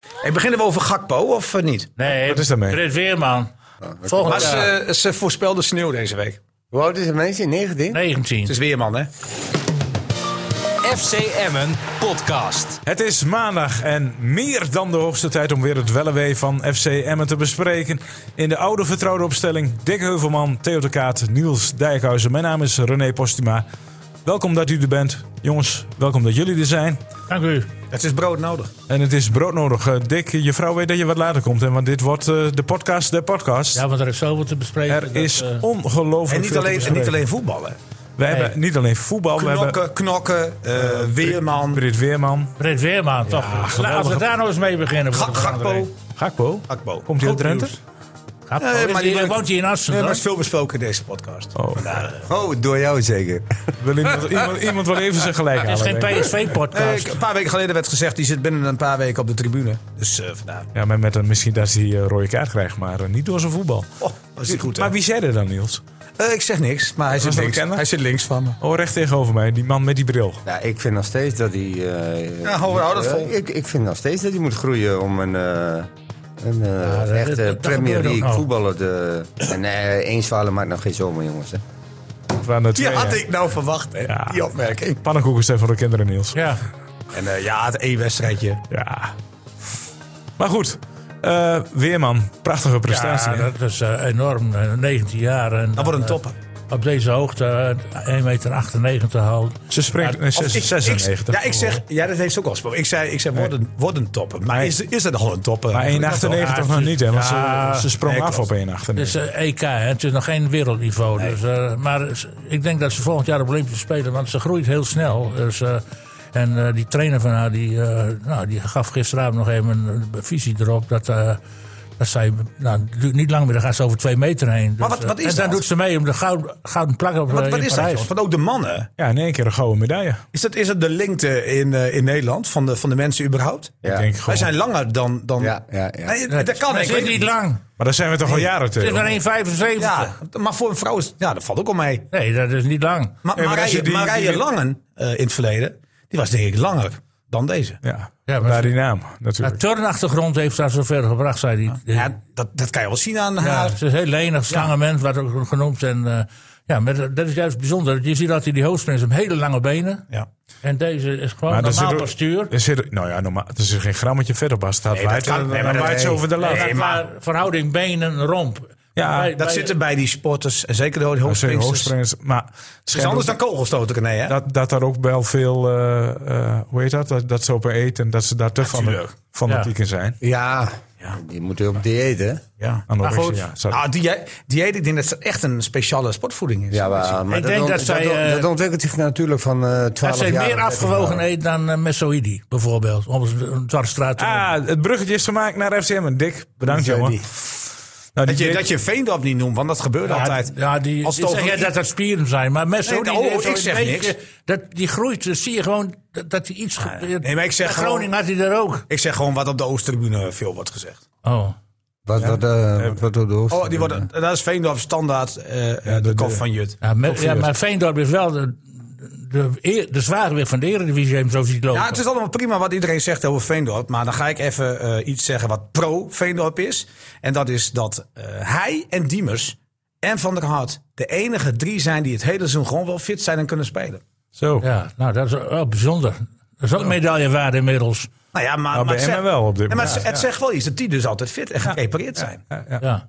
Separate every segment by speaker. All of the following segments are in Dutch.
Speaker 1: Hey, beginnen we over Gakpo of eh, niet?
Speaker 2: Nee,
Speaker 3: Wat is daarmee?
Speaker 2: Fred Weerman. Volgende
Speaker 1: Maar
Speaker 2: jaar.
Speaker 1: ze, eh, ze voorspelde sneeuw deze week.
Speaker 4: Hoe oud is het meisje? 19?
Speaker 2: 19.
Speaker 1: Het is Weerman, hè?
Speaker 5: FC Emmen podcast.
Speaker 3: Het is maandag en meer dan de hoogste tijd om weer het wellewee van FC Emmen te bespreken. In de oude vertrouwde opstelling Dick Heuvelman, Theo de Kaat, Niels Dijkhuizen. Mijn naam is René Postuma. Welkom dat u er bent. Jongens, welkom dat jullie er zijn.
Speaker 2: Dank u.
Speaker 1: Het is brood nodig.
Speaker 3: En het is broodnodig. Eh, Dick, je vrouw weet dat je wat later komt. Hè? Want dit wordt eh, de podcast der podcast.
Speaker 2: Ja, want er is zoveel te bespreken.
Speaker 3: er
Speaker 2: dat,
Speaker 3: is
Speaker 2: eh,
Speaker 3: ongelooflijk
Speaker 1: En niet
Speaker 3: veel te
Speaker 1: alleen, en niet
Speaker 3: bespreken.
Speaker 1: alleen voetballen.
Speaker 3: We hebben niet alleen voetbal. We hebben
Speaker 1: Knokken, knokken, eh, Weerman,
Speaker 3: Britt Weerman.
Speaker 2: Fred Weerman, toch? Laten we daar nou eens mee beginnen. voor
Speaker 1: Ga-
Speaker 2: de volgende
Speaker 1: Gakpo.
Speaker 2: week.
Speaker 3: Gakpo.
Speaker 1: Gakpo.
Speaker 3: Komt hij uit
Speaker 2: Goed
Speaker 3: Drenthe?
Speaker 2: nieuws. Gakpo,
Speaker 1: Nee,
Speaker 2: is
Speaker 1: maar
Speaker 2: die-
Speaker 1: die-
Speaker 2: woont hij in
Speaker 1: Nee,
Speaker 2: Assen,
Speaker 1: maar
Speaker 2: toch?
Speaker 1: het is veel besproken in deze podcast.
Speaker 3: Oh.
Speaker 1: Vandaar, eh,
Speaker 4: Oh, door jou zeker.
Speaker 3: Wil iemand, iemand, iemand wil even zijn gelijk
Speaker 2: Het is geen
Speaker 3: halen, denk ik.
Speaker 1: eh,
Speaker 2: PSV-podcast.
Speaker 1: ik- een paar weken geleden werd gezegd, die zit binnen een paar weken op de tribune. Dus eh, vandaar.
Speaker 3: Ja, maar met een, misschien dat hij eh, rode kaart krijgt, maar eh, niet door zijn voetbal.
Speaker 1: Oh, dat is niet goed, hè?
Speaker 3: maar wie zei er dan, Niels?
Speaker 1: Eh, ik zeg niks, maar hij
Speaker 3: Was
Speaker 1: zit
Speaker 3: dat
Speaker 1: links,
Speaker 3: een kenner?
Speaker 1: hij zit links van me.
Speaker 3: Oh, recht tegenover mij, die man met die bril.
Speaker 4: Ja, ik vind nog steeds dat hij... eh,
Speaker 1: Ja, hou- hou dat
Speaker 4: eh,
Speaker 1: vol.
Speaker 4: Ik, ik vind nog steeds dat hij moet groeien om een... eh, een eh,
Speaker 2: dat- dat-
Speaker 4: echte
Speaker 2: dat
Speaker 4: Premier
Speaker 2: gebeurt ook
Speaker 4: League
Speaker 2: nog.
Speaker 4: voetballer. te- En eh eens falen maakt nog geen zomer, jongens. Hè.
Speaker 3: Het waren er
Speaker 1: Die
Speaker 3: twee,
Speaker 1: had
Speaker 3: hè.
Speaker 1: ik nou verwacht, hè?
Speaker 3: Ja.
Speaker 1: die opmerking.
Speaker 3: Pannenkoeken zijn voor de kinderen, Niels.
Speaker 2: Ja,
Speaker 1: En eh, ja, het één wedstrijdje.
Speaker 3: Ja. Maar goed, eh, Weerman, prachtige prestatie.
Speaker 2: ja
Speaker 3: hè?
Speaker 2: dat is eh, enorm. eh, 19 jaar. En
Speaker 1: Dat wordt een
Speaker 2: dan,
Speaker 1: topper.
Speaker 2: eh, Op deze hoogte, 1,98 meter houden.
Speaker 3: Ze springt
Speaker 2: Ja,
Speaker 3: eh,
Speaker 1: Of ik-
Speaker 3: 96.
Speaker 1: Ik, ja, ik zeg, ja, dat heeft ze ook al gesproken. Ik zei, ik zei worden, worden toppen. Maar is, is dat al een topper?
Speaker 3: maar 1,98
Speaker 2: Ja,
Speaker 3: nog niet, hè? Want
Speaker 2: ja,
Speaker 3: ze, ze sprong
Speaker 1: nee,
Speaker 3: af
Speaker 1: klopt.
Speaker 3: op 1,98.
Speaker 2: Het is eh, EK, hè. het is nog geen wereldniveau. Dus, eh, maar s- ik denk dat ze volgend jaar de Olympische Spelen, want ze groeit heel snel. Dus, eh, en eh, die trainer van haar, die, eh, nou, die gaf gisteravond nog even een eh, visie erop. Dat, eh, dat zij, nou, het duurt niet lang meer, dan gaat ze over twee meter heen. Dus,
Speaker 1: Maar wat-
Speaker 2: eh,
Speaker 1: wat is
Speaker 2: en dan
Speaker 1: dat?
Speaker 2: doet ze mee om de goud, gouden plak op
Speaker 1: Wat,
Speaker 2: eh,
Speaker 1: wat
Speaker 2: in
Speaker 1: is dat?
Speaker 2: Parijs.
Speaker 1: jongens? Want ook de mannen.
Speaker 3: Ja, in één keer een gouden medaille.
Speaker 1: Is dat, is dat de lengte in, eh, in Nederland van de, van de mensen überhaupt?
Speaker 4: Ja.
Speaker 3: Ik denk
Speaker 1: Wij
Speaker 3: gewoon.
Speaker 1: zijn langer dan... dan...
Speaker 4: Ja, ja, ja.
Speaker 1: Nee, dat kan
Speaker 2: Maar
Speaker 1: ik
Speaker 2: ze is
Speaker 1: weet
Speaker 2: niet
Speaker 1: het
Speaker 2: lang.
Speaker 3: Maar daar zijn we toch al jaren
Speaker 2: Het is
Speaker 3: tegen.
Speaker 2: maar 1,75.
Speaker 1: Ja, maar voor een vrouw is... Ja, dat valt ook al mee.
Speaker 2: Nee, dat is niet lang.
Speaker 1: Maar
Speaker 3: Nee, maar als
Speaker 1: Marije,
Speaker 3: je die-
Speaker 1: Marije
Speaker 3: die-
Speaker 1: Langen eh, in het verleden... die was denk ik langer dan deze.
Speaker 3: Ja,
Speaker 2: Ja, maar-
Speaker 3: daar die naam
Speaker 2: Haar
Speaker 3: natuurlijk.
Speaker 2: turnachtergrond heeft haar zover gebracht, zei die.
Speaker 1: Ja, dat, dat kan je wel zien aan
Speaker 2: Ja,
Speaker 1: haar.
Speaker 2: ze is heel lenig, slange mens, werd ook genoemd. En, eh, ja, maar dat is juist bijzonder. Je ziet dat hij die hoofdspring heeft hele lange benen.
Speaker 1: Ja.
Speaker 2: En deze is gewoon
Speaker 3: er
Speaker 2: normaal
Speaker 3: zit ook-
Speaker 2: postuur.
Speaker 3: er zit, nou ja, normaal, er zit geen grammetje vet op. Als het gaat
Speaker 1: dat
Speaker 3: waaien,
Speaker 1: kan-
Speaker 3: dan-
Speaker 1: nee, maar
Speaker 3: dan
Speaker 1: dat-
Speaker 3: waait ze
Speaker 1: nee.
Speaker 3: over de lat.
Speaker 2: Nee, maar verhouding benen, romp.
Speaker 3: Ja,
Speaker 1: Dat zit er bij die sporters. En zeker de
Speaker 3: Dat zijn
Speaker 1: hoogspringsters. Het
Speaker 3: hoogspringers. Maar
Speaker 1: is
Speaker 3: schijnt
Speaker 1: anders
Speaker 3: ook
Speaker 1: dan kogelstoten, René, hè?
Speaker 3: dat, dat daar ook wel veel, eh, eh, hoe heet dat? dat? dat ze op een eten en dat ze daar te van,
Speaker 1: Natuurlijk.
Speaker 3: fanatiek in zijn.
Speaker 4: Ja, die moeten op dieet, hè?
Speaker 1: Ja.
Speaker 3: Anorexia,
Speaker 2: goed.
Speaker 3: ja, sorry.
Speaker 1: Nou, die, die, ik denk dat het echt een speciale sportvoeding is.
Speaker 4: Ja, maar, maar
Speaker 2: Ik denk
Speaker 4: ont-
Speaker 2: dat zij,
Speaker 4: dat,
Speaker 2: eh,
Speaker 4: dat ontwikkelt zich natuurlijk van eh 12 jaar.
Speaker 2: Dat zijn meer
Speaker 4: 30
Speaker 2: afgewogen
Speaker 4: jaar.
Speaker 2: eet dan eh, Messoidi, bijvoorbeeld. Om eens een dwarsstraat te noemen.
Speaker 3: Ah, het bruggetje is gemaakt naar FCM. En Dick, bedankt jongen.
Speaker 4: die.
Speaker 3: Nou,
Speaker 1: Dat je,
Speaker 3: Dick-
Speaker 1: dat je Veendorp niet noemt, want dat gebeurt altijd.
Speaker 2: Ja, die,
Speaker 1: Als
Speaker 2: die
Speaker 1: het over-
Speaker 2: zeggen dat dat spieren zijn. Maar Messoidi,
Speaker 1: Nee, nou,
Speaker 2: heeft
Speaker 1: ik
Speaker 2: zo'n
Speaker 1: zeg
Speaker 2: beetje-
Speaker 1: niks. Ah,
Speaker 2: Dat, die groeit, dat zie je gewoon dat- dat hij iets... ge-
Speaker 1: nee, maar ik zeg
Speaker 2: Bij Groningen had hij daar ook.
Speaker 1: Ik zeg gewoon wat op de Oosttribune veel wordt gezegd.
Speaker 2: Oh.
Speaker 4: Wat, wat, eh, wat, wat door de hoofd-
Speaker 1: Oh, die worden, dat is Veendorp standaard eh, de, kop van Jut.
Speaker 2: Ja, me- ja, maar Veendorp is wel de, de, eer- de zwaargewicht van de Eredivisie, hem zo ziet lopen.
Speaker 1: Ja, het is allemaal prima wat iedereen zegt over Veendorp. Maar dan ga ik even eh, iets zeggen wat pro-Veendorp is. En dat is dat eh, hij en Diemers en Van der Hart de enige drie zijn die het hele seizoen gewoon wel fit zijn en kunnen spelen.
Speaker 3: Zo,
Speaker 2: Ja, nou, dat is wel bijzonder. Dat is ook medaille waard inmiddels.
Speaker 1: Nou ja, maar,
Speaker 3: Nou,
Speaker 1: maar
Speaker 3: bij Emmen wel op dit
Speaker 1: Nee, maar het,
Speaker 3: moment.
Speaker 1: het zegt wel iets dat die dus altijd fit en geprepareerd zijn.
Speaker 3: Ja, ja.
Speaker 2: Ja.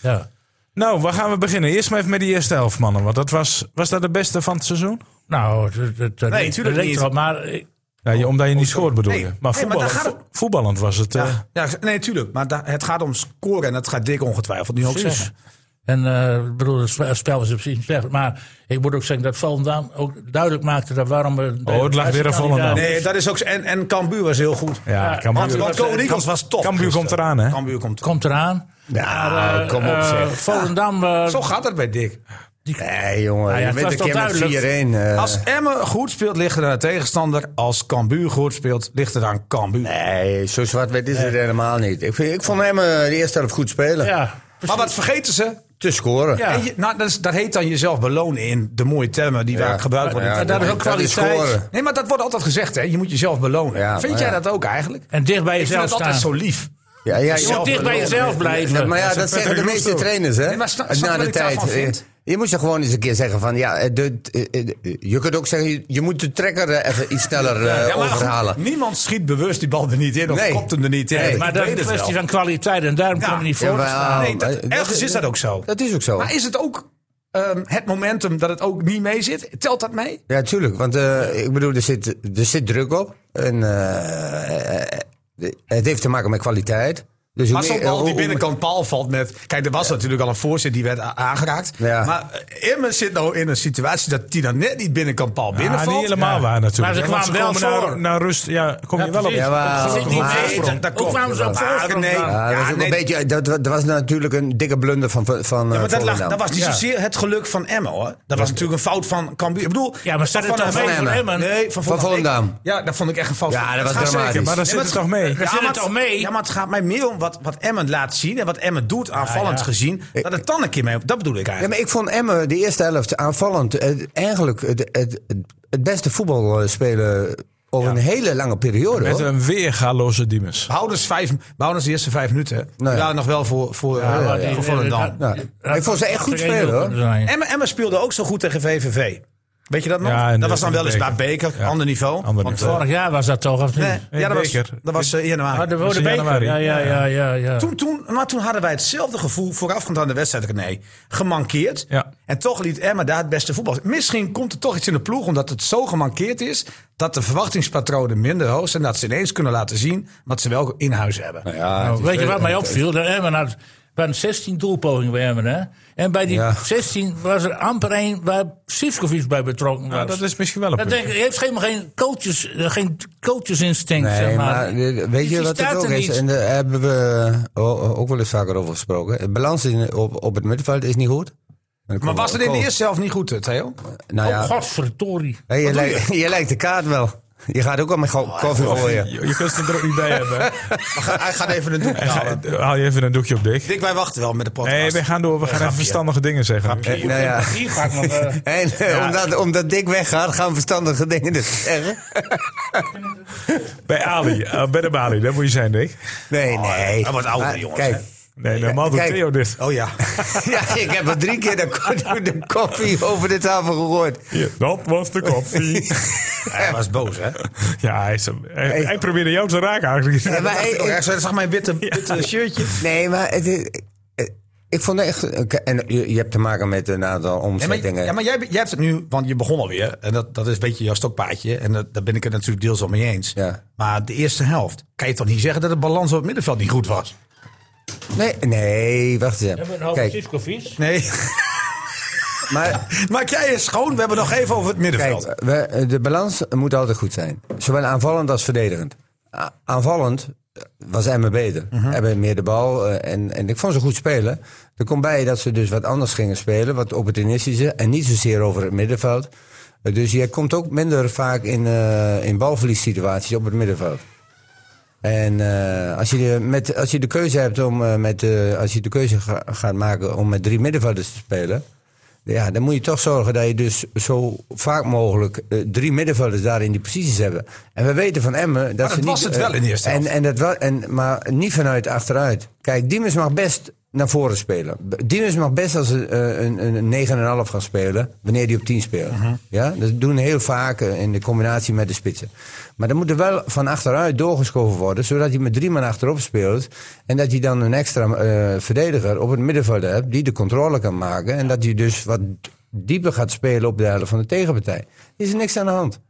Speaker 2: ja.
Speaker 3: Nou, waar gaan we beginnen? Eerst maar even met die eerste helft, mannen. Want dat was, was dat de beste van het seizoen?
Speaker 2: Nou, het- het, het,
Speaker 1: Nee,
Speaker 2: het
Speaker 1: tuurlijk
Speaker 2: leek
Speaker 1: niet.
Speaker 2: erop, maar eh, ik-
Speaker 3: Ja, Nou, je, omdat je niet scoort bedoel
Speaker 1: Oh, Nee.
Speaker 3: je.
Speaker 1: Nee,
Speaker 3: Maar
Speaker 1: maar
Speaker 3: voetballend,
Speaker 1: daar gaat het-
Speaker 3: vo- voetballend was het... eh,
Speaker 1: Ja, ja, nee, tuurlijk. Maar da- het gaat om scoren en dat gaat Dick ongetwijfeld nu ook
Speaker 2: precies.
Speaker 1: zeggen.
Speaker 2: En eh, ik bedoel, het spe- het spel is op zich niet slecht. Maar ik moet ook zeggen dat Volendam ook duidelijk maakte dat waarom... we-
Speaker 3: Oh, het lag weer aan Volendam.
Speaker 1: Nee, dat is ook. zo. En, en Cambuur was heel goed.
Speaker 3: ja, Cambuur-
Speaker 1: Want, want Go Eagles was top.
Speaker 3: Cambuur
Speaker 1: gisteren.
Speaker 3: komt eraan, hè?
Speaker 1: Cambuur komt eraan.
Speaker 2: Komt eraan.
Speaker 4: Nou,
Speaker 2: Maar, eh,
Speaker 4: kom op
Speaker 2: eh,
Speaker 4: zeg.
Speaker 2: Volendam... eh,
Speaker 1: Zo gaat het bij Dick.
Speaker 4: Nee, jongen.
Speaker 2: Ah, ja,
Speaker 4: je
Speaker 2: het
Speaker 4: weet
Speaker 2: was
Speaker 4: een
Speaker 2: toch
Speaker 4: keer met 4-1.
Speaker 2: duidelijk.
Speaker 4: eh,
Speaker 1: Als Emmen goed speelt, ligt er aan de tegenstander. Als Cambuur goed speelt, ligt er aan Cambuur.
Speaker 4: nee, zo zwart-wit is het helemaal niet. Ik, vind, ik vond hem eh, de eerste helft goed spelen.
Speaker 2: ja,
Speaker 1: Maar wat vergeten ze?
Speaker 4: te scoren.
Speaker 2: Ja.
Speaker 1: En je- nou, dat, is- dat heet dan jezelf belonen in de mooie termen die
Speaker 4: Ja.
Speaker 1: vaak gebruikt worden.
Speaker 4: Ja,
Speaker 1: Maar
Speaker 2: dat is ook kwaliteit.
Speaker 4: scoren.
Speaker 1: Nee, maar dat wordt altijd gezegd, hè? Je moet jezelf belonen.
Speaker 4: Ja,
Speaker 1: Vind
Speaker 4: maar
Speaker 1: jij
Speaker 4: ja.
Speaker 1: dat ook eigenlijk?
Speaker 2: En dicht bij
Speaker 1: Ik vind
Speaker 2: jezelf
Speaker 1: dat altijd
Speaker 2: staan.
Speaker 1: zo lief.
Speaker 4: Ja, ja,
Speaker 2: Je moet dicht bij jezelf blijven.
Speaker 4: Ja, maar ja, dat, zeggen de
Speaker 1: prettige
Speaker 4: meeste
Speaker 1: roeptoon.
Speaker 4: trainers, hè?
Speaker 1: Nee, maar snap- snap
Speaker 4: na
Speaker 1: je
Speaker 4: de
Speaker 1: wat ik
Speaker 4: tijd.
Speaker 1: daarvan
Speaker 4: eh,
Speaker 1: vind?
Speaker 4: Je moet ze gewoon eens een keer zeggen van, ja, eh, de, eh, eh, je kunt ook zeggen, je- je moet de trekker eh, even iets sneller eh,
Speaker 1: Ja, maar goed,
Speaker 4: overhalen.
Speaker 1: niemand schiet bewust die bal er niet in of
Speaker 4: Nee.
Speaker 1: kopt hem er niet in.
Speaker 4: Nee,
Speaker 2: Maar
Speaker 1: Ik
Speaker 2: dat is
Speaker 1: weet
Speaker 2: een
Speaker 1: het wel.
Speaker 2: kwestie van kwaliteit en daarom
Speaker 1: Ja.
Speaker 2: komen we niet voor te
Speaker 4: Jawel.
Speaker 2: staan.
Speaker 1: Nee, dat-
Speaker 4: Oh, dat-
Speaker 1: ergens
Speaker 4: dat-
Speaker 1: is dat ook zo.
Speaker 4: Dat is ook zo.
Speaker 1: Maar is het ook ehm, het momentum dat het ook niet mee zit? Telt dat mee?
Speaker 4: Ja, tuurlijk. Want eh, ik bedoel, er zit, er zit druk op. En eh, eh, het heeft te maken met kwaliteit. Dus hoe
Speaker 1: Maar zo'n
Speaker 4: meer-
Speaker 1: bal
Speaker 4: hoe-
Speaker 1: die
Speaker 4: hoe-
Speaker 1: binnenkant paal valt met... Kijk, er was natuurlijk al een voorzet die werd a- aangeraakt.
Speaker 4: Ja.
Speaker 1: Maar eh, Emmen zit nou in een situatie dat die dan net niet binnenkant paal
Speaker 3: Ja,
Speaker 1: binnenvalt.
Speaker 3: niet helemaal
Speaker 1: Ja.
Speaker 3: waar natuurlijk.
Speaker 2: Maar ze
Speaker 3: Ja, want
Speaker 2: kwamen wel
Speaker 3: komen nou
Speaker 2: voor.
Speaker 3: Naar, naar rust, ja, kom je wel op.
Speaker 2: precies.
Speaker 4: Ja, maar-
Speaker 2: Zit niet
Speaker 4: maar-
Speaker 2: mee.
Speaker 1: maar- dat
Speaker 2: Ook
Speaker 1: klopt.
Speaker 2: kwamen ze op
Speaker 1: Maar-
Speaker 2: voorsprong
Speaker 1: nee.
Speaker 2: staan.
Speaker 4: Ja, dat was
Speaker 1: Ja,
Speaker 4: ook
Speaker 1: nee.
Speaker 4: een beetje, dat, dat was natuurlijk een dikke blunder van, van eh,
Speaker 1: Ja, maar dat, lag,
Speaker 4: Volendam.
Speaker 1: dat was niet
Speaker 2: Ja.
Speaker 1: zozeer het geluk van Emmen, hoor. Dat was natuurlijk een fout van Cambuur. Ik bedoel...
Speaker 2: Ja, maar staat het toch mee voor
Speaker 4: Emmen.
Speaker 2: Emmen?
Speaker 1: Nee, van
Speaker 4: Van
Speaker 1: Volendam.
Speaker 4: Volendam.
Speaker 1: Ik- ja, dat vond ik echt een fout.
Speaker 4: Ja,
Speaker 1: van-
Speaker 4: dat
Speaker 1: Het
Speaker 4: was
Speaker 1: gaat zeker,
Speaker 4: dramatisch.
Speaker 3: Maar daar zit
Speaker 1: maar
Speaker 3: het
Speaker 1: het-
Speaker 3: toch mee.
Speaker 2: Daar zit
Speaker 1: maar
Speaker 2: het toch mee?
Speaker 1: Ja, maar het gaat mij meer om wat, wat Emmen laat zien en wat Emmen doet aanvallend
Speaker 2: ja.
Speaker 1: gezien. Dat het dan een keer mee... Dat bedoel ik
Speaker 4: Ja,
Speaker 1: eigenlijk.
Speaker 4: maar ik vond Emmen de eerste helft aanvallend eh, eigenlijk het, het, het beste voetbal eh, spelen over een hele lange periode.
Speaker 3: Met
Speaker 4: Hoor.
Speaker 3: een weergaloze Diemers.
Speaker 1: Behoudens, vijf, behoudens de eerste vijf minuten. hè.
Speaker 4: Nou ja.
Speaker 1: ja, nog wel voor, voor, eh,
Speaker 2: maar die-
Speaker 1: voor Volendam.
Speaker 4: Ja. Ik vond ze echt goed spelen, hoor.
Speaker 1: Emma, Emma speelde ook zo goed tegen VVV. Weet je dat nog?
Speaker 3: Ja, in de-
Speaker 1: dat was dan
Speaker 3: in de
Speaker 1: weliswaar beker, ander niveau.
Speaker 3: Ander
Speaker 1: Want,
Speaker 3: niveau.
Speaker 1: eh,
Speaker 2: Vorig jaar was dat toch, of niet?
Speaker 1: nee, ja, dat was,
Speaker 3: beker.
Speaker 1: dat was eh, in januari.
Speaker 2: Ah, de Rode
Speaker 3: in
Speaker 2: Beker.
Speaker 3: januari.
Speaker 2: Ja, ja, ja, ja. ja.
Speaker 1: toen, toen, maar toen hadden wij hetzelfde gevoel voorafgaand aan de wedstrijd, René. Gemankeerd.
Speaker 3: Ja.
Speaker 1: En toch liet Emma daar het beste voetbal. zien. Misschien komt er toch iets in de ploeg omdat het zo gemankeerd is... dat de verwachtingspatronen minder hoog zijn... dat ze ineens kunnen laten zien wat ze wel in huis hebben.
Speaker 2: Nou, weet je wat mij opviel? Dat Emmen had waren 16 doelpogingen bij Emmen, hè? En bij die
Speaker 4: Ja.
Speaker 2: 16 was er amper één waar Sivkovic bij betrokken was.
Speaker 3: Nou, dat is misschien wel een
Speaker 2: Dat
Speaker 3: punt.
Speaker 2: denk ik, hij heeft helemaal geen, coaches, eh, geen coachesinstinct,
Speaker 4: Nee,
Speaker 2: zeg maar.
Speaker 4: maar eh, weet
Speaker 2: Die-
Speaker 4: je
Speaker 2: die
Speaker 4: wat het
Speaker 2: staat
Speaker 4: ook
Speaker 2: er
Speaker 4: is?
Speaker 2: niet.
Speaker 4: En daar hebben we o- ook wel eens vaker over gesproken. De balans in, op, op het middenveld is niet goed.
Speaker 1: Maar was het in de eerste helft niet goed, eh, Theo?
Speaker 4: Nou
Speaker 2: Oh,
Speaker 4: ja,
Speaker 2: godverdorie.
Speaker 4: hey, je, lijkt, je lijkt de kaart wel. Je gaat ook al met
Speaker 1: Oh,
Speaker 4: go- koffie gooien.
Speaker 3: Je, je kunt ze er ook niet bij hebben.
Speaker 1: Hij gaat even een doekje halen.
Speaker 3: Haal je even een doekje op dik.
Speaker 1: Dick, wij wachten wel met de podcast.
Speaker 3: Nee, we gaan door. We gaan even verstandige dingen zeggen. nu.
Speaker 4: Eh, Nou ja.
Speaker 2: Die ga ik nog, eh,
Speaker 4: En eh, omdat, omdat Dick weggaat, gaan verstandige dingen dus zeggen.
Speaker 3: Bij Ali. eh, bij de Bali. Daar moet je zijn, Dick.
Speaker 4: Nee, nee.
Speaker 1: Oh, hij wordt ouder,
Speaker 4: Maar
Speaker 1: jongens,
Speaker 4: Kijk,
Speaker 1: hè?
Speaker 3: Nee, normaal doet
Speaker 4: Kijk.
Speaker 3: Theo dit.
Speaker 1: Oh ja.
Speaker 4: ja, ik heb er drie keer de, ko- de koffie over de tafel gegooid.
Speaker 3: Ja, Dat was de koffie.
Speaker 1: Hij was boos, hè?
Speaker 3: Ja, hij, is, hij, hij probeerde jou te raken eigenlijk.
Speaker 4: Ja, maar, eh, eh,
Speaker 1: zag mijn witte, witte shirtje.
Speaker 4: nee, maar het is- eh, ik vond het echt... eh, En je, je hebt te maken met een aantal
Speaker 1: Ja, maar,
Speaker 4: omzettingen.
Speaker 1: ja, maar jij, jij hebt het nu, want je begon alweer. En dat, dat is een beetje jouw stokpaardje. En dat, daar ben ik het natuurlijk deels al mee eens.
Speaker 4: Ja.
Speaker 1: Maar de eerste helft, kan je toch niet zeggen dat de balans op het middenveld niet goed was?
Speaker 4: Nee, nee, wacht
Speaker 2: we hebben
Speaker 4: eens.
Speaker 2: een halve
Speaker 4: Kijk,
Speaker 2: Sivkovic.
Speaker 1: Nee.
Speaker 4: maar...
Speaker 1: Maak jij eens schoon, we hebben nog even over het middenveld.
Speaker 4: Kijk, we- eh, de balans moet altijd goed zijn. Zowel aanvallend als verdedigend. A- aanvallend eh, was Emmen beter. Hebben meer de bal. eh, en, en ik vond ze goed spelen. Er komt bij dat ze dus wat anders gingen spelen. Wat opportunistischer. En niet zozeer over het middenveld. Eh, dus je komt ook minder vaak in, eh in balverliessituaties op het middenveld. En eh, als, je de, met, als je de keuze hebt om eh, met, eh, als je de keuze ga- gaat maken om met drie middenvelders te spelen. Ja, dan moet je toch zorgen dat je dus zo vaak mogelijk eh, drie middenvelders daar in die posities hebben. En we weten van Emmen dat
Speaker 1: dat
Speaker 4: ze niet...
Speaker 1: was het
Speaker 4: eh,
Speaker 1: wel in de eerste
Speaker 4: en,
Speaker 1: helft.
Speaker 4: en dat wa- en, Maar niet vanuit achteruit. Kijk, Diemers mag best naar voren spelen. B- Diemers mag best als een, eh, een, een 9,5 gaan spelen wanneer die op 10 speelt. ja? Dat doen heel vaak eh, in de combinatie met de spitsen. Maar dan moet er wel van achteruit doorgeschoven worden, zodat hij met drie man achterop speelt. En dat je dan een extra eh, verdediger op het middenveld hebt die de controle kan maken. En dat hij dus wat dieper gaat spelen op de helft van de tegenpartij. Is er niks aan de hand.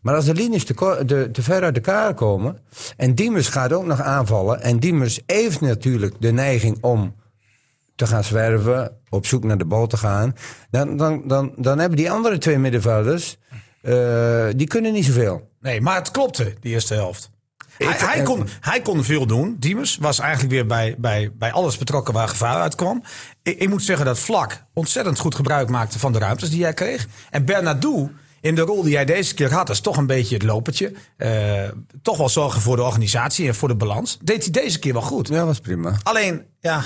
Speaker 4: Maar als de linies te, ko- de- te ver uit elkaar komen. en Diemers gaat ook nog aanvallen. en Diemers heeft natuurlijk de neiging om te gaan zwerven. op zoek naar de bal te gaan. dan, dan, dan, dan hebben die andere twee middenvelders. eh, die kunnen niet zoveel.
Speaker 1: Nee, maar het klopte, de eerste helft. Hij,
Speaker 4: eh,
Speaker 1: hij, kon, hij kon veel doen. Diemers was eigenlijk weer bij, bij, bij alles betrokken waar gevaar uitkwam. Ik, ik moet zeggen dat Vlak ontzettend goed gebruik maakte van de ruimtes die hij kreeg. En Bernardo, in de rol die hij deze keer had, is toch een beetje het lopertje. Eh, toch wel zorgen voor de organisatie en voor de balans. Deed hij deze keer wel goed.
Speaker 4: Ja, was prima.
Speaker 1: Alleen, ja,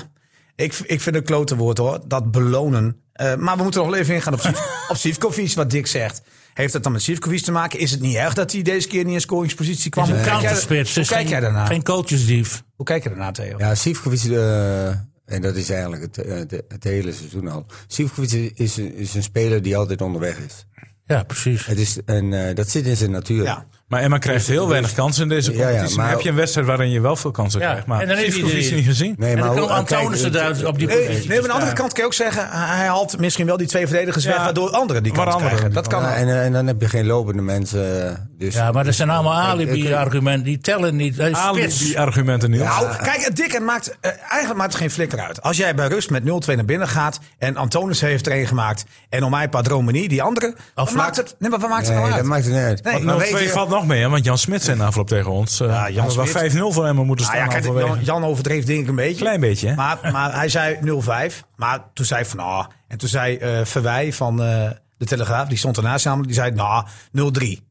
Speaker 1: Ik, ik vind het een klote woord hoor, dat belonen. Eh, maar we moeten nog wel even ingaan op, Sif- op Sivkovic, wat Dick zegt. Heeft dat dan met Sivkovic te maken? Is het niet erg dat hij deze keer niet in scoringspositie kwam? Hoe Eh, kijk, jij,
Speaker 2: Counterspits.
Speaker 1: hoe
Speaker 2: is
Speaker 1: kijk
Speaker 2: geen-
Speaker 1: jij daarna?
Speaker 2: Geen coachesdief.
Speaker 1: Hoe kijk je daarna, Theo?
Speaker 4: Ja, Sivkovic, eh, en dat is eigenlijk het, eh, het, het hele seizoen al. Sivkovic is, is een speler die altijd onderweg is.
Speaker 2: Ja, precies.
Speaker 4: Het is en, eh, dat zit in zijn natuur.
Speaker 1: Ja.
Speaker 3: Maar Emma krijgt heel weinig kansen in deze
Speaker 4: Ja, ja,
Speaker 3: competitie.
Speaker 4: maar-
Speaker 3: heb je een wedstrijd waarin je wel veel kansen
Speaker 2: Ja,
Speaker 3: krijgt. Maar
Speaker 2: en dan heeft
Speaker 3: Sivkovic
Speaker 2: hij die-
Speaker 3: niet gezien.
Speaker 4: Nee,
Speaker 2: en dan
Speaker 4: maar
Speaker 2: kan
Speaker 4: hoe- kijk, eh,
Speaker 2: Antonissen
Speaker 4: het-
Speaker 2: eruit op die
Speaker 1: Eh, Nee,
Speaker 2: positie.
Speaker 1: nee, maar aan de andere kant kan je ook zeggen, eh, hij haalt misschien wel die twee verdedigers weg,
Speaker 3: Ja,
Speaker 1: waardoor anderen die
Speaker 3: waar
Speaker 1: kans
Speaker 3: anderen
Speaker 1: krijgen.
Speaker 3: die
Speaker 1: Dat kan
Speaker 4: Ja, en, eh, en dan heb je geen lopende mensen. eh, Dus
Speaker 2: Ja, maar dat zijn allemaal
Speaker 4: Kijk, eh,
Speaker 2: alibi-argumenten. Die tellen niet. Hij is spits.
Speaker 3: Alibi-argumenten, Niels.
Speaker 1: Nou, kijk, Dick, het maakt, eh, eigenlijk maakt het geen flikker uit. Als jij bij rust met 0-2 naar binnen gaat en Antonis heeft er een gemaakt en om mij Padromani, die andere, wat
Speaker 2: Afmaakt.
Speaker 1: maakt het, nee, maar wat maakt het
Speaker 4: nee,
Speaker 1: nou
Speaker 4: dat
Speaker 1: uit?
Speaker 4: maakt het niet uit.
Speaker 1: Nee,
Speaker 4: maar
Speaker 3: Nou,
Speaker 4: weet
Speaker 3: twee
Speaker 4: je-
Speaker 3: valt nog mee, hè, want Jan Smit zijn aanval op tegen ons. eh
Speaker 1: Ja, Jan
Speaker 3: hadden we
Speaker 1: Smit.
Speaker 3: 5-0 voor hem moeten
Speaker 1: Nou
Speaker 3: staan.
Speaker 1: ja, kijk, Jan,
Speaker 3: halverwege.
Speaker 1: Jan overdreef denk ik een beetje.
Speaker 3: Klein beetje, hè?
Speaker 1: Maar, maar hij zei 0-5. Maar toen zei ik van, ah. En toen zei eh Verwij van eh, de Telegraaf, die stond ernaast namelijk, die zei, nou, 0-3.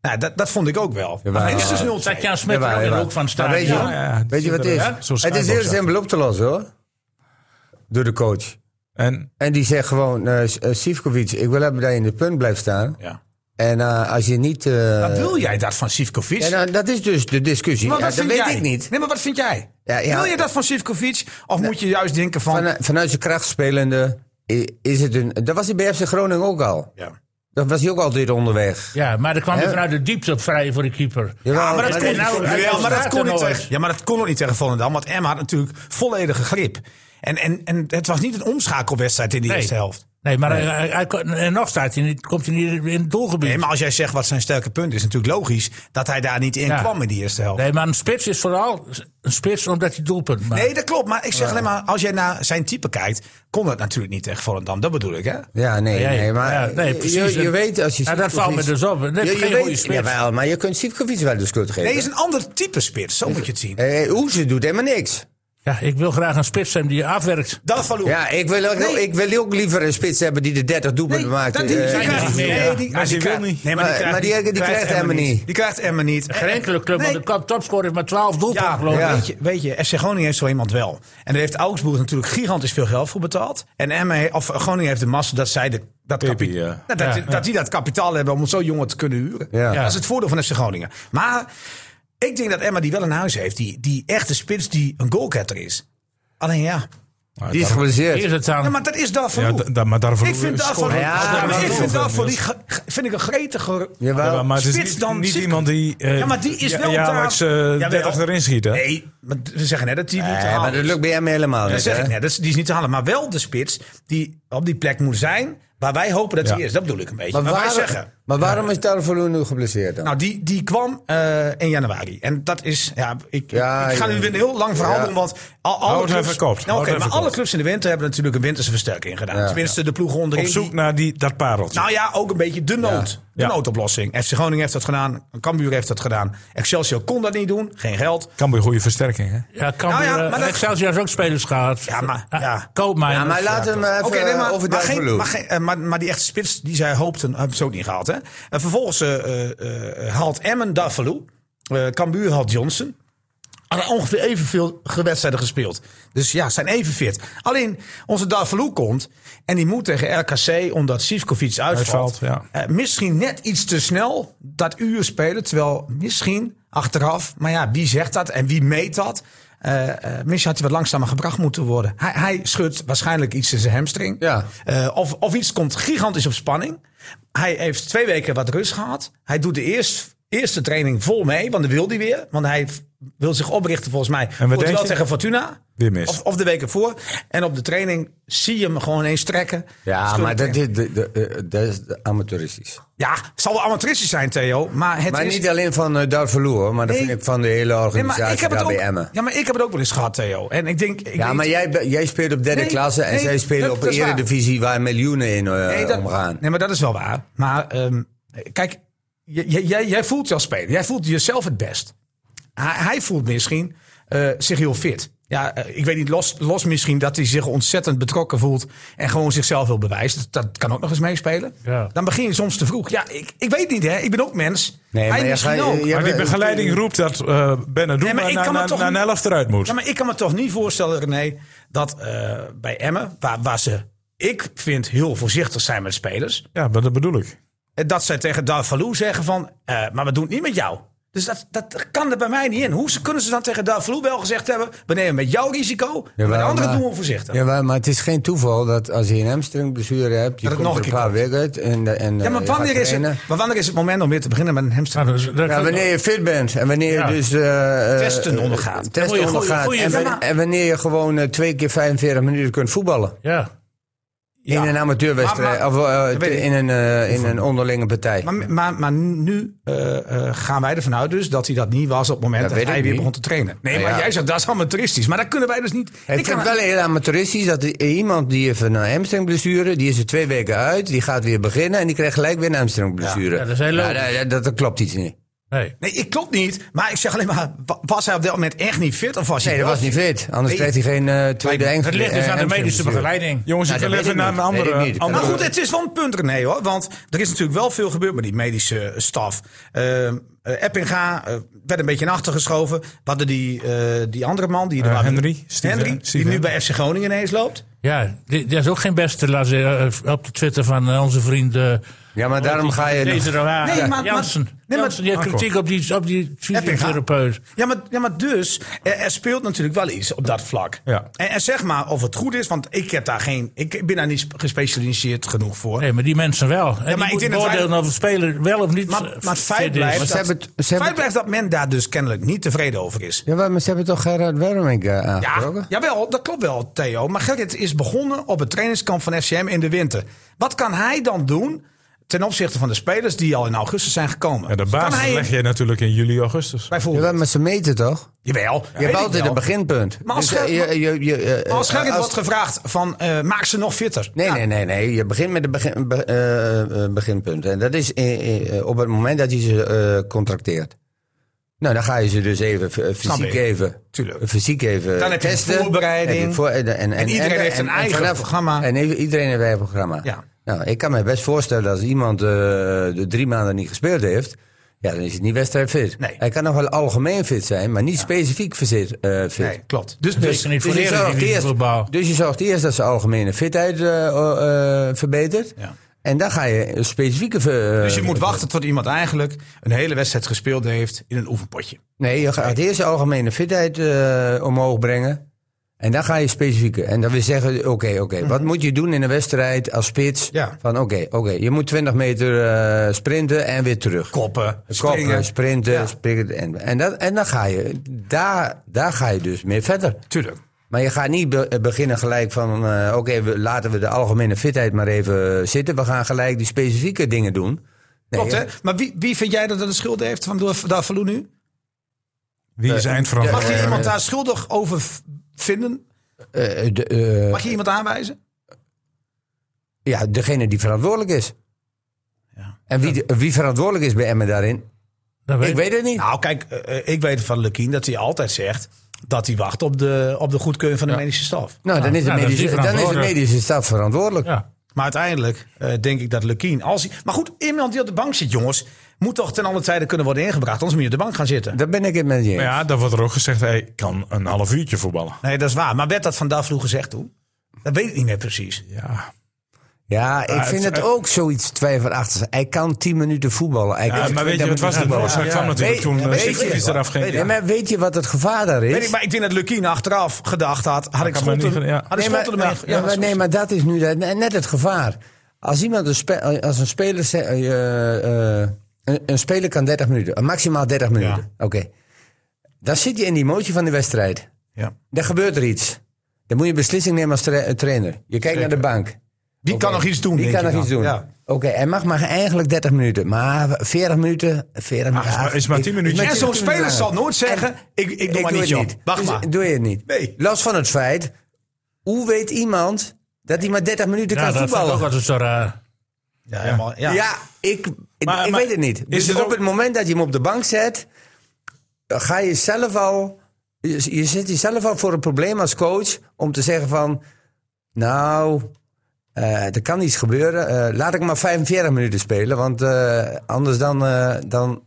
Speaker 1: Nou, dat, dat vond ik ook wel.
Speaker 4: Jawel.
Speaker 1: Maar het is dus 0-2.
Speaker 2: Zat Jan Smit
Speaker 4: Jawel,
Speaker 2: er ook
Speaker 4: jawel.
Speaker 2: ook van staan?
Speaker 4: Maar weet je,
Speaker 2: Ja.
Speaker 3: ja,
Speaker 4: weet je wat het is?
Speaker 3: ja, zo'n
Speaker 4: het is heel
Speaker 3: skybox, ja.
Speaker 4: simpel op te lossen hoor. Door de coach.
Speaker 3: En
Speaker 4: En die zegt gewoon, eh, S- eh, Sivkovic, ik wil hebben dat je in de punt blijft staan.
Speaker 1: Ja.
Speaker 4: En eh, als je niet... eh,
Speaker 1: Maar wil jij dat van Sivkovic?
Speaker 4: ja, nou, dat is dus de discussie.
Speaker 1: Maar
Speaker 4: Ja,
Speaker 1: wat
Speaker 4: dat
Speaker 1: vind
Speaker 4: weet
Speaker 1: jij?
Speaker 4: ik niet.
Speaker 1: Nee, maar wat vind jij?
Speaker 4: Ja, ja.
Speaker 1: Wil je dat van Sivkovic? Of moet je juist denken van...
Speaker 4: Van, eh, vanuit zijn kracht spelende i- is het een... Dat was hij bij FC Groningen ook al.
Speaker 1: ja.
Speaker 4: Dat was hij ook altijd onderweg.
Speaker 2: Ja, maar dan kwam hij
Speaker 4: Hè?
Speaker 2: vanuit de diepte op vrij voor de keeper.
Speaker 4: Jawel,
Speaker 1: Ja, maar dat
Speaker 2: en-
Speaker 1: kon,
Speaker 2: en nou-
Speaker 1: niet-
Speaker 2: en
Speaker 1: ja,
Speaker 2: nou
Speaker 1: maar dat
Speaker 2: staat
Speaker 1: kon
Speaker 2: er
Speaker 1: niet
Speaker 2: nog
Speaker 1: tegen,
Speaker 2: eens.
Speaker 1: ja, maar dat kon ook niet tegen Volendam. Want Emma had natuurlijk volledige grip. En, en, en het was niet een omschakelwedstrijd in de
Speaker 2: Nee.
Speaker 1: eerste helft.
Speaker 2: Nee, maar hij- hij- hij kon- en nog staat hij niet, komt hij niet in het doelgebied.
Speaker 1: Nee,
Speaker 2: Nee,
Speaker 1: maar
Speaker 2: maar,
Speaker 1: als jij zegt wat zijn sterke punt is, natuurlijk logisch dat hij daar niet in
Speaker 2: Ja.
Speaker 1: kwam in die eerste helft. Nee.
Speaker 2: een spits is vooral een spits omdat hij doelpunt maakt.
Speaker 1: dat klopt. Maar ik zeg alleen maar, als jij naar zijn type kijkt, kon dat natuurlijk niet tegen Volendam. Dat bedoel ik, hè?
Speaker 4: Ja, nee,
Speaker 2: Ja, ja.
Speaker 4: nee, maar
Speaker 2: Ja, nee, precies.
Speaker 4: je, je weet als je
Speaker 2: Ja, dat valt me
Speaker 4: Sivkovic-
Speaker 2: dus op. Dat is
Speaker 4: je,
Speaker 2: geen
Speaker 4: je
Speaker 2: goede
Speaker 4: weet,
Speaker 2: spits.
Speaker 4: Jawel, maar je kunt Sivkovic wel de schuld geven.
Speaker 1: Nee, is een ander type spits. Zo moet je het zien.
Speaker 4: Eh, Hoeze doet helemaal niks.
Speaker 2: Ja, ik wil graag een spits hebben die afwerkt.
Speaker 1: Dat van Loer.
Speaker 4: Ja, ik wil, ook,
Speaker 1: Nee.
Speaker 4: ik wil ook liever een spits hebben die de 30 doelpunten maakt.
Speaker 1: dat- die- die
Speaker 4: Eh,
Speaker 2: zijn
Speaker 1: krijgt-
Speaker 2: niet meer,
Speaker 1: nee,
Speaker 2: ja.
Speaker 1: die-
Speaker 3: Maar
Speaker 1: die
Speaker 3: die
Speaker 1: krijgt-
Speaker 3: wil niet.
Speaker 1: Nee, maar die
Speaker 4: Maar-
Speaker 1: krijgt,
Speaker 4: maar die- die krijgt Emma niet.
Speaker 1: Die krijgt Emma niet.
Speaker 2: Geen enkele club,
Speaker 1: Nee.
Speaker 2: want de topscorer heeft maar 12 doelpunten,
Speaker 1: Ja,
Speaker 2: geloof ik.
Speaker 4: ja.
Speaker 1: Weet, je, weet je, FC Groningen heeft zo iemand wel. En daar heeft Augsburg natuurlijk gigantisch veel geld voor betaald. En Emma, he- of eh, Groningen heeft de massa dat zij de, dat,
Speaker 3: Pepe,
Speaker 1: kapi-
Speaker 3: ja.
Speaker 1: nou, dat, dat die dat kapitaal hebben om zo'n jongen te kunnen huren.
Speaker 4: Ja.
Speaker 1: Dat is het voordeel van FC Groningen. Maar ik denk dat Emma die wel in huis heeft. Die, die echte spits die een goalgetter is. Alleen ja.
Speaker 4: die is
Speaker 2: Hier is
Speaker 4: geblesseerd.
Speaker 2: het dan.
Speaker 1: ja maar dat is daarvoor.
Speaker 3: ja, da- da- maar daarvoor
Speaker 1: ik vind daarvoor,
Speaker 3: scoren-
Speaker 4: Ja,
Speaker 1: Ja, maar
Speaker 4: maar
Speaker 1: ik
Speaker 4: dat
Speaker 1: vind
Speaker 3: wel,
Speaker 1: daarvoor
Speaker 3: Niels.
Speaker 1: die, ge- ge- vind ik een gretiger
Speaker 4: Jawel.
Speaker 3: Ja, maar het is
Speaker 1: spits
Speaker 3: niet,
Speaker 1: dan
Speaker 3: niet
Speaker 1: Sivkovic.
Speaker 3: iemand die, eh
Speaker 1: Ja, maar die is wel
Speaker 3: ja,
Speaker 1: daar-
Speaker 3: jaarlijks, eh,
Speaker 1: Jawel.
Speaker 3: 30 erin schiet. Hè?
Speaker 1: Nee, maar we zeggen net dat die niet te
Speaker 4: Ja, maar
Speaker 1: halen
Speaker 4: dat
Speaker 1: is.
Speaker 4: lukt bij hem helemaal
Speaker 1: Dat
Speaker 4: niet.
Speaker 1: zeg
Speaker 4: hè?
Speaker 1: ik net. Dat is, die is niet te halen. Maar wel de spits die op die plek moet zijn waar wij hopen dat hij
Speaker 3: Ja.
Speaker 1: is. Dat bedoel ik een beetje.
Speaker 4: Maar
Speaker 1: Maar, wij
Speaker 4: waarom,
Speaker 1: zeggen...
Speaker 4: maar waarom is Tarvolo nu geblesseerd dan?
Speaker 1: Nou, die, die kwam eh 1 januari. En dat is... Ja, ik,
Speaker 4: Ja,
Speaker 1: ik ga nu
Speaker 4: ja.
Speaker 1: weer een heel lang verhaal
Speaker 4: Ja.
Speaker 1: doen, want... Al, alle
Speaker 3: Houd het
Speaker 1: clubs,
Speaker 3: even kort.
Speaker 1: Nou,
Speaker 3: Houd
Speaker 1: oké,
Speaker 3: het even
Speaker 1: maar alle
Speaker 3: kort.
Speaker 1: clubs in de winter hebben natuurlijk een winterse versterking gedaan.
Speaker 4: Ja.
Speaker 1: Tenminste, de ploeg
Speaker 3: Op
Speaker 1: onderin.
Speaker 3: zoek
Speaker 1: die-
Speaker 3: naar die, dat pareltje.
Speaker 1: nou ja, ook een beetje de nood. De
Speaker 3: Ja.
Speaker 1: noodoplossing. FC Groningen heeft dat gedaan. Cambuur heeft dat gedaan. Excelsior kon dat niet doen. Geen geld.
Speaker 3: Kan bij goede versterking. Hè?
Speaker 2: Ja, kan
Speaker 1: Nou ja,
Speaker 2: weer, eh,
Speaker 1: maar dat-
Speaker 2: Excelsior heeft ook spelers gehad. Ah,
Speaker 1: Ja, maar- ja.
Speaker 2: Koop mij.
Speaker 4: ja, maar laten we maar even
Speaker 1: Oké, nee, maar,
Speaker 4: eh, over
Speaker 1: maar, geen,
Speaker 4: Darvalu.
Speaker 1: maar, geen- eh, maar, maar die echte spits die zij hoopten, hebben ze ook niet gehaald. Hè? En vervolgens eh, eh, eh, haalt Emmen Darvalu. eh Cambuur haalt Johnson. Hadden ongeveer evenveel wedstrijden gespeeld. Dus ja, zijn even fit. Alleen onze Darvalu komt en die moet tegen RKC, omdat Sivkovic uitvalt.
Speaker 3: Uitvalt,
Speaker 1: Eh, misschien net iets te snel dat uur spelen. Terwijl misschien achteraf, maar ja, wie zegt dat en wie meet dat? Eh, eh, misschien had hij wat langzamer gebracht moeten worden. Hij, hij schudt waarschijnlijk iets in zijn hamstring.
Speaker 4: Ja.
Speaker 1: Eh, of, of iets komt gigantisch op spanning. Hij heeft twee weken wat rust gehad. Hij doet de eerst, eerste training vol mee, want dat wil hij weer. Want hij v- wil zich oprichten volgens mij. voor
Speaker 3: denk
Speaker 1: het wel
Speaker 3: je?
Speaker 1: tegen Fortuna.
Speaker 3: Weer mis.
Speaker 1: Of, of de weken voor. En op de training zie je hem gewoon eens trekken.
Speaker 4: ja,
Speaker 1: Schudden
Speaker 4: maar dat,
Speaker 1: trekken.
Speaker 4: dit- dit- dit- eh, dat is amateuristisch.
Speaker 1: Ja, het zal wel amateuristisch zijn, Theo. Maar het
Speaker 4: Maar
Speaker 1: is...
Speaker 4: niet alleen van uh, Darvalo, hoor, maar dat
Speaker 1: Nee.
Speaker 4: vind ik van de hele
Speaker 1: Nee, maar
Speaker 4: organisatie
Speaker 1: ik heb het ook,
Speaker 4: KBM.
Speaker 1: ja, maar ik heb het ook wel eens gehad, Theo. En ik denk... Ik
Speaker 4: Ja,
Speaker 1: weet-
Speaker 4: maar jij, be- jij speelt op derde
Speaker 1: Nee,
Speaker 4: klasse en
Speaker 1: nee,
Speaker 4: zij spelen
Speaker 1: dat-
Speaker 4: op
Speaker 1: dat
Speaker 4: de
Speaker 1: is waar.
Speaker 4: eredivisie waar miljoenen in eh,
Speaker 1: nee, dat,
Speaker 4: omgaan.
Speaker 1: nee, maar dat is wel waar. Maar ehm, kijk, j- j- jij, jij voelt je als speler. Jij voelt jezelf het best. Hij, hij voelt misschien eh, zich heel fit. Ja, eh, ik weet niet, los, los misschien dat hij zich ontzettend betrokken voelt. En gewoon zichzelf wil bewijzen. Dat, dat kan ook nog eens meespelen.
Speaker 2: Ja.
Speaker 1: Dan begin je soms te vroeg. Ja, ik, ik weet niet hè. Ik ben ook mens.
Speaker 4: Nee, maar
Speaker 1: Hij
Speaker 4: jij
Speaker 1: misschien
Speaker 4: ga-
Speaker 1: ook.
Speaker 4: jij-
Speaker 3: Maar die begeleiding roept dat eh Benadou
Speaker 1: Nee, maar
Speaker 3: na
Speaker 1: ik kan
Speaker 3: na-
Speaker 1: me
Speaker 3: na-
Speaker 1: toch
Speaker 3: na een
Speaker 1: niet-
Speaker 3: helft eruit moet.
Speaker 1: Ja, maar ik kan me toch niet voorstellen, René, dat eh, bij Emmen, waar, waar ze, ik vind, heel voorzichtig zijn met spelers.
Speaker 3: Ja, maar dat bedoel ik.
Speaker 1: eh, Dat zij tegen Darvalou zeggen van, eh, maar we doen het niet met jou. Dus dat, dat kan er bij mij niet in. Hoe ze- kunnen ze dan tegen Darvalou wel gezegd hebben, we nemen met jouw risico, en met
Speaker 4: Jawel,
Speaker 1: anderen
Speaker 4: maar-
Speaker 1: doen we voorzichtig. Ja,
Speaker 4: Ja, maar, maar het is geen toeval dat als je een hamstringblessure hebt, je
Speaker 1: Dat het
Speaker 4: komt
Speaker 1: nog
Speaker 4: er
Speaker 1: een
Speaker 4: een
Speaker 1: keer
Speaker 4: paar weken uit en, de- en eh,
Speaker 1: maar
Speaker 4: je gaat
Speaker 1: wanneer is, het,
Speaker 4: trainen.
Speaker 1: maar wanneer is het moment om weer te beginnen met een hamstring?
Speaker 2: Nou, dat is- dat
Speaker 4: Ja,
Speaker 2: kan-
Speaker 4: wanneer je fit bent en wanneer
Speaker 2: Ja.
Speaker 4: je dus... eh, eh,
Speaker 1: Testen ondergaat.
Speaker 4: eh,
Speaker 2: Dan moet
Speaker 4: Testen
Speaker 2: je goeie-
Speaker 4: ondergaat.
Speaker 2: goeie-
Speaker 4: en,
Speaker 2: Ja,
Speaker 4: wa-
Speaker 1: maar-
Speaker 4: en wanneer je gewoon eh, twee keer 45 minuten kunt voetballen.
Speaker 2: Ja.
Speaker 1: Ja.
Speaker 4: In een amateurwedstrijd,
Speaker 1: Maar-
Speaker 4: of eh,
Speaker 1: dat weet ik.
Speaker 4: in, een, eh, in een onderlinge partij.
Speaker 1: Maar, maar, maar nu eh, eh, gaan wij ervan uit dus dat hij dat niet was op het moment
Speaker 4: Dat
Speaker 1: dat,
Speaker 4: weet
Speaker 1: hij
Speaker 4: ik
Speaker 1: weer
Speaker 4: niet.
Speaker 1: begon te trainen. Nee,
Speaker 4: Nou
Speaker 1: maar
Speaker 4: ja.
Speaker 1: jij zegt dat is amateuristisch. Maar dat kunnen wij dus niet.
Speaker 4: ik vind
Speaker 1: kan-
Speaker 4: het wel heel amateuristisch dat i- iemand die heeft een hamstringblessure, die is er twee weken uit, die gaat weer beginnen en die krijgt gelijk weer een hamstringblessure.
Speaker 2: Ja, dat is heel
Speaker 4: dat, dat, dat klopt iets niet.
Speaker 2: Nee.
Speaker 1: Nee, ik klopt niet. Maar ik zeg alleen maar, wa- was hij op dat moment echt niet fit? Of was
Speaker 4: Nee,
Speaker 1: hij
Speaker 4: dat
Speaker 1: wel
Speaker 4: was niet fit. Anders
Speaker 1: Nee.
Speaker 4: kreeg hij geen eh, tweede
Speaker 1: Nee,
Speaker 4: engel.
Speaker 2: Het ligt dus aan de medische begeleiding.
Speaker 3: Jongens,
Speaker 4: Nou,
Speaker 3: ik wil
Speaker 4: dat
Speaker 3: even
Speaker 4: weet
Speaker 3: naar
Speaker 4: ik
Speaker 3: een
Speaker 4: niet.
Speaker 3: andere...
Speaker 4: Weet ik niet. Dat
Speaker 1: Oh, Maar
Speaker 3: andere-
Speaker 1: goed, het is wel een punt, René, hoor. Want er is natuurlijk wel veel gebeurd met die medische staf. Eh, eh, Eppinga eh, werd een beetje naar achter geschoven. Wat die, eh, die andere man, die er
Speaker 3: Eh,
Speaker 1: waren-
Speaker 3: Henry, Steve,
Speaker 1: Henry,
Speaker 3: eh,
Speaker 1: die
Speaker 3: Steve,
Speaker 1: nu
Speaker 3: hè?
Speaker 1: bij FC Groningen ineens loopt.
Speaker 2: Ja, dit, dit is ook geen beste laat ze- eh, op de Twitter van eh, onze vriend. eh,
Speaker 4: Ja, maar daarom ga je...
Speaker 2: Deze Roa-
Speaker 1: Nee, maar- maar-
Speaker 2: Jansen.
Speaker 1: nee, maar-
Speaker 2: Jansen, die heeft
Speaker 3: Marco.
Speaker 2: kritiek op die, op die fysiotherapeut.
Speaker 1: Ja maar, ja, maar dus, er, er speelt natuurlijk wel iets op dat vlak.
Speaker 3: Ja.
Speaker 1: En, en zeg maar of het goed is, want ik, heb daar geen, ik ben daar niet sp- gespecialiseerd genoeg voor.
Speaker 2: Nee, maar die mensen wel.
Speaker 1: maar
Speaker 2: En maar
Speaker 1: ik
Speaker 2: die moeten
Speaker 1: denk dat
Speaker 2: beoordelen
Speaker 1: wij-
Speaker 2: of een speler wel of niet
Speaker 1: Maar,
Speaker 2: eh,
Speaker 1: maar het feit
Speaker 2: fit is.
Speaker 1: blijft,
Speaker 4: Maar ze
Speaker 1: dat,
Speaker 4: hebben het- ze hebben
Speaker 1: feit
Speaker 4: het-
Speaker 1: blijft dat men daar dus kennelijk niet tevreden over is.
Speaker 4: Ja, maar ze hebben toch Gerard Wermink eh,
Speaker 1: Ja,
Speaker 4: aangesproken?
Speaker 1: jawel, dat klopt wel, Theo. Maar Gerrit is begonnen op het trainingskamp van FCM in de winter. Wat kan hij dan doen ten opzichte van de spelers die al in augustus zijn gekomen?
Speaker 3: Ja, de
Speaker 1: kan
Speaker 3: basis
Speaker 1: hij
Speaker 3: leg je natuurlijk in juli, augustus.
Speaker 1: bijvoorbeeld?
Speaker 4: Jawel, maar ze meten toch?
Speaker 1: jawel,
Speaker 4: Je
Speaker 1: weet
Speaker 4: hebt
Speaker 1: ik
Speaker 4: altijd
Speaker 1: wel.
Speaker 4: een beginpunt.
Speaker 1: Maar als
Speaker 4: Dus, eh,
Speaker 1: Gerrit-
Speaker 4: je- je- je, eh,
Speaker 1: Maar als Gerrit
Speaker 4: als-
Speaker 1: wordt gevraagd van eh, maak ze nog fitter.
Speaker 4: Nee,
Speaker 1: Ja,
Speaker 4: nee, nee, nee. Je begint met het begin, be- eh, eh, beginpunt. En dat is eh, eh, eh, op het moment dat je ze eh, contracteert. Nou, dan ga je ze dus even eh, fysiek
Speaker 1: ik.
Speaker 4: even.
Speaker 1: Tuurlijk.
Speaker 4: Fysiek even
Speaker 1: Dan heb je
Speaker 4: testen.
Speaker 1: voorbereiding.
Speaker 4: Dan heb je voor- en, en, en
Speaker 1: iedereen heeft een eigen programma.
Speaker 4: En even- iedereen heeft een eigen programma.
Speaker 1: Ja.
Speaker 4: Nou, ik kan me best voorstellen als iemand eh, de drie maanden niet gespeeld heeft. Ja, dan is het niet wedstrijdfit.
Speaker 1: Nee.
Speaker 4: Hij kan nog wel algemeen fit zijn, maar niet specifiek verzit, eh, fit.
Speaker 1: Nee, klopt. Dus,
Speaker 2: Dus
Speaker 1: dus
Speaker 2: niet voor
Speaker 4: Dus je,
Speaker 2: de
Speaker 4: zorgt
Speaker 2: Eredivisie
Speaker 4: eerst,
Speaker 2: voetbal.
Speaker 4: dus je zorgt eerst dat ze algemene fitheid eh, eh, eh, verbetert.
Speaker 1: Ja.
Speaker 4: En dan ga je een specifieke... ver- eh,
Speaker 1: dus je moet wachten tot iemand eigenlijk een hele wedstrijd gespeeld heeft in een oefenpotje.
Speaker 4: Nee, je gaat eerst de algemene fitheid eh, omhoog brengen. En dan ga je specifieke. En dan wil zeggen, oké, oké. Wat moet je doen in een wedstrijd als spits?
Speaker 1: Mhm. Ja.
Speaker 4: Van oké, oké. Je moet 20 meter eh, sprinten en weer terug.
Speaker 1: Koppen,
Speaker 4: Koppen,
Speaker 1: springen.
Speaker 4: sprinten,
Speaker 1: Ja.
Speaker 4: springen. En, en, dat, en dan ga je, daar, daar ga je dus mee verder.
Speaker 1: Tuurlijk.
Speaker 4: Maar je gaat niet be- eh, beginnen gelijk van, eh, oké, we- laten we de algemene fitheid maar even eh, zitten. We gaan gelijk die specifieke dingen doen. Nee,
Speaker 1: Klopt, hè? Maar wie, wie vind jij dat dat de schuld heeft van Davalo nu?
Speaker 3: Wie is
Speaker 1: Mag
Speaker 3: eindverantwoordelijk?
Speaker 1: je iemand daar schuldig over v- vinden?
Speaker 4: eh, eh, de, eh,
Speaker 1: Mag je iemand aanwijzen?
Speaker 4: ja, degene die verantwoordelijk is. En wie, de- wie verantwoordelijk is bij Emmen daarin?
Speaker 2: Dat weet
Speaker 4: Ik weet het niet.
Speaker 1: Nou, kijk, eh, eh, ik weet van Lukien dat hij altijd zegt dat hij wacht op de, op de goedkeuring van de medische staf.
Speaker 4: Nou, dan is de
Speaker 2: nou, dan is die
Speaker 4: medische, dan is de
Speaker 2: verantwoordelijk.
Speaker 4: medische staf verantwoordelijk.
Speaker 2: Ja.
Speaker 1: Maar uiteindelijk eh, denk ik dat Lukien, als hij. Maar goed, iemand die op de bank zit, jongens, moet toch ten alle tijde kunnen worden ingebracht. Anders moet je op de bank gaan zitten.
Speaker 4: Daar ben ik het met je eens.
Speaker 3: Maar ja, dan wordt er ook gezegd, hij kan een half uurtje voetballen.
Speaker 1: Nee, dat is waar. Maar werd dat van Davlo gezegd toen? Dat weet ik niet meer precies.
Speaker 3: Ja,
Speaker 4: Ja, ik vind
Speaker 3: het-
Speaker 4: het ook zoiets twijfelachtig. Hij kan 10 minuten voetballen. Hij kan
Speaker 3: ja maar weet
Speaker 4: 20
Speaker 3: je, het was
Speaker 4: minuten
Speaker 3: de
Speaker 4: voetballen.
Speaker 3: oorzaak kwam natuurlijk
Speaker 4: Weet-
Speaker 3: toen eh,
Speaker 4: weet
Speaker 3: Sivkovic
Speaker 4: je-
Speaker 3: eraf ging.
Speaker 4: Weet, ja, maar weet je wat het gevaar daar is?
Speaker 1: Weet ik, maar ik denk dat Lukien achteraf gedacht had. Had ik
Speaker 3: kan maar
Speaker 1: Scholten-
Speaker 3: niet- ja.
Speaker 1: had ik
Speaker 4: nee, maar,
Speaker 1: Scholten ermee-
Speaker 4: ja,
Speaker 1: ja,
Speaker 4: maar, nee, maar dat is nu dat- net het gevaar. Als, iemand een, spe- als een, speler, ze- eh, eh, een, een speler kan 30 minuten, eh, maximaal 30 minuten. Oké. Dan zit je in die emotie van de wedstrijd.
Speaker 1: Ja.
Speaker 4: Dan gebeurt er iets. Dan moet je een beslissing nemen als tra- trainer. Je kijkt naar de bank.
Speaker 1: Wie
Speaker 4: Oké.
Speaker 1: kan nog iets doen?
Speaker 4: Wie
Speaker 1: denk
Speaker 4: kan
Speaker 1: je
Speaker 4: nog
Speaker 1: dan?
Speaker 4: iets doen?
Speaker 1: Ja.
Speaker 4: Oké, hij mag maar eigenlijk 30 minuten. Maar 40 minuten... 40
Speaker 3: is maar- is maar 10 minuten.
Speaker 1: En zo'n speler zal nooit zeggen: ik, ik doe maar niet, joh. Wacht
Speaker 4: Dus
Speaker 1: maar.
Speaker 4: Doe je het niet.
Speaker 1: Nee.
Speaker 4: Los van het feit, hoe weet iemand dat hij maar 30 minuten
Speaker 2: Ja,
Speaker 4: kan
Speaker 2: dat vind ik ook
Speaker 4: voetballen?
Speaker 2: altijd zo raar.
Speaker 1: Ja, helemaal,
Speaker 4: Ja,
Speaker 1: ja.
Speaker 4: ik, ik,
Speaker 3: Maar-
Speaker 4: ik
Speaker 3: maar
Speaker 4: weet het niet.
Speaker 3: is
Speaker 4: Dus
Speaker 3: het
Speaker 4: op
Speaker 3: ook-
Speaker 4: het moment dat je hem op de bank zet, dan ga je zelf al je, je zit jezelf al voor een probleem als coach om te zeggen van... Nou, eh, er kan iets gebeuren. Eh, laat ik maar 45 minuten spelen, want eh, anders dan... eh, dan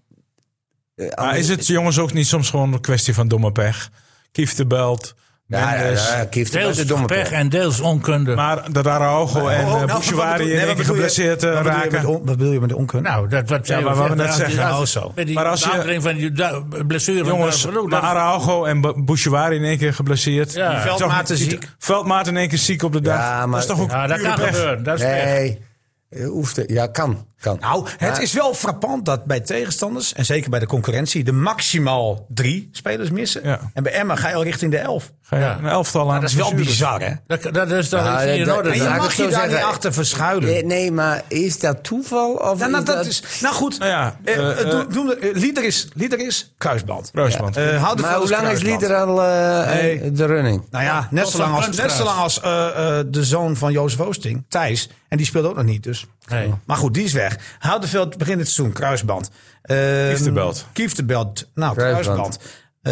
Speaker 4: eh,
Speaker 3: Maar
Speaker 4: anders-
Speaker 3: Ah, is het jongens ook niet soms gewoon een kwestie van domme pech? Kieft de belt.
Speaker 4: Ja, ja,
Speaker 3: Mendes.
Speaker 4: ja, Kieft is een
Speaker 2: Deels
Speaker 4: domme
Speaker 2: pech
Speaker 4: pech.
Speaker 2: en deels onkunde.
Speaker 3: Maar dat Araujo en
Speaker 1: Oh,
Speaker 3: eh,
Speaker 1: nou, wat
Speaker 3: Bouchouari
Speaker 1: bedoel-
Speaker 3: in
Speaker 1: nee,
Speaker 3: één
Speaker 1: wat
Speaker 3: keer
Speaker 1: bedoel je-
Speaker 3: geblesseerd eh,
Speaker 1: wat bedoel je met
Speaker 3: raken.
Speaker 1: on- Wat bedoel je met de onkunde?
Speaker 2: nou, dat wat
Speaker 3: Ja,
Speaker 2: Theo
Speaker 3: maar wat we
Speaker 2: zegt,
Speaker 3: net
Speaker 2: als die-
Speaker 3: zeggen,
Speaker 2: als-
Speaker 1: oh, zo.
Speaker 2: Met die
Speaker 3: Maar
Speaker 2: maar
Speaker 3: als je-
Speaker 2: van die du- blessure.
Speaker 3: Jongens,
Speaker 1: Nou,
Speaker 2: daar- bedoel,
Speaker 3: maar
Speaker 2: dat-
Speaker 3: Araujo en Ba- Bouchouari in één keer geblesseerd.
Speaker 2: Ja. Die
Speaker 1: Veldmaat
Speaker 3: Toch-
Speaker 1: is
Speaker 3: die-
Speaker 1: ziek.
Speaker 3: Veldmaat in één keer ziek op de dag.
Speaker 4: Ja, maar-
Speaker 3: dat is toch ook
Speaker 2: ja, dat
Speaker 3: pure
Speaker 2: kan
Speaker 3: pech?
Speaker 2: gebeuren. Dat is pech.
Speaker 4: Nee, eh, hoeft het- ja, kan. kan.
Speaker 1: Nou, het is wel frappant dat bij tegenstanders, en zeker bij de concurrentie, de maximaal drie spelers missen.
Speaker 3: Ja.
Speaker 1: En bij Emma ga je al richting de elf.
Speaker 3: Ga je Een elftal aan
Speaker 1: Dat is wel
Speaker 3: blessures.
Speaker 1: bizar, hè?
Speaker 2: Dat, dat is dat
Speaker 4: Ja,
Speaker 2: is niet in
Speaker 4: dat-
Speaker 2: orde.
Speaker 1: En
Speaker 4: dat-
Speaker 1: je
Speaker 4: laat ik
Speaker 1: mag
Speaker 4: het zo
Speaker 1: je daar
Speaker 4: zeggen.
Speaker 1: niet achter verschuilen.
Speaker 4: Nee, nee, maar is dat toeval? Of
Speaker 1: Nou, nou,
Speaker 4: is
Speaker 1: dat is, nou goed,
Speaker 3: Nou ja,
Speaker 1: eh,
Speaker 3: eh,
Speaker 1: eh,
Speaker 3: eh,
Speaker 1: doe- doe- eh, Lieder is, Lieder is kruisband.
Speaker 3: Kruisband.
Speaker 1: Eh, houd het
Speaker 4: Maar
Speaker 1: vast,
Speaker 4: hoe lang is
Speaker 1: kruisband.
Speaker 4: Lieder al eh,
Speaker 1: Nee.
Speaker 4: de running?
Speaker 1: Nou ja, net
Speaker 2: tot
Speaker 1: zo lang
Speaker 2: van
Speaker 1: als, net zo lang als eh, eh, de zoon van Jozef Oosting, Thijs. En die speelde ook nog niet, dus.
Speaker 2: Nee.
Speaker 1: Maar goed, die is weg. Houdeveld begint het seizoen, kruisband. Uh,
Speaker 3: Kieftenbelt.
Speaker 1: Kieftenbelt, nou,
Speaker 4: Kruisband.
Speaker 1: kruisband. Eh,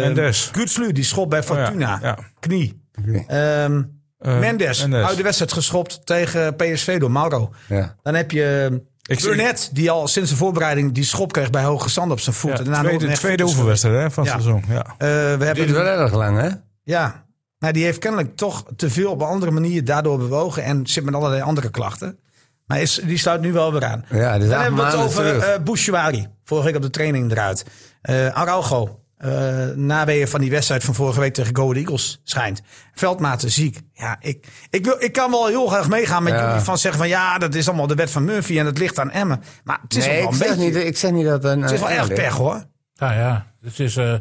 Speaker 3: Mendes. Oh
Speaker 1: Gutslu, die schop bij Fortuna.
Speaker 3: ja.
Speaker 1: Knie. Ehm,
Speaker 3: Eh,
Speaker 1: Mendes,
Speaker 3: Mendes.
Speaker 1: uit de wedstrijd geschopt tegen PSV door Mauro.
Speaker 4: Ja.
Speaker 1: Dan heb je
Speaker 3: Ik
Speaker 1: Burnett, die al sinds de voorbereiding die schop kreeg bij Hoge Zand op zijn voet.
Speaker 3: Ja,
Speaker 1: en daarna nog
Speaker 3: tweede
Speaker 1: een echt
Speaker 3: tweede
Speaker 1: voet is
Speaker 3: oefenwedstrijd hè, van het
Speaker 1: Ja.
Speaker 3: seizoen. Ja.
Speaker 1: geweest. Eh, we hebben
Speaker 4: Duurt wel erg lang, hè?
Speaker 1: ja, maar die heeft kennelijk toch te veel op een andere manier daardoor bewogen en zit met allerlei andere klachten. Maar is, die sluit nu wel weer aan.
Speaker 4: Ja, dus
Speaker 1: Dan
Speaker 4: acht
Speaker 1: hebben we het
Speaker 4: maanden
Speaker 1: over
Speaker 4: terug.
Speaker 1: eh Bouchouari. Vorige week op de training eruit. Eh Araujo. eh naweeën van die wedstrijd van vorige week tegen Go Ahead Eagles schijnt. Veldmaten ziek. Ja, ik, ik, wil, ik kan wel heel graag meegaan met
Speaker 4: Ja.
Speaker 1: jullie van zeggen van ja, dat is allemaal de wet van Murphy en het ligt aan Emmen. Maar het is
Speaker 4: Nee,
Speaker 1: ook
Speaker 4: ik
Speaker 1: wel een
Speaker 4: zeg,
Speaker 1: beetje.
Speaker 4: niet, ik zeg niet dat... Een,
Speaker 1: het is wel
Speaker 4: een-
Speaker 1: echt pech hoor.
Speaker 2: Ja, ja. Het is, eh,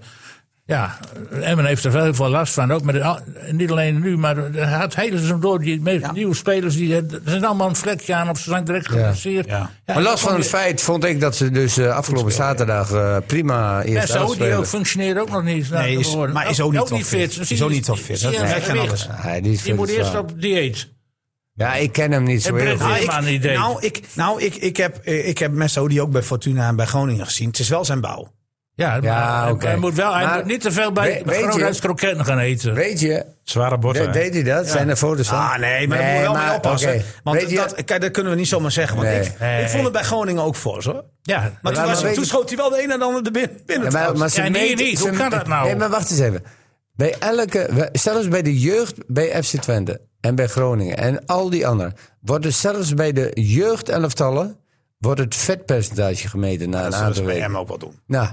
Speaker 2: ja, Emmen heeft er wel heel veel last van. Ook met, de al- niet alleen nu, maar het gaat hele seizoen door. Die meest nieuwe spelers die, eh, er zijn allemaal een vlekje aan of ze zijn direct geblesseerd.
Speaker 1: Ja. Maar
Speaker 2: en
Speaker 4: Maar
Speaker 2: dan
Speaker 4: los van
Speaker 2: kom
Speaker 4: het
Speaker 2: je-
Speaker 4: feit vond ik dat ze dus eh, afgelopen zaterdag eh, prima
Speaker 2: En
Speaker 4: eerst
Speaker 2: Saudi ook
Speaker 4: afspelen.
Speaker 2: functioneert ook nog niet.
Speaker 1: Nee, is-
Speaker 2: geworden.
Speaker 1: maar is ook niet top fit.
Speaker 2: Dan
Speaker 1: Is
Speaker 2: zie je-
Speaker 1: ook niet top fit.
Speaker 2: zie je
Speaker 1: Dat
Speaker 2: het
Speaker 1: merk je aan
Speaker 2: gewicht.
Speaker 1: alles.
Speaker 4: Ja, die is
Speaker 2: Die
Speaker 4: fit
Speaker 2: moet
Speaker 4: als
Speaker 2: eerst
Speaker 4: wel.
Speaker 2: op dieet.
Speaker 4: Ja, ik ken hem niet zo
Speaker 2: En
Speaker 4: heel
Speaker 2: Brent
Speaker 4: goed.
Speaker 2: Haaien- helemaal niet deed.
Speaker 1: Nou, ik, nou ik, ik heb, eh, ik heb Messaoudi ook bij Fortuna en bij Groningen gezien. Het is wel zijn bouw.
Speaker 2: Ja,
Speaker 4: Ja,
Speaker 2: maar
Speaker 4: oké.
Speaker 2: hij moet wel hij
Speaker 4: Maar
Speaker 2: moet niet te veel bij
Speaker 4: we- weet je-
Speaker 2: Groningen kroketten gaan eten.
Speaker 4: Weet je,
Speaker 3: Zware bord.
Speaker 4: de-
Speaker 3: hè.
Speaker 4: deed hij dat? Zijn er foto's van?
Speaker 1: Ah, nee, maar daar moet je wel mee
Speaker 4: maar-
Speaker 1: oppassen.
Speaker 4: oké. Weet
Speaker 1: Want
Speaker 4: je-
Speaker 1: dat, kijk, dat kunnen we niet zomaar zeggen. Want
Speaker 4: Nee.
Speaker 1: ik,
Speaker 2: Nee.
Speaker 1: ik vond het bij Groningen ook voor, hoor.
Speaker 2: Ja,
Speaker 1: Maar toen,
Speaker 4: maar
Speaker 1: was,
Speaker 4: weet
Speaker 1: toen
Speaker 4: je-
Speaker 1: schoot hij wel de een en de ander er binnen. binnen
Speaker 4: Ja, maar, maar ze
Speaker 2: Ja, nee,
Speaker 4: meten-
Speaker 2: niet. Hoe
Speaker 4: ze-
Speaker 2: kan dat nou?
Speaker 4: Nee, maar wacht eens even. Bij elke, we- zelfs bij de jeugd bij FC Twente en bij Groningen en al die anderen, wordt er zelfs bij de jeugdelftallen wordt het vetpercentage gemeten na een
Speaker 1: dat
Speaker 4: aantal
Speaker 1: zullen we
Speaker 4: weken.
Speaker 1: hem ook wel doen.
Speaker 4: Nou,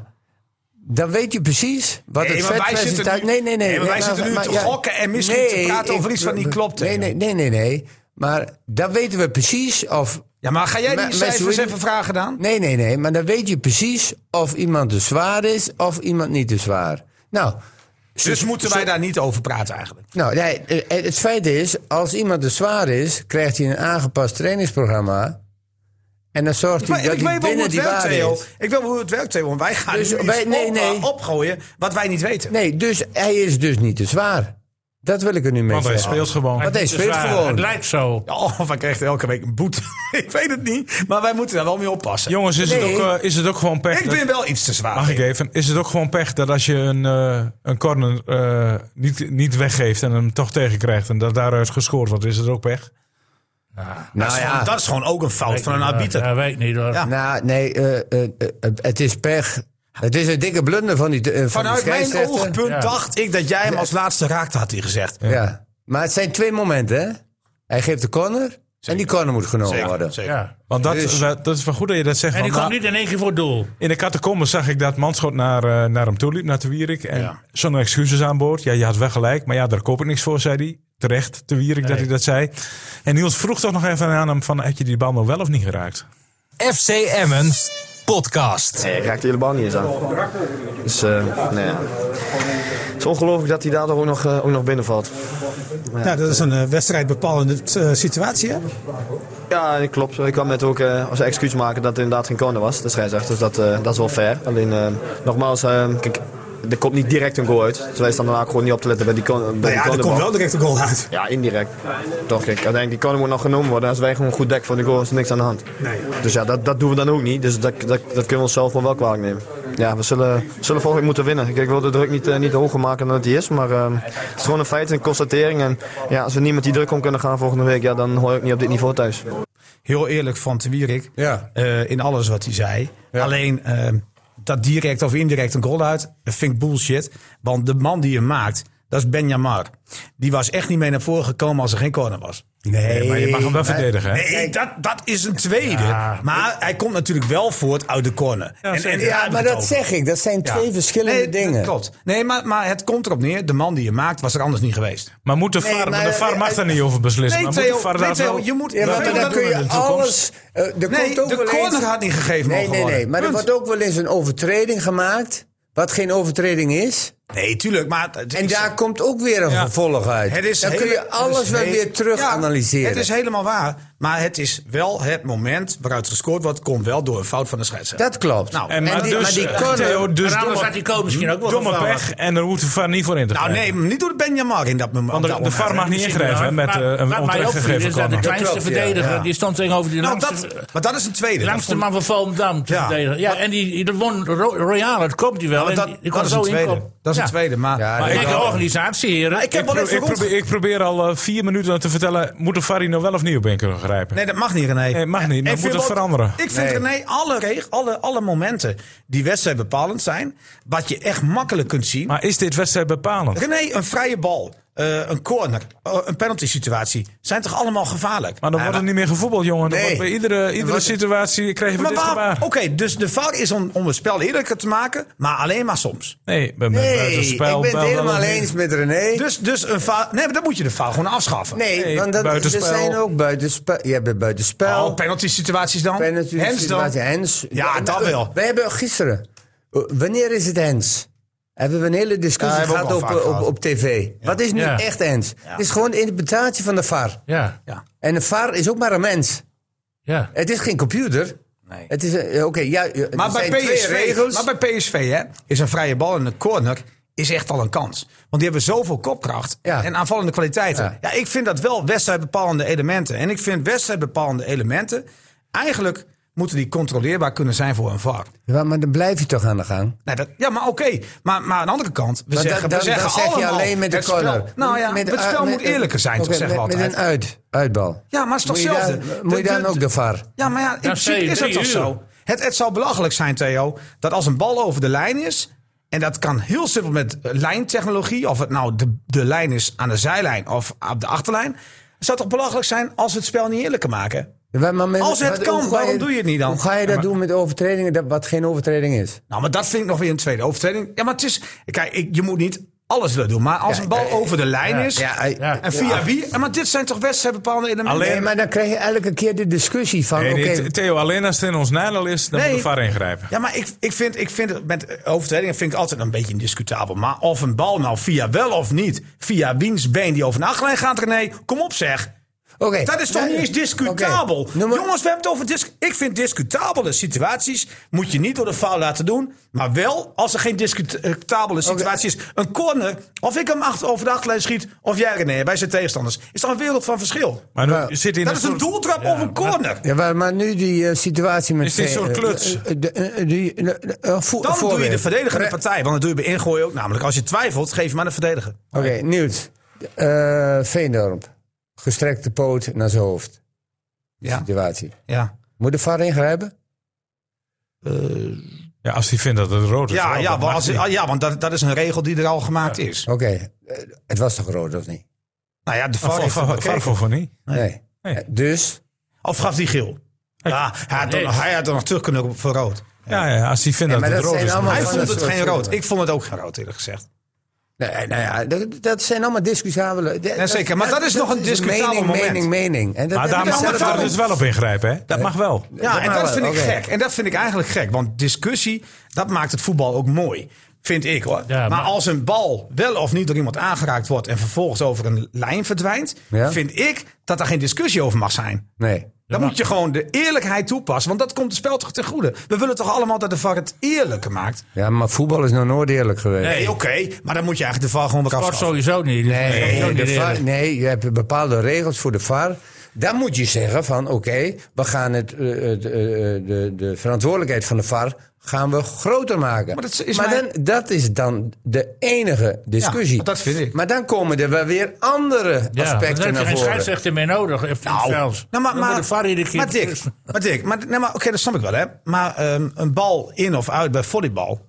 Speaker 4: dan weet je precies wat
Speaker 1: Nee,
Speaker 4: het
Speaker 1: maar wij
Speaker 4: vetpercentage...
Speaker 1: zitten nu- nee, maar wij zitten nu te gokken en misschien te praten over iets wat niet klopt,
Speaker 4: Nee,
Speaker 1: hè.
Speaker 4: nee, nee, nee, nee. Maar dan weten we precies of...
Speaker 1: Ja, maar ga jij
Speaker 4: Me-
Speaker 1: die cijfers
Speaker 4: Messaoudi-
Speaker 1: even vragen dan?
Speaker 4: Nee, nee, nee. Maar dan weet je precies of iemand te zwaar is of iemand niet te zwaar. Nou,
Speaker 1: Dus moeten wij daar niet over praten eigenlijk.
Speaker 4: nou nee, eh, het feit is, als iemand te zwaar is, krijgt hij een aangepast trainingsprogramma. En dan zorgt
Speaker 1: Maar
Speaker 4: hij dat
Speaker 1: ik
Speaker 4: hij
Speaker 1: weet wel hoe
Speaker 4: binnen
Speaker 1: het
Speaker 4: die
Speaker 1: werkt,
Speaker 4: waarde
Speaker 1: Theo.
Speaker 4: is.
Speaker 1: Ik weet wel hoe het werkt, Theo. Want wij gaan
Speaker 4: Dus
Speaker 1: nu
Speaker 4: wij-
Speaker 1: iets
Speaker 4: nee,
Speaker 1: op-
Speaker 4: nee.
Speaker 1: opgooien wat wij niet weten.
Speaker 4: Nee, dus hij is dus niet te zwaar. Dat wil ik er nu mee
Speaker 3: Want hij
Speaker 4: zeggen.
Speaker 3: speelt gewoon.
Speaker 4: Want hij
Speaker 2: Het is
Speaker 4: speelt
Speaker 2: waar. Het
Speaker 4: gewoon.
Speaker 2: lijkt zo.
Speaker 1: Ja, Of hij krijgt Oh, elke week een boete. ik weet het niet. Maar wij moeten daar wel mee oppassen.
Speaker 3: Jongens, is,
Speaker 4: Nee.
Speaker 3: het ook, eh, is het ook gewoon pech?
Speaker 1: ik
Speaker 3: dat-
Speaker 1: ben wel iets te zwaar.
Speaker 3: Mag ik even? Is het ook gewoon pech dat als je een, eh, een corner eh, niet, niet weggeeft en hem toch tegenkrijgt en dat daaruit gescoord wordt, is het ook pech?
Speaker 1: dat,
Speaker 4: Nou
Speaker 1: is gewoon,
Speaker 4: ja, eh,
Speaker 1: dat is gewoon ook een fout van een arbiter.
Speaker 2: Ja, weet ik niet hoor.
Speaker 1: Ja.
Speaker 4: nou, nee, eh, eh, eh, het is pech. Het is een dikke blunder van die, eh, van
Speaker 1: Vanuit
Speaker 4: die
Speaker 1: mijn
Speaker 4: scheidsrechter.
Speaker 1: oogpunt
Speaker 2: Ja.
Speaker 1: dacht ik dat jij hem als laatste raakte, had hij gezegd.
Speaker 4: Ja. Maar het zijn twee momenten, hè? Hij geeft de corner en die corner moet genomen worden.
Speaker 1: zeker.
Speaker 2: Ja.
Speaker 3: Want dat,
Speaker 4: Dus-
Speaker 3: we- dat is wel goed dat je dat zegt.
Speaker 2: En die
Speaker 3: want
Speaker 2: komt
Speaker 3: na-
Speaker 2: niet in één keer voor het doel.
Speaker 3: In de catacombe zag ik dat Manschot naar, eh, naar hem toe liep, naar de Wierik. En
Speaker 1: Ja.
Speaker 3: zonder excuses aan boord. Ja, je had wel gelijk, maar ja, daar koop ik niks voor, zei hij. Terecht, te Wierik dat hij dat zei. En Niels vroeg toch nog even aan hem van, heb je die bal nou wel of niet geraakt?
Speaker 5: FC Emmen podcast.
Speaker 6: Nee, hij eh, raakt de hele bal niet eens aan. Dus, eh, nou ja. Het is ongelooflijk dat hij daar ook nog, eh, ook nog binnenvalt.
Speaker 7: Nou, dat is een eh, wedstrijdbepalende eh, situatie, hè?
Speaker 6: Ja, dat klopt. Ik kwam net ook eh, als excuus maken dat het inderdaad geen corner was, de scheidsrechter. Dus dat, eh, dat is wel fair. Alleen, eh, nogmaals, eh, kijk, er komt niet direct een goal uit. Terwijl hij staan daarna gewoon niet op te letten bij die, kon, bij
Speaker 7: Nou
Speaker 6: die
Speaker 7: ja, er
Speaker 6: counterbal.
Speaker 7: komt wel direct een goal uit.
Speaker 6: Ja, indirect. Toch, kijk, uiteindelijk die corner moet nog genomen worden. Als wij gewoon goed dek van de goal is er niks aan de hand.
Speaker 7: Nee.
Speaker 6: Dus ja, dat, dat doen we dan ook niet. Dus dat, dat, dat kunnen we onszelf wel wel kwalijk nemen. Ja, we zullen, zullen volgende week moeten winnen. Kijk, ik wil de druk niet, eh, niet hoger maken dan het die is. Maar ehm, het is gewoon een feit, een constatering. En ja, als we niet met die druk om kunnen gaan volgende week, ja, dan hoor ik niet op dit niveau thuis.
Speaker 1: heel eerlijk van Te Wierik
Speaker 4: Ja.
Speaker 1: eh, in alles wat hij zei. Alleen eh, dat direct of indirect een goal uit, dat vind ik bullshit. Want de man die hem maakt, dat is Benjamar. Die was echt niet mee naar voren gekomen als er geen corner was.
Speaker 3: Nee, maar je mag hem wel verdedigen. Hè?
Speaker 1: Nee, dat, dat is een tweede.
Speaker 2: Ja.
Speaker 1: maar hij komt natuurlijk wel voort uit de corner. En- en
Speaker 3: zeker.
Speaker 1: daar
Speaker 4: Ja,
Speaker 1: hebben
Speaker 4: maar
Speaker 1: we het
Speaker 4: dat
Speaker 1: over.
Speaker 4: zeg ik. Dat zijn
Speaker 1: Ja.
Speaker 4: twee verschillende
Speaker 1: Nee, dat
Speaker 4: dingen.
Speaker 1: Klopt. Nee, maar, maar het komt erop neer. De man die je maakt was er anders niet geweest.
Speaker 3: Maar moet de VAR,
Speaker 4: maar-
Speaker 3: maar de VAR mag daar niet over beslissen.
Speaker 1: Nee,
Speaker 3: maar moet
Speaker 1: Theo,
Speaker 3: de VAR
Speaker 1: nee,
Speaker 3: daar
Speaker 1: Theo,
Speaker 3: wel-
Speaker 1: je moet...
Speaker 4: Ja, maar
Speaker 1: Nee,
Speaker 4: dan
Speaker 1: dat-
Speaker 4: kun
Speaker 3: doen we
Speaker 4: je
Speaker 3: in de toekomst.
Speaker 4: alles. eh, er
Speaker 1: Nee,
Speaker 4: komt ook
Speaker 1: de
Speaker 4: wel eens-
Speaker 1: corner had niet gegeven
Speaker 4: Nee,
Speaker 1: mogen
Speaker 4: nee, nee.
Speaker 1: worden.
Speaker 4: Maar er
Speaker 1: Punt.
Speaker 4: wordt ook wel eens een overtreding gemaakt. Wat geen overtreding is.
Speaker 1: Nee, tuurlijk, maar... het
Speaker 4: En
Speaker 1: is-
Speaker 4: daar komt ook weer een gevolg uit.
Speaker 1: Het is
Speaker 4: dan kun
Speaker 1: hele-
Speaker 4: je alles
Speaker 1: het is
Speaker 4: wel
Speaker 1: heel-
Speaker 4: weer terug
Speaker 1: Ja,
Speaker 4: analyseren.
Speaker 1: Het is helemaal waar. Maar het is wel het moment waaruit gescoord wordt, komt wel door een fout van de scheidsrechter.
Speaker 4: Dat klopt.
Speaker 1: Nou,
Speaker 3: En
Speaker 1: en
Speaker 3: maar
Speaker 4: die- maar
Speaker 3: dus,
Speaker 4: die
Speaker 3: eh,
Speaker 4: corner-
Speaker 3: Theo, dus
Speaker 2: en anders
Speaker 3: domme-
Speaker 2: had die code misschien ook wel
Speaker 3: domme
Speaker 2: gevallen.
Speaker 3: pech. En daar hoeft de VAR niet voor in te
Speaker 1: nou
Speaker 3: grijpen.
Speaker 1: nee, niet door Benjamar in dat moment. Nou,
Speaker 3: Want de,
Speaker 1: op
Speaker 3: de
Speaker 1: dat
Speaker 3: VAR
Speaker 1: moment.
Speaker 3: mag niet ingrijpen hè, met
Speaker 2: Maar-
Speaker 3: eh, een
Speaker 2: wat mij
Speaker 3: onterecht
Speaker 2: opviel
Speaker 3: gegeven
Speaker 2: is dat de
Speaker 3: corner.
Speaker 2: kleinste
Speaker 4: klopt, ja.
Speaker 2: verdediger,
Speaker 4: Ja.
Speaker 2: die stond tegenover die
Speaker 1: Nou,
Speaker 2: langste,
Speaker 1: dat, maar dat is een tweede.
Speaker 2: langste
Speaker 1: Dat vond-
Speaker 2: man van Volendam te
Speaker 1: Ja.
Speaker 2: verdedigen. Ja, en die, die won Ro- Royale, dat komt hij wel.
Speaker 1: maar
Speaker 2: en
Speaker 1: dat,
Speaker 2: die, die
Speaker 1: dat
Speaker 2: kon
Speaker 1: is
Speaker 2: zo
Speaker 1: een tweede.
Speaker 2: inkomen.
Speaker 1: Dat is een
Speaker 2: Ja.
Speaker 1: tweede. Maar,
Speaker 4: Ja,
Speaker 2: Maar
Speaker 4: dat
Speaker 2: ik denk,
Speaker 4: klopt.
Speaker 2: de organisatie, heren.
Speaker 1: ik heb wel
Speaker 3: Ik,
Speaker 1: even rond.
Speaker 3: probeer, ik probeer al eh, vier minuten te vertellen, moet de VAR hier nou wel of niet op in kunnen grijpen?
Speaker 1: Nee, dat mag niet, René.
Speaker 3: Nee, mag niet. Dan
Speaker 1: Ik
Speaker 3: moet
Speaker 1: vind
Speaker 3: het
Speaker 1: ook-
Speaker 3: veranderen.
Speaker 1: Ik vind, René, alle, reg- alle, alle momenten die wedstrijd bepalend zijn, wat je echt makkelijk kunt zien,
Speaker 3: Maar is dit wedstrijd bepalend?
Speaker 1: René, een vrije bal, eh, een corner, eh, een penalty situatie. Zijn toch allemaal gevaarlijk? Eh,
Speaker 3: Maar dan wordt er niet meer gevoetbald, jongen. Dan
Speaker 4: Nee.
Speaker 3: wordt bij iedere, iedere
Speaker 4: wordt-
Speaker 3: situatie krijgen we
Speaker 1: Maar
Speaker 3: dit
Speaker 1: waar?
Speaker 3: gebaar.
Speaker 1: Oké, dus de VAR is om, om het spel eerlijker te maken, maar alleen maar soms.
Speaker 3: Nee, bij bij
Speaker 4: Nee, ik
Speaker 3: buitenspel,
Speaker 4: ben
Speaker 3: wel-
Speaker 4: het
Speaker 3: wel-
Speaker 4: helemaal
Speaker 3: wel-
Speaker 4: eens met René.
Speaker 1: Dus, dus een VAR. Nee, maar dan moet je de VAR gewoon afschaffen.
Speaker 4: nee,
Speaker 3: Nee,
Speaker 4: want dat, er
Speaker 3: buitenspel.
Speaker 4: zijn ook buitenspel. Je hebt buitenspel.
Speaker 1: Oh, penalty situaties dan?
Speaker 4: penalty
Speaker 1: Hens dan?
Speaker 4: situatie, Hens.
Speaker 1: Ja,
Speaker 4: Nou,
Speaker 1: dat wel.
Speaker 4: We hebben gisteren. eh, Wanneer is het Hens? Hebben we een hele discussie
Speaker 1: Ja, hebben we
Speaker 4: gehad
Speaker 1: ook al
Speaker 4: op, eh,
Speaker 1: vaak
Speaker 4: op,
Speaker 1: gehad.
Speaker 4: op tv. Wat is nu
Speaker 2: Ja.
Speaker 4: echt Hens? Het is gewoon de interpretatie van de VAR.
Speaker 2: Ja,
Speaker 1: Ja.
Speaker 4: En de VAR is ook maar een mens.
Speaker 2: ja.
Speaker 4: Het is geen computer.
Speaker 1: Nee.
Speaker 4: Het is, eh, oké, ja, eh, er
Speaker 1: Maar bij,
Speaker 4: zijn twee
Speaker 1: PSV,
Speaker 4: regels.
Speaker 1: maar bij PSV hè, is een vrije bal en een corner is echt al een kans. Want die hebben zoveel kopkracht
Speaker 4: Ja.
Speaker 1: en aanvallende kwaliteiten. Ja.
Speaker 4: Ja.
Speaker 1: ik vind dat wel wedstrijdbepalende elementen. En ik vind wedstrijdbepalende elementen... eigenlijk moeten die controleerbaar kunnen zijn voor een VAR.
Speaker 4: Ja, maar dan blijf je toch aan de gang.
Speaker 1: Nou, dat, ja, maar oké. Maar, maar aan de andere kant, we
Speaker 4: Maar
Speaker 1: zeggen,
Speaker 4: dan, dan,
Speaker 1: we zeggen
Speaker 4: dan zeg je
Speaker 1: allemaal,
Speaker 4: alleen met de
Speaker 1: het spel-
Speaker 4: corner.
Speaker 1: nou ja,
Speaker 4: Met- eh,
Speaker 1: het spel
Speaker 4: met-
Speaker 1: moet eerlijker zijn, toch
Speaker 4: Oké,
Speaker 1: zeggen we
Speaker 4: met,
Speaker 1: altijd.
Speaker 4: Met een uit, uitbal.
Speaker 1: Ja, maar het is toch
Speaker 4: moet je
Speaker 1: hetzelfde?
Speaker 4: daar-
Speaker 1: De-
Speaker 4: Moet je daar
Speaker 1: de-
Speaker 4: dan ook de VAR?
Speaker 1: Ja, maar ja, in
Speaker 2: Ja,
Speaker 1: principe
Speaker 2: twee,
Speaker 1: is dat
Speaker 2: drie
Speaker 1: toch
Speaker 2: uur.
Speaker 1: zo? Het, het zou belachelijk zijn, Theo, dat als een bal over de lijn is... en dat kan heel simpel met eh, lijntechnologie... of het nou de, de lijn is aan de zijlijn of op de achterlijn... het zou toch belachelijk zijn als we het spel niet eerlijker maken?
Speaker 4: Ja, maar met-
Speaker 1: Als het
Speaker 4: wat-
Speaker 1: kan,
Speaker 4: hoe ga
Speaker 1: waarom doe je het niet dan?
Speaker 4: Hoe ga je dat doen met overtredingen dat, wat geen overtreding is?
Speaker 1: Nou, maar dat vind ik nog weer een tweede overtreding. Ja, maar het is... Kijk, ik, je moet niet alles willen doen. Maar als
Speaker 4: Ja,
Speaker 1: een bal
Speaker 4: eh,
Speaker 1: over de lijn is...
Speaker 4: Ja, hij-
Speaker 2: Ja.
Speaker 1: en via wie? Maar dit zijn toch wedstrijdbepalende elementen?
Speaker 4: Nee, maar dan krijg je elke keer de discussie van...
Speaker 3: Nee,
Speaker 4: oké,
Speaker 3: nee, Theo, alleen als het in ons nadeel is, dan moet
Speaker 1: Nee.
Speaker 3: de VAR ingrijpen.
Speaker 1: Ja, maar ik, ik vind, ik vind het met overtredingen vind ik altijd een beetje discutabel. Maar of een bal nou via wel of niet, via wiens been die over een achterlijn gaat, René, kom op zeg.
Speaker 4: oké.
Speaker 1: Dat is toch
Speaker 4: Nou,
Speaker 1: niet eens discutabel?
Speaker 4: oké. Noem maar-
Speaker 1: Jongens, we hebben het over dis- Ik vind discutabele situaties moet je niet door de foul laten doen. Maar wel als er geen discutabele situatie is. Een corner, of ik hem achter, over de achterlijn schiet, of jij René, bij zijn tegenstanders. Is toch een wereld van verschil?
Speaker 3: Maar
Speaker 4: Maar-
Speaker 3: nu zit hij in
Speaker 1: Dat
Speaker 3: een
Speaker 1: is een
Speaker 3: soort-
Speaker 1: doeltrap of een corner.
Speaker 4: Ja, maar, maar nu die eh, situatie met...
Speaker 3: Is dit
Speaker 4: eh,
Speaker 3: zo'n
Speaker 4: eh,
Speaker 3: kluts?
Speaker 4: eh, de- eh, die- eh, eh, vo-
Speaker 1: Dan doe je
Speaker 4: voorwerp.
Speaker 1: de verdedigende
Speaker 4: Re-
Speaker 1: partij. Want dan doe je bij ingooien ook namelijk. Als je twijfelt, geef hem aan de verdediger.
Speaker 4: Oké, Niels. Eh, Veendorp. Gestrekte poot naar zijn hoofd. Die
Speaker 1: Ja.
Speaker 4: situatie.
Speaker 1: Ja.
Speaker 4: Moet de VAR ingrijpen?
Speaker 3: Ja, als hij vindt dat het rood is.
Speaker 1: Ja,
Speaker 3: wel,
Speaker 1: ja,
Speaker 3: dat
Speaker 1: want,
Speaker 3: mag
Speaker 1: als-
Speaker 3: niet.
Speaker 1: ah, ja, want dat, dat is een regel die er al gemaakt is.
Speaker 4: Oké. eh, het was toch rood, of niet?
Speaker 1: Nou ja, de VAR
Speaker 3: Var-
Speaker 1: heeft hem
Speaker 3: var-
Speaker 1: bekeken.
Speaker 3: var- voor voor niet.
Speaker 4: Nee.
Speaker 3: Nee.
Speaker 4: Eh, Dus?
Speaker 1: Of gaf die geel? Ja, hij had, er,
Speaker 2: nee.
Speaker 1: hij had er nog terug kunnen roepen voor rood.
Speaker 3: Ja, ja, als hij vindt
Speaker 4: Ja,
Speaker 3: dat
Speaker 4: maar
Speaker 3: het
Speaker 4: dat
Speaker 3: rood
Speaker 4: zijn
Speaker 3: is. dan-
Speaker 4: allemaal
Speaker 1: Hij
Speaker 4: van
Speaker 1: vond
Speaker 4: dat
Speaker 1: het
Speaker 4: soort
Speaker 1: geen rood.
Speaker 4: dingen.
Speaker 1: Ik vond het ook geen rood, eerlijk gezegd.
Speaker 4: Nee, nou ja, dat, dat zijn allemaal discutabele... dat-
Speaker 1: Ja, zeker, maar dat is nog een discutabel
Speaker 4: mening,
Speaker 1: moment.
Speaker 4: Mening, mening. En dat
Speaker 3: Maar
Speaker 4: heb
Speaker 3: daar
Speaker 4: ik
Speaker 3: mag
Speaker 4: zelf
Speaker 3: de VAR
Speaker 4: ook.
Speaker 3: dus wel op ingrijpen, hè? Dat mag wel.
Speaker 1: Ja,
Speaker 4: dat
Speaker 1: en
Speaker 4: maar
Speaker 1: dat
Speaker 4: wel,
Speaker 1: vind ik
Speaker 4: oké.
Speaker 1: gek. En dat vind ik eigenlijk gek. Want discussie, dat maakt het voetbal ook mooi. Vind ik hoor.
Speaker 2: Ja,
Speaker 1: maar,
Speaker 2: maar-
Speaker 1: als een bal wel of niet door iemand aangeraakt wordt en vervolgens over een lijn verdwijnt,
Speaker 4: Ja.
Speaker 1: vind ik dat daar geen discussie over mag zijn.
Speaker 4: Nee.
Speaker 1: Dan
Speaker 2: maar-
Speaker 1: moet je gewoon de eerlijkheid toepassen. Want dat komt het spel toch ten goede. We willen toch allemaal dat de VAR het eerlijker maakt?
Speaker 4: Ja, maar voetbal is nog nooit eerlijk geweest.
Speaker 1: Nee, oké. maar dan moet je eigenlijk de VAR gewoon weer
Speaker 2: Sport
Speaker 1: afschaffen.
Speaker 2: sowieso niet. Dus dat is
Speaker 4: Nee,
Speaker 2: sowieso
Speaker 4: de
Speaker 2: niet
Speaker 4: VAR
Speaker 2: eerlijk.
Speaker 4: nee, je hebt bepaalde regels voor de VAR. Dan moet je zeggen van oké, we gaan het, eh, het, eh, de, de verantwoordelijkheid van de VAR gaan we groter maken.
Speaker 1: Maar dat is mijn-
Speaker 4: dan, dat is dan de enige discussie.
Speaker 1: Ja, dat vind ik.
Speaker 4: Maar dan komen er wel weer andere
Speaker 2: Ja, dan
Speaker 4: aspecten
Speaker 2: heb je
Speaker 4: naar
Speaker 2: geen
Speaker 4: voren.
Speaker 2: scheidsrechter meer nodig. Of nou, zelfs.
Speaker 1: Nou, maar,
Speaker 2: Dan wordt
Speaker 1: maar,
Speaker 2: de VAR Dus- iedere keer
Speaker 1: maar Dick,
Speaker 2: tussen.
Speaker 1: maar Dick, maar, nee, maar oké, dat snap ik wel, hè. Maar ehm, een bal in of uit bij volleybal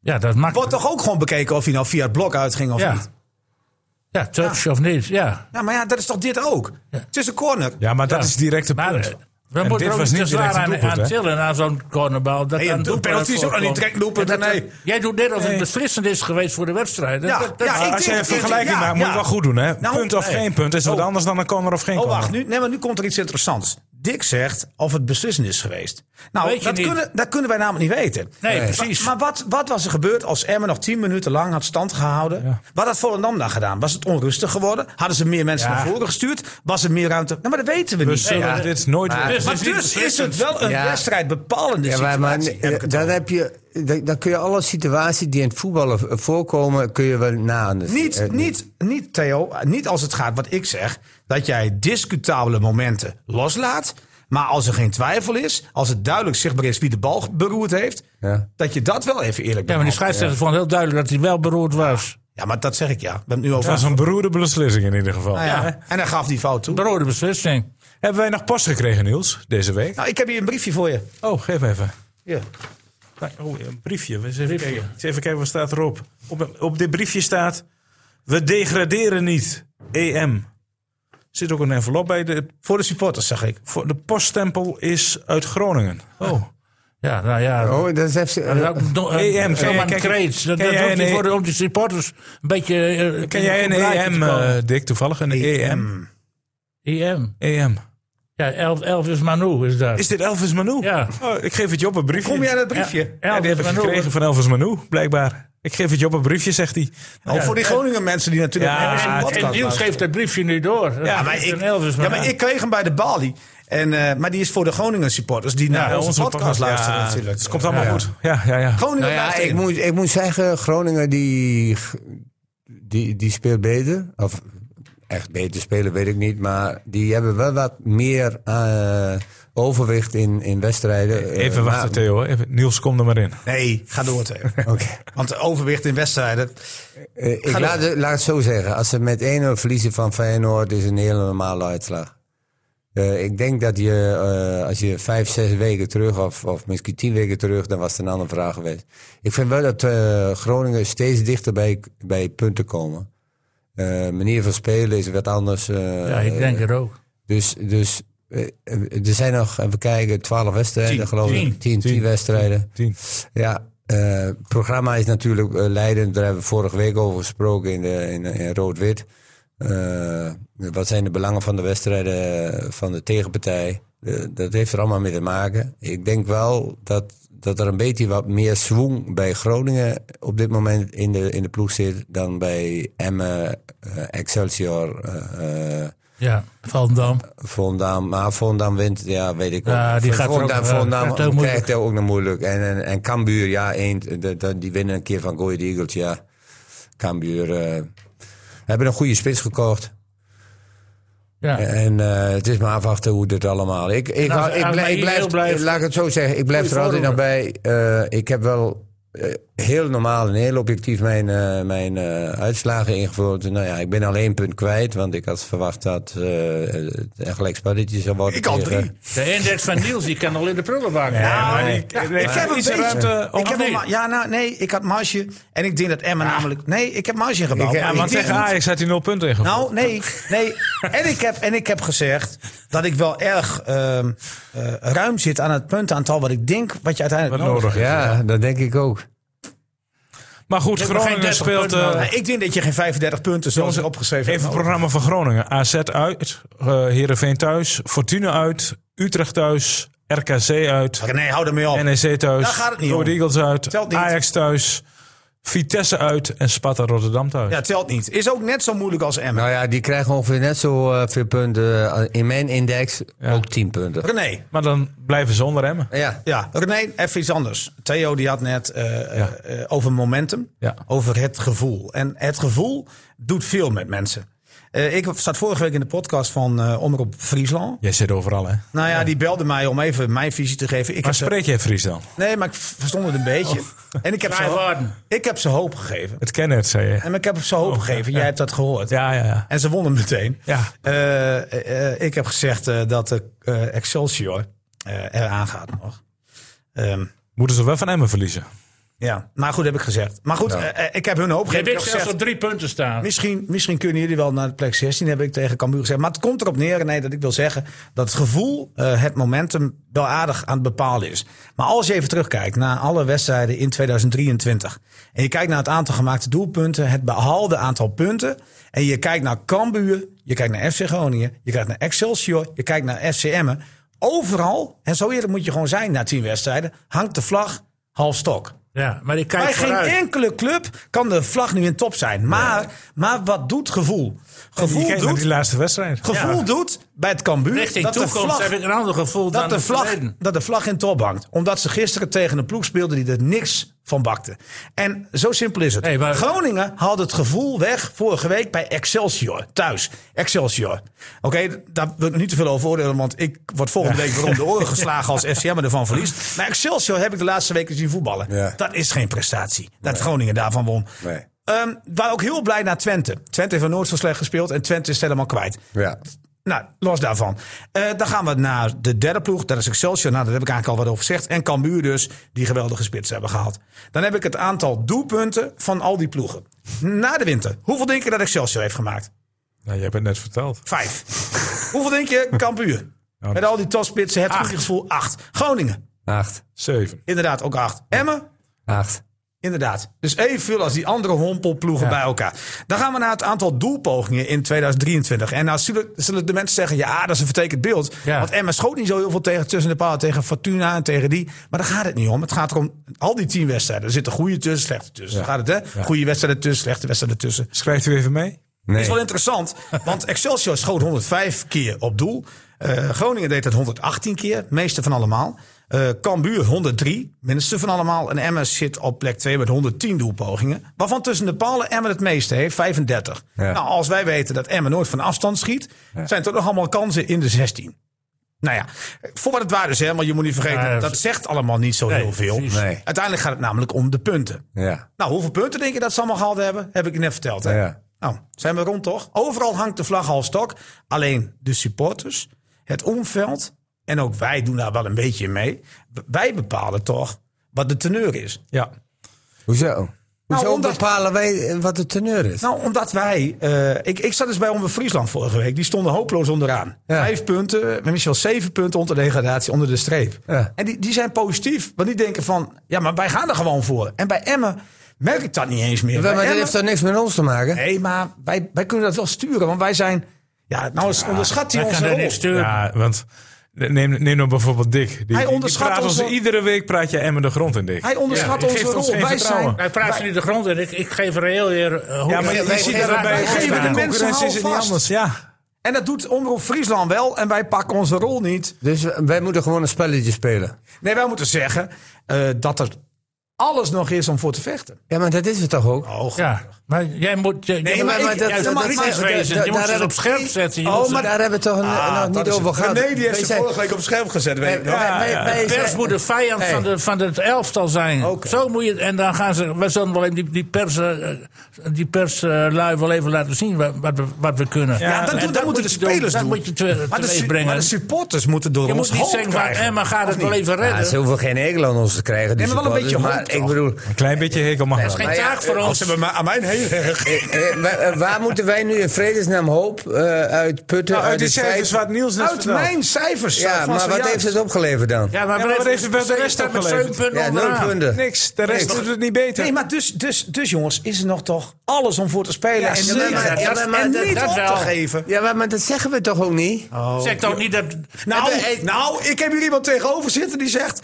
Speaker 2: Ja, dat maakt...
Speaker 1: wordt toch ook gewoon bekeken of hij nou via het blok uitging of
Speaker 2: ja.
Speaker 1: niet.
Speaker 2: Ja, touch of niet. Ja.
Speaker 1: Ja, maar ja, dat is toch dit ook. Het is een corner.
Speaker 3: Ja, maar dat
Speaker 2: Ja.
Speaker 3: is direct een
Speaker 2: Maar
Speaker 3: punt.
Speaker 2: eh, we moeten
Speaker 3: dit
Speaker 2: er ook
Speaker 3: was
Speaker 2: niet te
Speaker 3: niet direct
Speaker 2: zwaar
Speaker 3: een
Speaker 2: aan,
Speaker 3: doelpunt,
Speaker 2: aan
Speaker 3: hè?
Speaker 2: tillen aan zo'n cornerbal. Dat
Speaker 1: Nee,
Speaker 2: dan
Speaker 1: een
Speaker 2: doelpunt
Speaker 1: penalty is ook
Speaker 2: voorkomt.
Speaker 1: nog niet direct doelpunt,
Speaker 2: Ja, dat-
Speaker 1: nee.
Speaker 2: Jij doet dit als het beslissend is geweest voor de wedstrijd. Dat-
Speaker 1: Ja,
Speaker 2: dat- Ah, dat-
Speaker 1: ja, ik
Speaker 3: Als jij
Speaker 1: denk-
Speaker 3: een vergelijking
Speaker 1: ja,
Speaker 3: maakt, moet je
Speaker 1: ja.
Speaker 3: wel goed doen. Hè?
Speaker 1: Nou,
Speaker 3: punt of
Speaker 1: nee.
Speaker 3: geen punt is wat
Speaker 1: Oh.
Speaker 3: anders dan een corner of geen
Speaker 1: Oh,
Speaker 3: corner.
Speaker 1: wacht, nu, nee, maar nu komt er iets interessants. Dick zegt of het beslissend is geweest. Nou,
Speaker 2: Weet je
Speaker 1: dat
Speaker 2: niet.
Speaker 1: kunnen, dat kunnen wij namelijk niet weten.
Speaker 2: Nee,
Speaker 1: Maar-
Speaker 2: precies.
Speaker 1: Maar wat, wat was er gebeurd als Emmen nog 10 minuten lang had stand gehouden? Wat had Volendam dan gedaan? Was het onrustig geworden? Hadden ze meer mensen
Speaker 2: Ja.
Speaker 1: naar voren gestuurd? Was er meer ruimte? Nou, maar dat weten we
Speaker 3: We
Speaker 1: niet.
Speaker 3: zullen
Speaker 1: Ja.
Speaker 3: dit nooit
Speaker 4: Maar-
Speaker 1: Maar
Speaker 2: is niet
Speaker 1: dus is
Speaker 2: beslissend.
Speaker 1: het wel een
Speaker 4: Ja.
Speaker 1: wedstrijd bepalende
Speaker 4: Ja, maar,
Speaker 1: situatie.
Speaker 4: maar
Speaker 1: heb ik
Speaker 4: eh,
Speaker 1: het
Speaker 4: dan,
Speaker 1: over.
Speaker 4: heb je, dan, dan kun je alle situaties die in het voetballen eh, voorkomen, kun je wel na.
Speaker 1: Niet, niet, niet, Theo, eh, niet als het gaat wat ik zeg, dat jij discutabele momenten loslaat. Maar als er geen twijfel is, als het duidelijk zichtbaar is wie de bal beroerd heeft,
Speaker 4: Ja.
Speaker 1: dat je dat wel even eerlijk
Speaker 2: Ja, maar die
Speaker 1: benoemt.
Speaker 2: scheidsrechter vond heel duidelijk dat hij wel beroerd was.
Speaker 1: Ja, maar dat zeg ik ja. We hebben het nu over.
Speaker 3: Dat was een beroerde beslissing in ieder geval.
Speaker 1: Nou ja, En hij gaf die fout toe.
Speaker 2: Beroerde beslissing.
Speaker 3: Hebben wij nog post gekregen, Niels, deze week?
Speaker 1: Nou, ik heb hier een briefje voor je.
Speaker 3: Oh, geef even.
Speaker 1: Ja.
Speaker 3: Nou, Oh, een briefje. Eens even, Kijken. Eens even kijken, wat staat erop? Op, op dit briefje staat... We degraderen niet. EM. Er zit ook een envelop bij. De,
Speaker 1: Voor de supporters, zeg ik.
Speaker 3: voor, de poststempel is uit Groningen. Oh.
Speaker 2: Ja, nou ja.
Speaker 4: Oh, dat is
Speaker 2: Dat is ook do- eh,
Speaker 3: EM,
Speaker 2: zomaar
Speaker 3: kijk, kijk,
Speaker 2: kreets. Dat,
Speaker 3: ken
Speaker 2: dat
Speaker 3: jij
Speaker 2: hoeft
Speaker 3: een
Speaker 2: niet
Speaker 3: E-
Speaker 2: voor de, om die supporters een beetje... eh,
Speaker 3: Ken
Speaker 2: in
Speaker 3: jij
Speaker 2: een
Speaker 3: een
Speaker 2: goed blaadje
Speaker 3: EM,
Speaker 2: te komen.
Speaker 3: eh, Dick, toevallig? Een
Speaker 1: E
Speaker 3: EM?
Speaker 2: EM.
Speaker 3: EM.
Speaker 2: Ja, 11, 11 is Manu, is dat.
Speaker 3: Is dit Elvis Manu?
Speaker 2: Ja.
Speaker 3: Oh, ik geef het je op een briefje.
Speaker 1: Kom je aan het briefje?
Speaker 2: Ja,
Speaker 3: Ja, die heb ik gekregen van Elvis Manu, blijkbaar. Ik geef het je op een briefje, zegt hij.
Speaker 1: Ook Oh, voor die Groningen mensen die natuurlijk...
Speaker 3: Ja,
Speaker 1: Ja,
Speaker 3: en-
Speaker 2: En, en Niels geeft dat briefje nu door. Dat
Speaker 1: ja,
Speaker 2: is
Speaker 1: maar, ik,
Speaker 2: een Elvis
Speaker 1: ja, maar
Speaker 2: Manu.
Speaker 1: ik kreeg hem bij de balie. En, eh, maar die is voor de Groningen supporters die naar onze, podcast luisteren
Speaker 3: Ja,
Speaker 1: natuurlijk.
Speaker 3: Het komt allemaal goed. Ja, ja, ja.
Speaker 1: Groningen
Speaker 4: Nou ja,
Speaker 1: luistert
Speaker 4: ik
Speaker 1: in.
Speaker 4: moet, ik moet zeggen, Groningen die, die, die speelt beter. Of echt beter spelen, weet ik niet. Maar die hebben wel wat meer eh, overwicht in, in wedstrijden. Eh,
Speaker 3: Even
Speaker 4: maar-
Speaker 3: wachten, Theo. Even, Niels, kom er maar in.
Speaker 1: Nee, ga door Theo.
Speaker 4: Oké.
Speaker 1: Want overwicht in wedstrijden.
Speaker 4: Eh, ik
Speaker 1: door.
Speaker 4: laat, het- laat het zo zeggen. Als ze met 1-0 verliezen van Feyenoord, is een hele normale uitslag. Eh, ik denk dat je, eh, als je vijf, zes weken terug, of, of misschien tien weken terug, dan was het een andere vraag geweest. Ik vind wel dat eh, Groningen steeds dichter bij, bij punten komen. Eh, manier van spelen is wat anders. eh,
Speaker 2: ja, ik denk het ook.
Speaker 4: Dus, dus eh, eh, er zijn nog, even kijken, twaalf wedstrijden geloof ik. Tien, tien, wedstrijden.
Speaker 3: Tien.
Speaker 4: Ja, eh, het programma is natuurlijk eh, leidend. Daar hebben we vorige week over gesproken in, de- in, in Rood-Wit. Eh, wat zijn de belangen van de wedstrijden eh, van de tegenpartij? Eh, dat heeft er allemaal mee te maken. Ik denk wel dat, dat er een beetje wat meer zwoeng bij Groningen op dit moment in de, in de ploeg zit dan bij Emmen, eh, Excelsior, eh, eh,
Speaker 2: Ja, Van Dam.
Speaker 4: Volendam, maar Volendam wint, ja, weet ik
Speaker 2: Ja,
Speaker 4: ook.
Speaker 2: die gaat er
Speaker 4: Volendam,
Speaker 2: ook, eh,
Speaker 4: Volendam
Speaker 2: krijgt heel moeilijk.
Speaker 4: krijgt er ook nog moeilijk. En, en, en Cambuur, ja, één, de- de- die winnen een keer van Goeie Eagles, ja. Cambuur eh, hebben een goede spits gekocht.
Speaker 2: Ja.
Speaker 4: En eh, het is maar afwachten hoe dit allemaal... Ik, ik,
Speaker 2: Nou,
Speaker 4: hou- ik,
Speaker 2: als
Speaker 4: blij-
Speaker 2: AMI
Speaker 4: ik blijf,
Speaker 2: heel blijft-
Speaker 4: laat ik het zo zeggen, ik blijf
Speaker 2: Goeie
Speaker 4: er altijd nog bij. Eh, ik heb wel eh, heel normaal en heel objectief mijn, eh, mijn eh, uitslagen ingevuld. Nou ja, ik ben alleen één punt kwijt, want ik had verwacht dat eh, het een gelijkspelletje zou worden.
Speaker 1: Ik al
Speaker 4: tegen-
Speaker 1: drie.
Speaker 2: De index van Niels, die kan al in de prullenbak.
Speaker 1: Nou,
Speaker 3: maar die-
Speaker 1: ja,
Speaker 3: die-
Speaker 1: ik heb een
Speaker 3: iets
Speaker 1: beetje.
Speaker 3: ruimte om-
Speaker 1: Ik heb
Speaker 2: Nee.
Speaker 1: een ma- ja, nou, nee, ik had marge. En ik denk dat Emma namelijk. Nee, ik heb marge gebouwd.
Speaker 4: Ik-
Speaker 1: maar
Speaker 4: ja,
Speaker 1: ik
Speaker 3: Want
Speaker 1: denk
Speaker 3: tegen
Speaker 1: niet-
Speaker 3: Ajax had hij nul punten ingevallen.
Speaker 1: Nou, nee. nee. en, ik heb, en ik heb gezegd dat ik wel erg ehm, eh, ruim zit aan het puntaantal wat ik denk wat je uiteindelijk
Speaker 3: Wat
Speaker 1: nodig
Speaker 3: nodig is.
Speaker 4: Ja, dat denk ik ook.
Speaker 1: Nou,
Speaker 3: Maar goed,
Speaker 2: Ik heb geen
Speaker 3: Groningen
Speaker 2: 30
Speaker 3: speelt...
Speaker 2: punten
Speaker 3: eh,
Speaker 1: hebt. Nou, ik denk dat je geen 35 punten zoals ik opgeschreven
Speaker 3: Even het
Speaker 1: hebt.
Speaker 3: programma van Groningen. AZ uit, eh Heerenveen thuis, Fortuna uit, Utrecht thuis, RKC uit,
Speaker 1: Nee, hou ermee op.
Speaker 3: NEC thuis,
Speaker 1: Daar gaat het niet
Speaker 3: Go Ahead
Speaker 1: om.
Speaker 3: Eagles uit,
Speaker 1: Telt niet.
Speaker 3: Ajax thuis, Vitesse uit en Sparta Rotterdam thuis.
Speaker 1: Ja, telt niet. Is ook net zo moeilijk als Emmen.
Speaker 4: Nou ja, die krijgen ongeveer net zo eh, veel punten. eh, in mijn index ook 10 punten.
Speaker 1: René.
Speaker 3: Maar dan blijven ze onder Emmen.
Speaker 4: Ja.
Speaker 1: Ja, René, even iets anders. Theo die had net eh, eh, over momentum,
Speaker 3: Ja.
Speaker 1: over het gevoel. En het gevoel doet veel met mensen. Eh, ik zat vorige week in de podcast van eh Omroep Friesland.
Speaker 3: Jij zit overal, hè?
Speaker 1: Nou ja, die belde mij om even mijn visie te geven. Ik
Speaker 3: Maar Oh.
Speaker 1: heb ze-
Speaker 3: spreek jij Fries dan?
Speaker 1: nee, maar ik verstond het een beetje. En ik heb, ze,
Speaker 2: Vijf
Speaker 1: ho-
Speaker 2: waarden.
Speaker 1: ik heb ze hoop gegeven.
Speaker 3: Het kennen het, zei je.
Speaker 1: En ik heb ze hoop gegeven. Jij hebt dat gehoord.
Speaker 3: Oh, Ja, ja, ja.
Speaker 1: En ze wonnen meteen.
Speaker 3: Ja.
Speaker 1: Eh, eh, eh, ik heb gezegd eh, dat eh, Excelsior eh eraan gaat nog. Ehm,
Speaker 3: Moeten ze wel van Emmen verliezen?
Speaker 1: ja, maar goed heb ik gezegd. Maar goed, eh, eh, ik heb hun hoop
Speaker 2: Heb
Speaker 1: gegeven. Ik
Speaker 2: ik
Speaker 1: heb
Speaker 2: zelfs
Speaker 1: gezegd,
Speaker 2: op drie punten staan.
Speaker 1: misschien, misschien kunnen jullie wel naar de plek 16, heb ik tegen Cambuur gezegd. Maar het komt erop neer, nee, dat ik wil zeggen dat het gevoel, eh, het momentum, wel aardig aan het bepalen is. Maar als je even terugkijkt naar alle wedstrijden in 2023. En je kijkt naar het aantal gemaakte doelpunten, het behaalde aantal punten. En je kijkt naar Cambuur, je kijkt naar FC Groningen, je kijkt naar Excelsior, je kijkt naar FCM. Overal, en zo eerlijk moet je gewoon zijn na tien wedstrijden, hangt de vlag half stok.
Speaker 2: Ja, maar ik kijk
Speaker 1: Bij
Speaker 2: vooruit.
Speaker 1: geen enkele club kan de vlag nu in top zijn. Maar, maar wat doet gevoel?
Speaker 3: Je
Speaker 1: Gevoel
Speaker 3: kijkt naar die
Speaker 1: doet,
Speaker 3: laatste wedstrijd.
Speaker 1: gevoel
Speaker 2: Ja.
Speaker 1: doet bij het Cambuur
Speaker 2: Richting
Speaker 1: dat de
Speaker 2: toekomst
Speaker 1: vlag,
Speaker 2: heb ik een ander gevoel dan
Speaker 1: dat, de
Speaker 2: het
Speaker 1: vlag,
Speaker 2: verleden.
Speaker 1: dat de vlag in top hangt. Omdat ze gisteren tegen een ploeg speelden die er niks van bakte. En zo simpel is het.
Speaker 2: Nee, maar-
Speaker 1: Groningen haalde het gevoel weg vorige week bij Excelsior. Thuis. Excelsior. Oké, daar wil ik nog niet te veel over oordelen. Want ik word volgende week weer om de oren geslagen als FCM ervan verliest. Maar Excelsior heb ik de laatste weken zien voetballen.
Speaker 4: Ja.
Speaker 1: Dat is geen prestatie. Dat Groningen daarvan won.
Speaker 4: Nee.
Speaker 1: Ehm, we waren ook heel blij naar Twente. Twente heeft nog nooit zo slecht gespeeld en Twente is helemaal kwijt.
Speaker 4: Ja.
Speaker 1: Nou, los daarvan. Eh, dan gaan we naar de derde ploeg. Dat is Excelsior. Nou, daar heb ik eigenlijk al wat over gezegd. En Cambuur dus, die geweldige spits hebben gehaald. Dan heb ik het aantal doelpunten van al die ploegen. Na de winter. Hoeveel denk je dat Excelsior heeft gemaakt?
Speaker 3: Nou, jij hebt het net verteld.
Speaker 1: Vijf. Hoeveel denk je Cambuur? Met al die topspitsen, het goede gevoel, acht. Groningen,
Speaker 4: 8.
Speaker 3: Zeven.
Speaker 1: inderdaad ook acht. Emmen,
Speaker 4: 8.
Speaker 1: Inderdaad. Dus evenveel als die andere hompelploegen bij elkaar. Dan gaan we naar het aantal doelpogingen in 2023. En nou zullen, zullen de mensen zeggen, ja, ah, dat is een vertekend beeld.
Speaker 2: Ja.
Speaker 1: Want Emma schoot niet zo heel veel tegen tussen de palen, tegen Fortuna en tegen die. Maar daar gaat het niet om. Het gaat erom al die tien wedstrijden. Er zitten goede tussen, slechte tussen. Daar gaat het, hè? Goede wedstrijden tussen, slechte wedstrijden tussen.
Speaker 3: Schrijft u even mee?
Speaker 1: Dat is wel interessant, want Excelsior schoot 105 keer op doel. Eh, Groningen deed het 118 keer, meeste van allemaal. Eh Cambuur 103, minste van allemaal. En Emmen zit op plek 2 met 110 doelpogingen. Waarvan tussen de palen Emmen het meeste heeft, 35.
Speaker 4: Ja.
Speaker 1: Nou, als wij weten dat Emmen nooit van afstand schiet... zijn toch nog allemaal kansen in de 16. Nou ja, voor wat het waar is, hè, want je moet niet vergeten...
Speaker 2: Ja,
Speaker 1: dat zegt allemaal niet zo heel veel.
Speaker 2: precies.
Speaker 4: Nee.
Speaker 1: Uiteindelijk gaat het namelijk om de punten.
Speaker 4: Ja.
Speaker 1: Nou, hoeveel punten denk je dat ze allemaal gehaald hebben? Heb ik je net verteld. Hè?
Speaker 4: Ja, ja.
Speaker 1: Nou, zijn we rond toch? Overal hangt de vlag al stok. Alleen de supporters, het omveld en ook wij doen daar wel een beetje in mee. B- Wij bepalen toch wat de teneur is.
Speaker 3: Ja.
Speaker 4: Hoezo? Hoezo
Speaker 1: Nou, omdat-
Speaker 4: bepalen wij eh, wat de teneur is?
Speaker 1: Nou, omdat wij... eh, ik, ik zat dus bij Omroep Friesland vorige week. Die stonden hopeloos onderaan.
Speaker 4: Ja.
Speaker 1: Vijf punten, maar misschien wel zeven punten onder degradatie, onder de streep.
Speaker 4: Ja.
Speaker 1: En die, die zijn positief. Want die denken van, ja, maar wij gaan er gewoon voor. En bij Emmen merk ik dat niet eens meer.
Speaker 4: Ja,
Speaker 1: Bij
Speaker 4: maar dat
Speaker 1: Emmen-
Speaker 4: heeft toch niks met ons te maken?
Speaker 1: Nee, maar wij, wij kunnen dat wel sturen, want wij zijn. Ja, nou eens onderschat hij
Speaker 2: Wij
Speaker 1: onze
Speaker 2: gaan er
Speaker 1: rol.
Speaker 2: niks sturen.
Speaker 3: Ja, want neem, neem nou bijvoorbeeld Dick. Die, die- die
Speaker 1: onderschat
Speaker 3: praat
Speaker 1: ons
Speaker 3: ons
Speaker 1: wel-
Speaker 3: iedere week praat je Emmen de grond in, Dick.
Speaker 1: Hij onderschat
Speaker 3: Ja,
Speaker 1: onze
Speaker 3: geeft ons
Speaker 1: rol.
Speaker 3: geen
Speaker 1: Wij zijn.
Speaker 3: vertrouwen.
Speaker 2: Hij praat nu de grond en ik, ik geef reëel weer. eh, hoe
Speaker 3: ja, maar je,
Speaker 2: wij-
Speaker 3: ziet
Speaker 2: wij-
Speaker 3: dat het bij
Speaker 2: wij-
Speaker 1: geven de
Speaker 3: bij
Speaker 1: mensen
Speaker 3: concurrentie is het niet
Speaker 1: houvast.
Speaker 3: anders. Ja.
Speaker 1: En dat doet Omroep Friesland wel en wij pakken onze rol niet.
Speaker 4: Dus wij moeten gewoon een spelletje spelen.
Speaker 1: Nee, wij moeten zeggen eh, dat er alles nog is om voor te vechten.
Speaker 4: Ja, maar dat is het toch ook?
Speaker 1: Oh,
Speaker 2: Ja, maar jij moet. Nee,
Speaker 1: maar ik-
Speaker 2: maar
Speaker 1: ja,
Speaker 2: dat,
Speaker 1: dat-
Speaker 2: moet
Speaker 1: dat-
Speaker 2: kritisch
Speaker 1: dat-
Speaker 2: wezen.
Speaker 4: dat-
Speaker 2: je moet
Speaker 4: daar
Speaker 2: ze
Speaker 4: heb
Speaker 2: op
Speaker 4: ik-
Speaker 2: scherp zetten. Je
Speaker 1: Oh,
Speaker 2: moet ze-
Speaker 1: maar-
Speaker 4: Daar hebben we toch
Speaker 1: Ah, nou,
Speaker 4: nog niet over gehad.
Speaker 1: Nee, die heeft
Speaker 4: Wij
Speaker 1: ze
Speaker 4: zijn-
Speaker 1: vorige week op scherm gezet. Weet ik nog.
Speaker 4: wij- wij- wij
Speaker 2: de pers
Speaker 4: zijn-
Speaker 2: moet de vijand van, de, van het elftal zijn.
Speaker 1: Oké.
Speaker 2: Zo moet je, en dan gaan ze. We zullen wel even die, die pers, eh, die pers eh, lui wel even laten zien wat, wat, we, wat we kunnen.
Speaker 1: Ja, dat,
Speaker 2: En
Speaker 1: doen- dat
Speaker 2: dat
Speaker 1: moeten de
Speaker 2: moet je doen.
Speaker 1: spelers
Speaker 2: Dat
Speaker 1: doen.
Speaker 2: moet je te,
Speaker 1: maar, de,
Speaker 2: teweeg
Speaker 1: su-
Speaker 2: brengen.
Speaker 1: maar de supporters moeten door
Speaker 2: je
Speaker 1: ons
Speaker 2: moet niet
Speaker 1: hoofd
Speaker 2: zeggen van
Speaker 1: krijgen.
Speaker 2: Emma gaat
Speaker 1: Of
Speaker 2: het wel
Speaker 1: niet?
Speaker 2: even
Speaker 4: Ja,
Speaker 2: redden.
Speaker 4: ze hoeven geen hekel aan ons te krijgen. Die
Speaker 1: Nee, maar wel een
Speaker 4: supporters.
Speaker 1: beetje hoop
Speaker 4: Maar ik bedoel,
Speaker 3: Een klein beetje hekel mag
Speaker 2: dat is
Speaker 3: wel.
Speaker 2: geen
Speaker 4: ja,
Speaker 2: taak voor
Speaker 1: Als
Speaker 2: ons.
Speaker 1: ze me maar aan mijn heel erg.
Speaker 4: eh, eh, waar, eh, waar moeten wij nu in vredesnaam hoop eh, uit putten?
Speaker 3: Nou, uit die
Speaker 4: het
Speaker 3: cijfers
Speaker 4: feit-
Speaker 3: wat Niels net
Speaker 1: Uit
Speaker 3: vertelt.
Speaker 1: mijn cijfers.
Speaker 4: Ja, maar wat heeft het opgeleverd dan?
Speaker 2: Ja, maar
Speaker 3: Ja,
Speaker 2: we
Speaker 3: maar wat heeft het bij de rest
Speaker 2: staat met
Speaker 3: opgeleverd?
Speaker 2: zeven punten
Speaker 4: Ja, nul
Speaker 2: onderaan.
Speaker 4: punten.
Speaker 3: Niks. De rest
Speaker 4: Niks.
Speaker 3: doet het niet beter.
Speaker 1: Nee, maar dus, dus, dus jongens, is er nog toch alles om voor te spelen en,
Speaker 4: zeker.
Speaker 1: niet-
Speaker 4: Ja, maar-
Speaker 1: en
Speaker 4: maar dat-
Speaker 1: niet
Speaker 2: dat
Speaker 1: op
Speaker 2: wel.
Speaker 1: te geven?
Speaker 4: Ja, maar- maar dat zeggen we toch ook niet?
Speaker 2: Zegt ook niet dat.
Speaker 1: Nou,
Speaker 4: Hebben-
Speaker 1: nou, ik heb hier iemand tegenover zitten die zegt...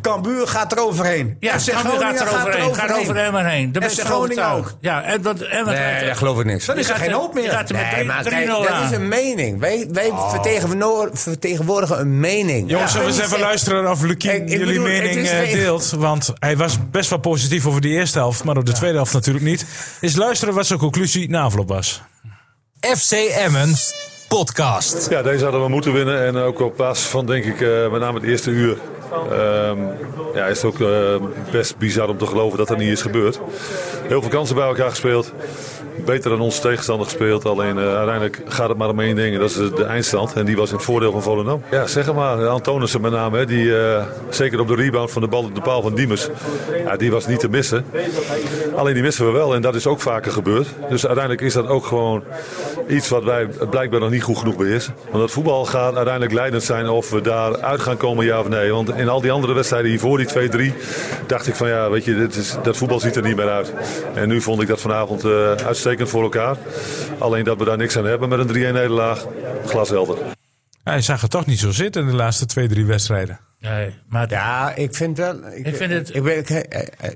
Speaker 1: Cambuur gaat er overheen.
Speaker 2: Ja,
Speaker 1: Ja, zegt
Speaker 2: Groningen gaat er overheen. Gaat over Emmen heen. Daar ben ik
Speaker 1: FC
Speaker 2: van
Speaker 1: Groningen
Speaker 2: overtuigd.
Speaker 1: ook.
Speaker 2: Ja, en dat Emmen gaat
Speaker 4: Nee,
Speaker 2: er-
Speaker 4: daar geloof ik niks.
Speaker 1: Dan is er
Speaker 2: gaat
Speaker 1: geen
Speaker 2: er-
Speaker 1: hoop
Speaker 2: je
Speaker 1: meer.
Speaker 2: gaat er met
Speaker 4: Nee, maar kijk,
Speaker 2: 3-0
Speaker 4: dat
Speaker 2: aan.
Speaker 4: is een mening. Wij, wij vertegenwoor- vertegenwoordigen een
Speaker 3: Jongens,
Speaker 4: mening. Ja.
Speaker 3: zullen we
Speaker 4: Ik
Speaker 3: eens even
Speaker 4: zeg-
Speaker 3: luisteren of Lukien
Speaker 4: Ik- ik
Speaker 3: jullie
Speaker 4: bedoel, het
Speaker 3: mening
Speaker 4: is
Speaker 3: eh,
Speaker 4: geen-
Speaker 3: deelt? Want hij was best wel positief over de eerste helft, maar op de tweede helft natuurlijk niet. Is luisteren wat zijn conclusie na afloop was.
Speaker 5: FC Emmen podcast.
Speaker 8: Ja, deze hadden we moeten winnen. En ook op basis van, denk ik, eh, met name het eerste uur. ehm, ja, is het ook eh, best bizar om te geloven dat dat niet is gebeurd. Heel veel kansen bij elkaar gespeeld. Beter dan onze tegenstander gespeeld. Alleen eh, uiteindelijk gaat het maar om één ding. en Dat is de, de eindstand. En die was in het voordeel van Volendam. Ja, zeg het maar. Antonissen met name. Hè, die, eh, zeker op de rebound van de bal op de paal van Diemers. Ja, die was niet te missen. Alleen die missen we wel en dat is ook vaker gebeurd. Dus uiteindelijk is dat ook gewoon iets wat wij blijkbaar nog niet goed genoeg beheersen. Want dat voetbal gaat uiteindelijk leidend zijn of we daar uit gaan komen, ja of nee. Want in al die andere wedstrijden hiervoor, die 2-3, dacht ik van ja, weet je, dit is, dat voetbal ziet er niet meer uit. En nu vond ik dat vanavond eh, uitstekend voor elkaar. Alleen dat we daar niks aan hebben met een 3-1-nederlaag, glashelder.
Speaker 3: Hij zag het toch niet zo zitten in de laatste twee, drie wedstrijden.
Speaker 2: Nee, maar
Speaker 4: Ja, ik vind wel. Ik,
Speaker 2: Ik vind het-
Speaker 4: Ik ben, ik- eh, eh,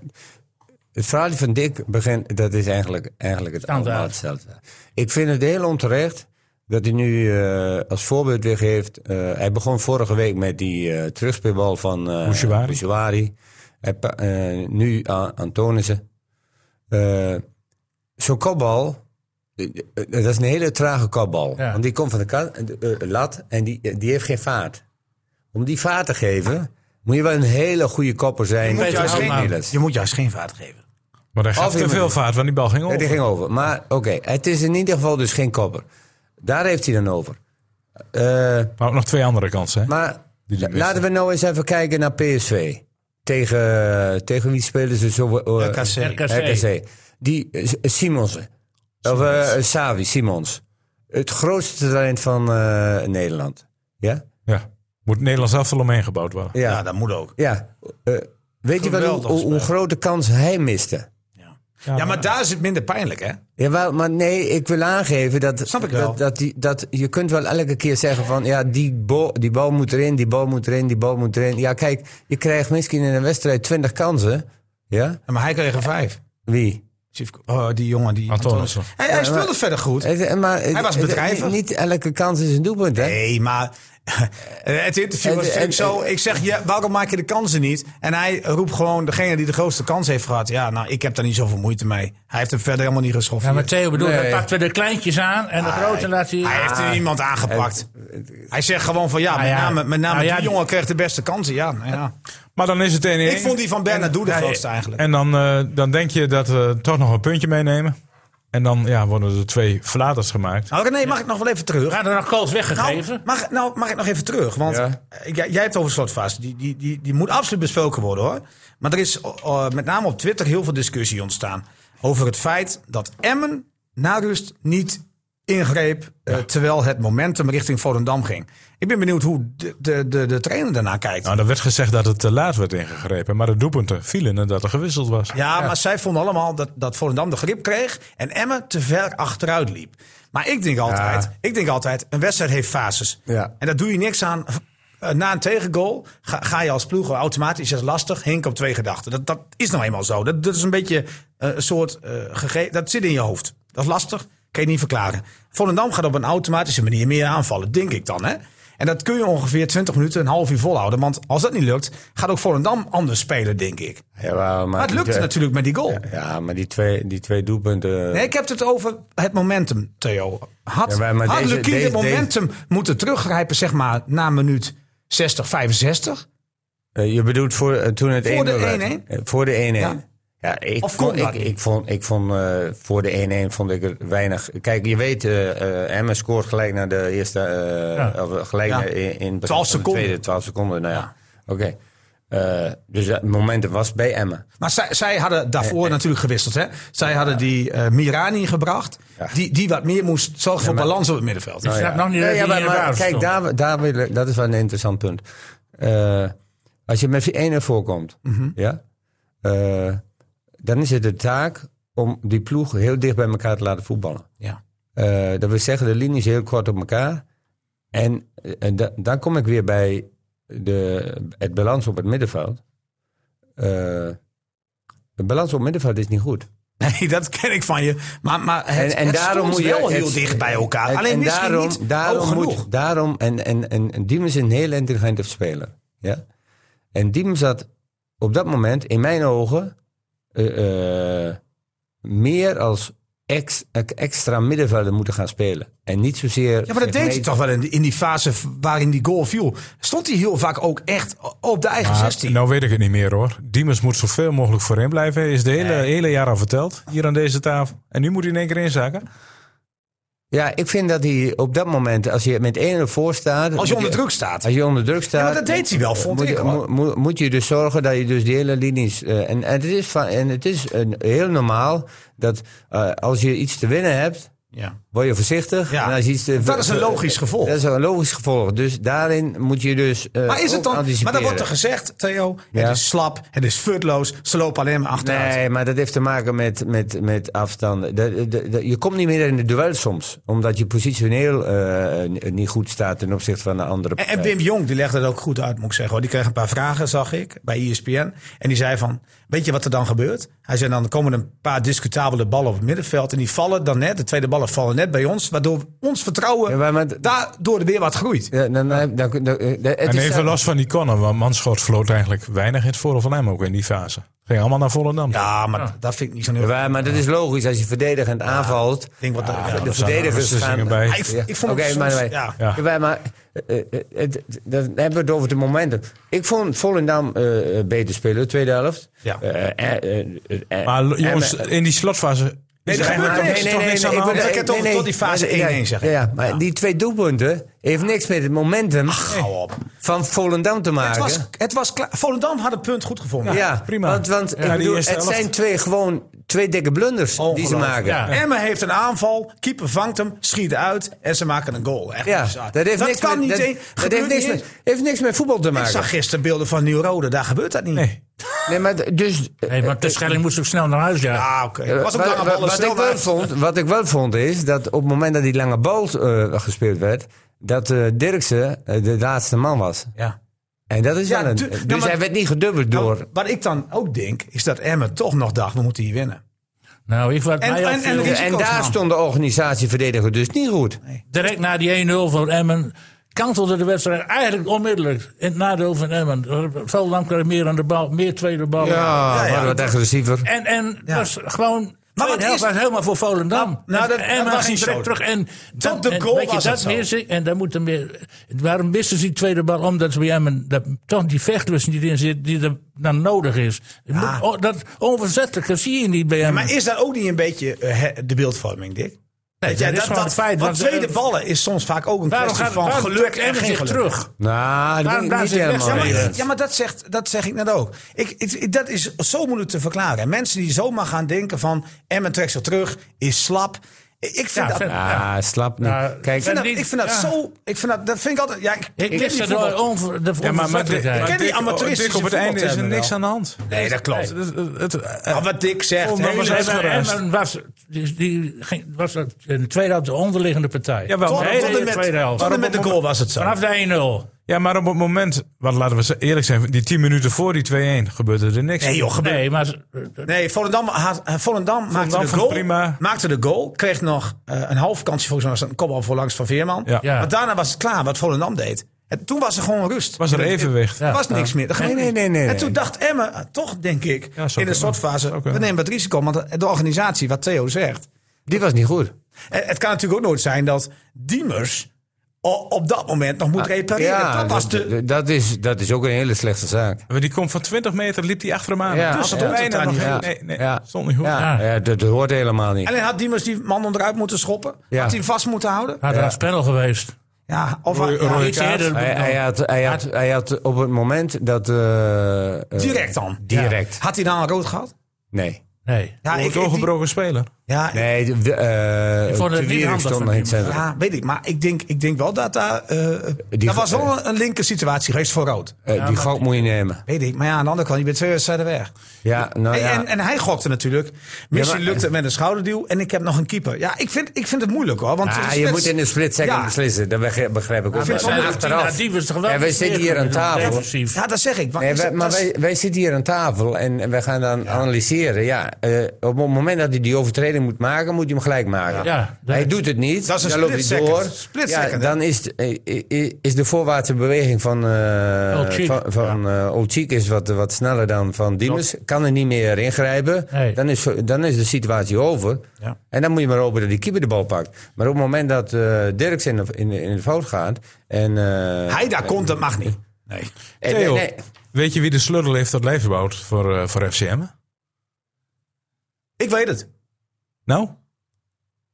Speaker 4: het verhaal van Dick begint, dat is eigenlijk, eigenlijk het
Speaker 2: Standaard.
Speaker 4: allemaal hetzelfde. Ik vind het heel onterecht dat hij nu eh, als voorbeeld weer geeft. eh, hij begon vorige week met die eh terugspeelbal van eh
Speaker 3: Bouchouari.
Speaker 4: Bouchouari. Hij pa- eh, nu A- Antonissen. Eh, Zo'n kopbal. eh, eh, Dat is een hele trage kopbal.
Speaker 2: Ja.
Speaker 4: Want die komt van de ka- eh, eh, lat en die, eh, die heeft geen vaart. Om die vaart te geven, moet je wel een hele goede kopper zijn.
Speaker 2: moet juist geen-
Speaker 4: Cornelis.
Speaker 1: Je moet juist geen vaart geven.
Speaker 3: Maar hij gaf
Speaker 4: Of
Speaker 3: te
Speaker 4: helemaal
Speaker 3: veel
Speaker 4: niet.
Speaker 3: vaart, want die bal ging
Speaker 4: Ja,
Speaker 3: over.
Speaker 4: die ging over. Maar oké, het is in ieder geval dus geen kopper. Daar heeft hij dan over. Eh,
Speaker 3: Maar ook nog twee andere kansen. Hè?
Speaker 4: maar
Speaker 3: Die die
Speaker 4: laten we nou eens even kijken naar PSV. Tegen, tegen wie spelen ze zo? eh,
Speaker 1: RKC.
Speaker 2: RKC.
Speaker 4: RKC. Die eh, S- Simonsen. Of eh, eh, Savi, Simons. Het grootste talent van eh, Nederland. Ja?
Speaker 3: Ja. Moet Nederlands elftal omheen gebouwd worden.
Speaker 4: Ja.
Speaker 1: Ja, dat moet ook.
Speaker 4: Ja, eh, weet je wel hoe,
Speaker 1: Geweldig
Speaker 4: hoe, hoe
Speaker 1: spel.
Speaker 4: grote kans hij miste?
Speaker 1: Ja, maar daar is het minder pijnlijk, hè?
Speaker 4: Jawel, maar nee, ik wil aangeven dat,
Speaker 1: Snap ik wel.
Speaker 4: dat, dat, die, dat je kunt wel elke keer zeggen van ja, die, bal- die bal moet erin, die bal moet erin, die bal moet erin. Ja, kijk, je krijgt misschien in een wedstrijd 20 kansen. Ja?
Speaker 1: Maar hij kreeg er vijf.
Speaker 4: Wie?
Speaker 1: Sivko- oh, die jongen, die
Speaker 3: Antonissen.
Speaker 1: Hij, hij speelde verder goed.
Speaker 4: Eh, Maar,
Speaker 1: Hij was bedrijvig.
Speaker 4: Niet, niet elke kans is een doelpunt, hè?
Speaker 1: Nee, maar eh, het interview was
Speaker 4: En-
Speaker 1: natuurlijk
Speaker 4: en-
Speaker 1: zo. Ik zeg, ja, waarom maak je de kansen niet? En hij roept gewoon degene die de grootste kans heeft gehad. Ja, nou, ik heb daar niet zoveel moeite mee. Hij heeft hem verder helemaal niet geschoffen.
Speaker 2: Ja, maar Theo bedoelt,
Speaker 4: Nee.
Speaker 2: dan pakten we de kleintjes aan en de grote laat hij...
Speaker 1: hij heeft er iemand aangepakt. Hij zegt gewoon van ja,
Speaker 2: Nou
Speaker 1: met
Speaker 2: ja,
Speaker 1: name, met name
Speaker 2: nou ja,
Speaker 1: die
Speaker 2: die-
Speaker 1: jongen kreeg de beste kansen. Ja, nou ja.
Speaker 3: Maar dan is het 1-1.
Speaker 1: Ik vond die van Bernardo de grootste eigenlijk.
Speaker 3: En dan, eh, dan denk je dat we toch nog een puntje meenemen. En dan ja, worden er twee verlaters gemaakt.
Speaker 1: Nou, René, mag ik nog wel even terug?
Speaker 2: We gaan er nog kools weggegeven.
Speaker 1: Nou, mag, nou, mag ik nog even terug? Want
Speaker 4: Ja.
Speaker 1: eh, jij, jij hebt over slotfase. Die, die, die, die moet absoluut besproken worden hoor. Maar er is eh, met name op Twitter heel veel discussie ontstaan. Over het feit dat Emmen na rust niet ingreep. eh, terwijl het momentum richting Volendam ging. Ik ben benieuwd hoe de, de, de, de trainer daarna kijkt.
Speaker 3: Nou, er werd gezegd dat het te laat werd ingegrepen. Maar de doelpunten vielen en dat er gewisseld was.
Speaker 1: Ja, maar zij vonden allemaal dat, dat Volendam de grip kreeg en Emmen te ver achteruit liep. Maar ik denk altijd, ik denk altijd een wedstrijd heeft fases.
Speaker 4: Ja.
Speaker 1: En daar doe je niks aan. Eh, Na een tegengoal ga, ga je als ploeg automatisch, dat is lastig, hink op twee gedachten. Dat, dat is nou eenmaal zo. Dat, dat is een beetje eh, een soort eh gegeven, dat zit in je hoofd. Dat is lastig, kan je niet verklaren. Volendam gaat op een automatische manier meer aanvallen, denk ik dan. Hè? En dat kun je ongeveer 20 minuten, een half uur volhouden. Want als dat niet lukt, gaat ook Volendam anders spelen, denk ik.
Speaker 4: Jawel,
Speaker 1: Maar het
Speaker 4: die
Speaker 1: lukte
Speaker 4: twee-
Speaker 1: natuurlijk met die goal.
Speaker 4: Ja, maar die twee, die twee doelpunten.
Speaker 1: Nee, ik heb het over het momentum, Theo. Had,
Speaker 4: Ja, maar- maar
Speaker 1: had
Speaker 4: deze-
Speaker 1: Lukien
Speaker 4: deze-
Speaker 1: het momentum moeten teruggrijpen, zeg maar, na minuut 60, 65?
Speaker 4: Eh, je bedoelt voor, eh, toen het 1-0
Speaker 1: Voor de
Speaker 4: werd.
Speaker 1: 1-1?
Speaker 4: Eh, Voor de 1-1.
Speaker 1: Ja.
Speaker 4: Ja. ik
Speaker 1: Of kon
Speaker 4: vond,
Speaker 1: dat
Speaker 4: ik,
Speaker 1: niet?
Speaker 4: ik vond, ik vond eh, voor de 1-1 vond ik er weinig. Kijk, je weet, eh eh, Emmen scoort gelijk naar de eerste, eh,
Speaker 2: Ja.
Speaker 4: of gelijk
Speaker 1: Ja.
Speaker 4: naar- in, in het begin
Speaker 1: 12
Speaker 4: van de
Speaker 1: seconden.
Speaker 4: tweede 12 seconden. Nou ja, oké. Eh, dus dat momentum was bij Emmen.
Speaker 1: Maar zij, zij hadden daarvoor natuurlijk gewisseld. Hè? Zij hadden die eh, Mirani gebracht, die, die wat meer moest zorgen voor balans op het middenveld.
Speaker 2: ik snap nog niet
Speaker 4: Nee,
Speaker 2: dat hij
Speaker 4: Nou ja, maar,
Speaker 2: in de
Speaker 4: maar
Speaker 2: basis
Speaker 4: kijk,
Speaker 2: stond.
Speaker 4: daar, daar wil ik, dat is wel een interessant punt. Eh, als je met die ene voorkomt, ja, eh, dan is het de taak om die ploeg heel dicht bij elkaar te laten voetballen.
Speaker 1: Ja.
Speaker 4: Eh, dat wil zeggen, de linie is heel kort op elkaar. En, eh, en da- dan kom ik weer bij de, het balans op het middenveld. Eh, De balans op middenveld is niet goed.
Speaker 1: Nee, dat ken ik van je. Maar, maar het,
Speaker 4: En, en
Speaker 1: het
Speaker 4: daarom
Speaker 1: stond
Speaker 4: moet je
Speaker 1: wel heel
Speaker 4: het-
Speaker 1: dicht bij elkaar.
Speaker 4: en-
Speaker 1: Alleen
Speaker 4: en
Speaker 1: misschien
Speaker 4: daarom,
Speaker 1: niet
Speaker 4: daarom
Speaker 1: hoog
Speaker 4: moet-
Speaker 1: genoeg.
Speaker 4: Daarom, en, en, en, en Diem is een heel intelligente speler. Ja? En Diem zat op dat moment, in mijn ogen, eh, eh, meer als ex, extra middenvelder moeten gaan spelen. En niet zozeer...
Speaker 1: Ja, maar dat deed
Speaker 4: zeg, nee,
Speaker 1: hij toch wel in die, in die fase waarin die goal viel. Stond hij heel vaak ook echt op de eigen
Speaker 3: Maar
Speaker 1: 16.
Speaker 3: nou weet ik het niet meer hoor. Diemers moet zoveel mogelijk voorin blijven. Is de hele, hele jaar al verteld. Hier aan deze tafel. En nu moet hij in één keer inzakken.
Speaker 4: Ja, ik vind dat hij op dat moment, als je met 1-0 voor staat...
Speaker 1: als je
Speaker 4: moet
Speaker 1: onder druk staat.
Speaker 4: Als je onder druk staat... eh,
Speaker 1: Ja, maar dat deed hij wel, vond
Speaker 4: moet,
Speaker 1: ik.
Speaker 4: je-
Speaker 1: hoor.
Speaker 4: mo- mo- moet je dus zorgen dat je dus de hele linies... eh, en, en het is, van, en het is een, heel normaal dat eh, als je iets te winnen hebt,
Speaker 1: Ja.
Speaker 4: word je voorzichtig.
Speaker 1: Ja.
Speaker 4: En als je iets te- eh,
Speaker 1: Dat is een logisch gevolg.
Speaker 4: Dat is een logisch gevolg. Dus daarin moet je dus eh,
Speaker 1: Maar is het dan?
Speaker 4: ook
Speaker 1: Maar dan
Speaker 4: anticiperen.
Speaker 1: wordt er gezegd, Theo,
Speaker 4: Ja.
Speaker 1: het is slap, het is futloos, ze lopen alleen maar achteruit.
Speaker 4: Nee, maar dat heeft te maken met, met, met afstanden. Dat- dat- dat- je komt niet meer in de duel soms. Omdat je positioneel eh, n- niet goed staat ten opzichte van de andere
Speaker 1: En,
Speaker 4: partij.
Speaker 1: en Wim Jong, die legde dat ook goed uit, moet ik zeggen. hoor. Die kreeg een paar vragen, zag ik, bij E ESPN. En die zei van, weet je wat er dan gebeurt? Hij zei, dan komen er een paar discutabele ballen op het middenveld. En die vallen dan net, de tweede ballen vallen net bij ons. Waardoor ons vertrouwen
Speaker 4: Ja, maar- maar-
Speaker 1: daardoor weer wat groeit.
Speaker 4: Ja, dan, dan, dan, dan- eh, het is
Speaker 3: en
Speaker 1: eh,
Speaker 3: even
Speaker 4: dan-
Speaker 3: los van die konnen. Want Manschot vloot eigenlijk weinig in het voordeel van hem ook in die fase. Ging allemaal naar Volendam.
Speaker 1: Ja, maar dat vind ik niet zo'n heel...
Speaker 4: Ja, maar dat is logisch als je verdedigend aanvalt. Ah,
Speaker 1: Ik denk wat dat- ja,
Speaker 4: de
Speaker 1: dat-
Speaker 4: verdedigers
Speaker 3: Russen
Speaker 4: gaan... Ah,
Speaker 3: zingen bij.
Speaker 1: Ja, ik, ik vond
Speaker 4: Oké,
Speaker 1: het soms-
Speaker 4: maar, wij-
Speaker 1: ja.
Speaker 3: Ja.
Speaker 4: wij- maar eh, eh, het- dan hebben we het over de momenten. Ik vond Volendam eh, beter spelen, de tweede helft.
Speaker 1: Ja.
Speaker 4: Eh, eh, eh, eh,
Speaker 3: Maar
Speaker 4: en-
Speaker 3: jongens,
Speaker 4: en-
Speaker 3: in die slotfase...
Speaker 1: Nee, er
Speaker 4: Nee,
Speaker 1: gebeurt
Speaker 4: maar-
Speaker 1: toch
Speaker 4: nee,
Speaker 1: niks-
Speaker 4: nee,
Speaker 1: toch
Speaker 4: nee,
Speaker 1: niks
Speaker 4: nee,
Speaker 1: aan de hand?
Speaker 4: nee,
Speaker 1: Ik heb het
Speaker 4: nee,
Speaker 1: over
Speaker 4: nee,
Speaker 1: tot die fase
Speaker 4: nee, nee,
Speaker 1: 1-1 zeg
Speaker 4: Ja,
Speaker 1: ik.
Speaker 4: ja, maar die twee doelpunten heeft niks met het momentum
Speaker 1: Hou op.
Speaker 4: van Volendam te
Speaker 1: Het
Speaker 4: maken.
Speaker 1: was, het was klaar. Volendam had het punt goed gevonden.
Speaker 4: ja,
Speaker 3: prima.
Speaker 4: Want, want
Speaker 3: Ja,
Speaker 4: ik
Speaker 3: die
Speaker 4: bedoel, het
Speaker 3: eerste helft.
Speaker 4: zijn twee gewoon twee dikke blunders die ze
Speaker 1: Ongelooflijk.
Speaker 4: maken.
Speaker 1: Ja. Emmen heeft een aanval, keeper vangt hem, schiet uit en ze maken een goal. Echt
Speaker 4: Ja,
Speaker 1: bizar.
Speaker 4: dat heeft niks
Speaker 1: kan
Speaker 4: met-
Speaker 1: niet
Speaker 4: dat-
Speaker 1: eens-
Speaker 4: dat
Speaker 1: gebeurt
Speaker 4: heeft niks
Speaker 1: niet
Speaker 4: met-
Speaker 1: eens.
Speaker 4: heeft niks met voetbal te
Speaker 1: Ik
Speaker 4: maken.
Speaker 1: zag gisteren beelden van Nieuw-Rode, daar gebeurt dat niet.
Speaker 3: Nee.
Speaker 4: Nee, maar d- dus
Speaker 2: Nee, maar de Schelling moest ook snel naar huis, ja.
Speaker 1: Ah, oké. Het was ook
Speaker 4: Wat-
Speaker 1: lange
Speaker 4: wat-
Speaker 1: ballen,
Speaker 4: wat,
Speaker 1: snel
Speaker 4: ik wel
Speaker 1: naar-
Speaker 4: vond, wat ik wel vond is dat op het moment dat die lange bal eh, gespeeld werd, dat eh, Dirksen eh, de laatste man was.
Speaker 1: Ja.
Speaker 4: En dat is
Speaker 1: Ja,
Speaker 4: wel een,
Speaker 1: tu-
Speaker 4: dus
Speaker 1: nou, maar-
Speaker 4: hij werd niet gedubbeld
Speaker 1: Nou,
Speaker 4: door.
Speaker 1: Wat ik dan ook denk, is dat Emmen toch nog dacht, we moeten hier winnen.
Speaker 2: Nou, ik wat
Speaker 1: En-
Speaker 2: mij
Speaker 1: en-
Speaker 2: opviel-
Speaker 1: en-
Speaker 4: En
Speaker 1: risico's
Speaker 4: daar
Speaker 1: nam.
Speaker 4: stond de organisatieverdediger dus niet goed.
Speaker 2: direct na die 1-0 van Emmen kantelde de wedstrijd eigenlijk onmiddellijk in het nadeel van Emmen. Veldam kreeg meer aan de bal, meer tweede bal.
Speaker 4: Ja,
Speaker 1: ja.
Speaker 4: maar wat agressiever.
Speaker 2: En, en
Speaker 1: Ja.
Speaker 2: was gewoon.
Speaker 1: Maar
Speaker 2: Maar
Speaker 1: wat
Speaker 2: het
Speaker 1: is-
Speaker 2: was helemaal voor Volendam.
Speaker 1: Nou,
Speaker 2: En
Speaker 1: dat- dat
Speaker 2: Emmen
Speaker 1: was
Speaker 2: ging
Speaker 1: niet
Speaker 2: direct
Speaker 1: zo.
Speaker 2: terug. En
Speaker 1: Tot de
Speaker 2: en
Speaker 1: goal
Speaker 2: weet je,
Speaker 1: was
Speaker 2: dat
Speaker 1: het zo.
Speaker 2: mis ik. En daar moeten meer. Waarom misten ze die tweede bal? Omdat ze bij Emmen dat, toch die vechtlust niet in zit die er dan nodig is. Je moet-
Speaker 1: Ja.
Speaker 2: oh, dat onverzettelijke zie je niet bij Emmen.
Speaker 1: Maar is dat ook niet een beetje eh, he- de beeldvorming, Dick?
Speaker 2: Nee,
Speaker 1: Ja,
Speaker 2: dat is
Speaker 1: dat,
Speaker 2: gewoon
Speaker 1: dat,
Speaker 2: een feit.
Speaker 1: want
Speaker 2: Want,
Speaker 1: tweede
Speaker 2: eh,
Speaker 1: ballen is soms vaak ook een
Speaker 2: waarom
Speaker 1: kwestie
Speaker 2: gaat
Speaker 1: van
Speaker 2: waarom
Speaker 1: geluk
Speaker 2: trekt
Speaker 1: en
Speaker 2: Emmen
Speaker 1: geen
Speaker 2: zich
Speaker 1: geluk.
Speaker 2: terug?
Speaker 4: Nou, dat ben
Speaker 2: Waarom
Speaker 4: ik
Speaker 2: daar
Speaker 4: niet
Speaker 2: zit weg-
Speaker 4: helemaal
Speaker 1: Ja,
Speaker 2: Ja,
Speaker 1: maar,
Speaker 4: mee
Speaker 2: ja.
Speaker 4: eens.
Speaker 1: ja, maar dat, zegt, dat zeg ik net ook. Ik, ik- ik- dat is zo moeilijk te verklaren. En mensen die zomaar gaan denken van... Emmen trekt zich terug, is slap. Ik ik vind
Speaker 2: Ja,
Speaker 1: dat...
Speaker 2: ver-
Speaker 1: Ik
Speaker 4: Ah, slap niet.
Speaker 2: Nou,
Speaker 4: Kijk,
Speaker 1: vind dat,
Speaker 2: niet-
Speaker 1: ik vind dat
Speaker 2: ja.
Speaker 1: zo... Ik vind dat, dat vind ik altijd... Ja, ik,
Speaker 2: Ik
Speaker 1: ken
Speaker 2: mis
Speaker 1: die
Speaker 2: de
Speaker 1: voetbal-
Speaker 2: onver, de onverzettelijkheid.
Speaker 1: ken die
Speaker 3: Dick-
Speaker 1: amateuristische
Speaker 3: Dick, op het einde is er
Speaker 1: voetbaltermen
Speaker 3: niks
Speaker 1: wel.
Speaker 3: aan de hand.
Speaker 1: Nee, dat klopt.
Speaker 3: Het- het- het-
Speaker 1: Maar wat Dick zegt...
Speaker 3: Volendam
Speaker 1: hele-
Speaker 3: was
Speaker 2: Nee,
Speaker 3: even-
Speaker 2: Oh, maar
Speaker 3: uitgerust.
Speaker 2: Emmen was, die, die ging- was dat in de tweede helft de onderliggende partij.
Speaker 3: Jawel,
Speaker 1: tot,
Speaker 3: maar-
Speaker 2: Nee,
Speaker 1: tot
Speaker 2: nee,
Speaker 1: en met,
Speaker 2: tweede helft.
Speaker 1: tot en met de goal was het zo.
Speaker 2: Vanaf de 1-0.
Speaker 3: Ja, maar op het moment, wat laten we ze- eerlijk zijn, die 10 minuten voor die 2-1 gebeurde er niks.
Speaker 1: Nee joh, gebeurt
Speaker 2: Nee, maar ze-
Speaker 1: Nee, Volendam, had- eh, Volendam, maakte, de
Speaker 3: vond
Speaker 1: goal,
Speaker 3: prima.
Speaker 1: maakte de goal. Kreeg nog eh, een half kansje, volgens mij was dat een kopbal voor langs van Veerman.
Speaker 3: Ja.
Speaker 2: Ja.
Speaker 1: Maar daarna was het klaar wat Volendam deed. En toen was er gewoon rust.
Speaker 3: Was er evenwicht.
Speaker 1: Er was niks meer. Er gebeurde
Speaker 4: nee,
Speaker 1: niks.
Speaker 4: nee, nee,
Speaker 1: En
Speaker 4: nee.
Speaker 1: toen dacht Emmen, eh, toch denk ik,
Speaker 3: zou
Speaker 1: in
Speaker 3: kunnen.
Speaker 1: een slotfase,
Speaker 3: Zou
Speaker 1: we
Speaker 3: kunnen.
Speaker 1: nemen het risico. Want de organisatie, wat Theo zegt.
Speaker 4: die was niet goed.
Speaker 1: eh, Het kan natuurlijk ook nooit zijn dat Diemers o- op dat moment nog moet repareren.
Speaker 4: Ah, Ja,
Speaker 1: dat was
Speaker 4: dat-
Speaker 1: de...
Speaker 4: dat is- dat is ook een hele slechte zaak.
Speaker 3: Maar die komt van 20 meter, liep die achter hem aan.
Speaker 4: Ja,
Speaker 3: Toen
Speaker 4: ja.
Speaker 3: stond
Speaker 4: Stond
Speaker 1: het
Speaker 3: bijna
Speaker 1: daar
Speaker 3: nog
Speaker 1: niet
Speaker 3: geen-
Speaker 4: goed?
Speaker 3: Nee, nee,
Speaker 4: Ja.
Speaker 3: stond niet goed.
Speaker 4: Ja, ja, dat hoort helemaal niet.
Speaker 1: En had Diemers die man onderuit moeten schoppen?
Speaker 4: Ja.
Speaker 1: Had hij hem vast moeten houden?
Speaker 2: had er een spel geweest.
Speaker 1: Ja, of
Speaker 3: Roy-
Speaker 1: ja,
Speaker 3: Roy-
Speaker 2: Iets
Speaker 3: kaart.
Speaker 2: eerder.
Speaker 4: Hij, hij, had, hij, had, hij had op het moment dat. eh, eh,
Speaker 1: direct dan.
Speaker 4: Direct.
Speaker 1: Had hij dan een rood gehad?
Speaker 4: Nee.
Speaker 2: Nee.
Speaker 1: Ja,
Speaker 3: Voor het doorgebroken speler.
Speaker 1: Ja,
Speaker 4: Nee, de- de, eh,
Speaker 2: Ik vond het
Speaker 4: Te
Speaker 2: niet
Speaker 4: Wierik
Speaker 2: handig
Speaker 4: stond
Speaker 2: van
Speaker 4: nog in het
Speaker 2: Diemen.
Speaker 4: centrum.
Speaker 1: ja, weet ik. Maar ik denk, ik denk wel dat daar... eh
Speaker 4: Die-
Speaker 1: dat was wel een, een linker situatie geweest voor rood.
Speaker 4: Eh, die gok moet je nemen.
Speaker 1: Weet ik. Maar ja, aan de andere kant, je bent twee wedstrijden weg.
Speaker 4: Ja, nou
Speaker 1: En-
Speaker 4: ja.
Speaker 1: En, en hij gokte natuurlijk. Misschien
Speaker 4: Ja, maar-
Speaker 1: lukt het met een schouderduw. En ik heb nog een keeper. Ja, ik vind, ik vind het moeilijk hoor. Want
Speaker 4: Ah,
Speaker 1: het is
Speaker 4: je
Speaker 1: best-
Speaker 4: moet in de split second
Speaker 1: Ja.
Speaker 4: beslissen, dat beg- begrijp ik ook.
Speaker 1: vind
Speaker 4: wel.
Speaker 1: het wel
Speaker 4: En
Speaker 1: leuk.
Speaker 4: achteraf.
Speaker 2: Die was toch wel
Speaker 4: Ja, wij
Speaker 2: iets
Speaker 4: zitten
Speaker 2: meer
Speaker 4: hier aan tafel.
Speaker 2: defensief.
Speaker 1: Ja, dat zeg ik. Want
Speaker 4: Nee,
Speaker 1: is
Speaker 4: wij,
Speaker 1: het-
Speaker 4: maar
Speaker 1: dat is-
Speaker 4: wij, wij zitten hier aan tafel en, en wij gaan dan analyseren. Ja, eh, op het moment dat hij die overtreding moet maken, moet hij hem gelijk maken.
Speaker 2: Ja, dat-
Speaker 4: hij doet het niet,
Speaker 1: Dat is een
Speaker 4: dan loopt hij
Speaker 1: split
Speaker 4: door.
Speaker 1: second. Split
Speaker 4: ja,
Speaker 1: second, hè?
Speaker 4: dan is, de- eh, eh, is de voorwaartse beweging van, eh
Speaker 2: Old Cheek.
Speaker 4: van, van eh, Old Cheek is wat, wat sneller dan van Diemers. Kan er niet meer ingrijpen.
Speaker 2: Nee.
Speaker 4: Dan, is, dan is de situatie over.
Speaker 1: Ja.
Speaker 4: En dan moet je maar hopen dat die keeper de bal pakt. Maar op het moment dat eh Dirks in de, in, de- in de fout gaat... En, eh,
Speaker 1: Hij daar komt, dat mag niet. Nee.
Speaker 4: en-
Speaker 3: Theo,
Speaker 4: nee, nee.
Speaker 3: Weet je wie de sleutel heeft tot levensbouw voor, eh, voor FCM?
Speaker 1: Ik weet het.
Speaker 3: Nou,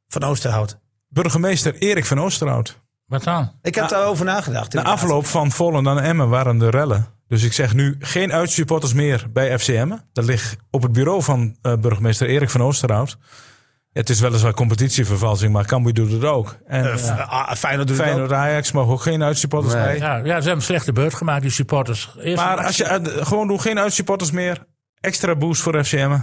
Speaker 1: Van Oosterhout.
Speaker 3: burgemeester Erik van Oosterhout.
Speaker 2: Wat dan?
Speaker 1: Ik heb daarover nagedacht.
Speaker 3: Na
Speaker 1: inderdaad.
Speaker 3: afloop van Volendam en Emmen waren de rellen. Dus ik zeg nu geen uitsupporters meer bij FCM. Dat ligt op het bureau van eh, burgemeester Erik van Oosterhout. Het is weliswaar competitievervalsing, maar Cambuur doet het ook. En
Speaker 1: Eh,
Speaker 3: eh,
Speaker 1: ah, Feyenoord doet het ook.
Speaker 3: Feyenoord Ajax mogen ook geen uitsupporters
Speaker 4: Nee.
Speaker 3: bij.
Speaker 2: Ja, ja, ze hebben een slechte beurt gemaakt, die supporters. Eerst-
Speaker 3: Maar als je eh, gewoon doe geen uitsupporters meer. Extra boost voor FCM.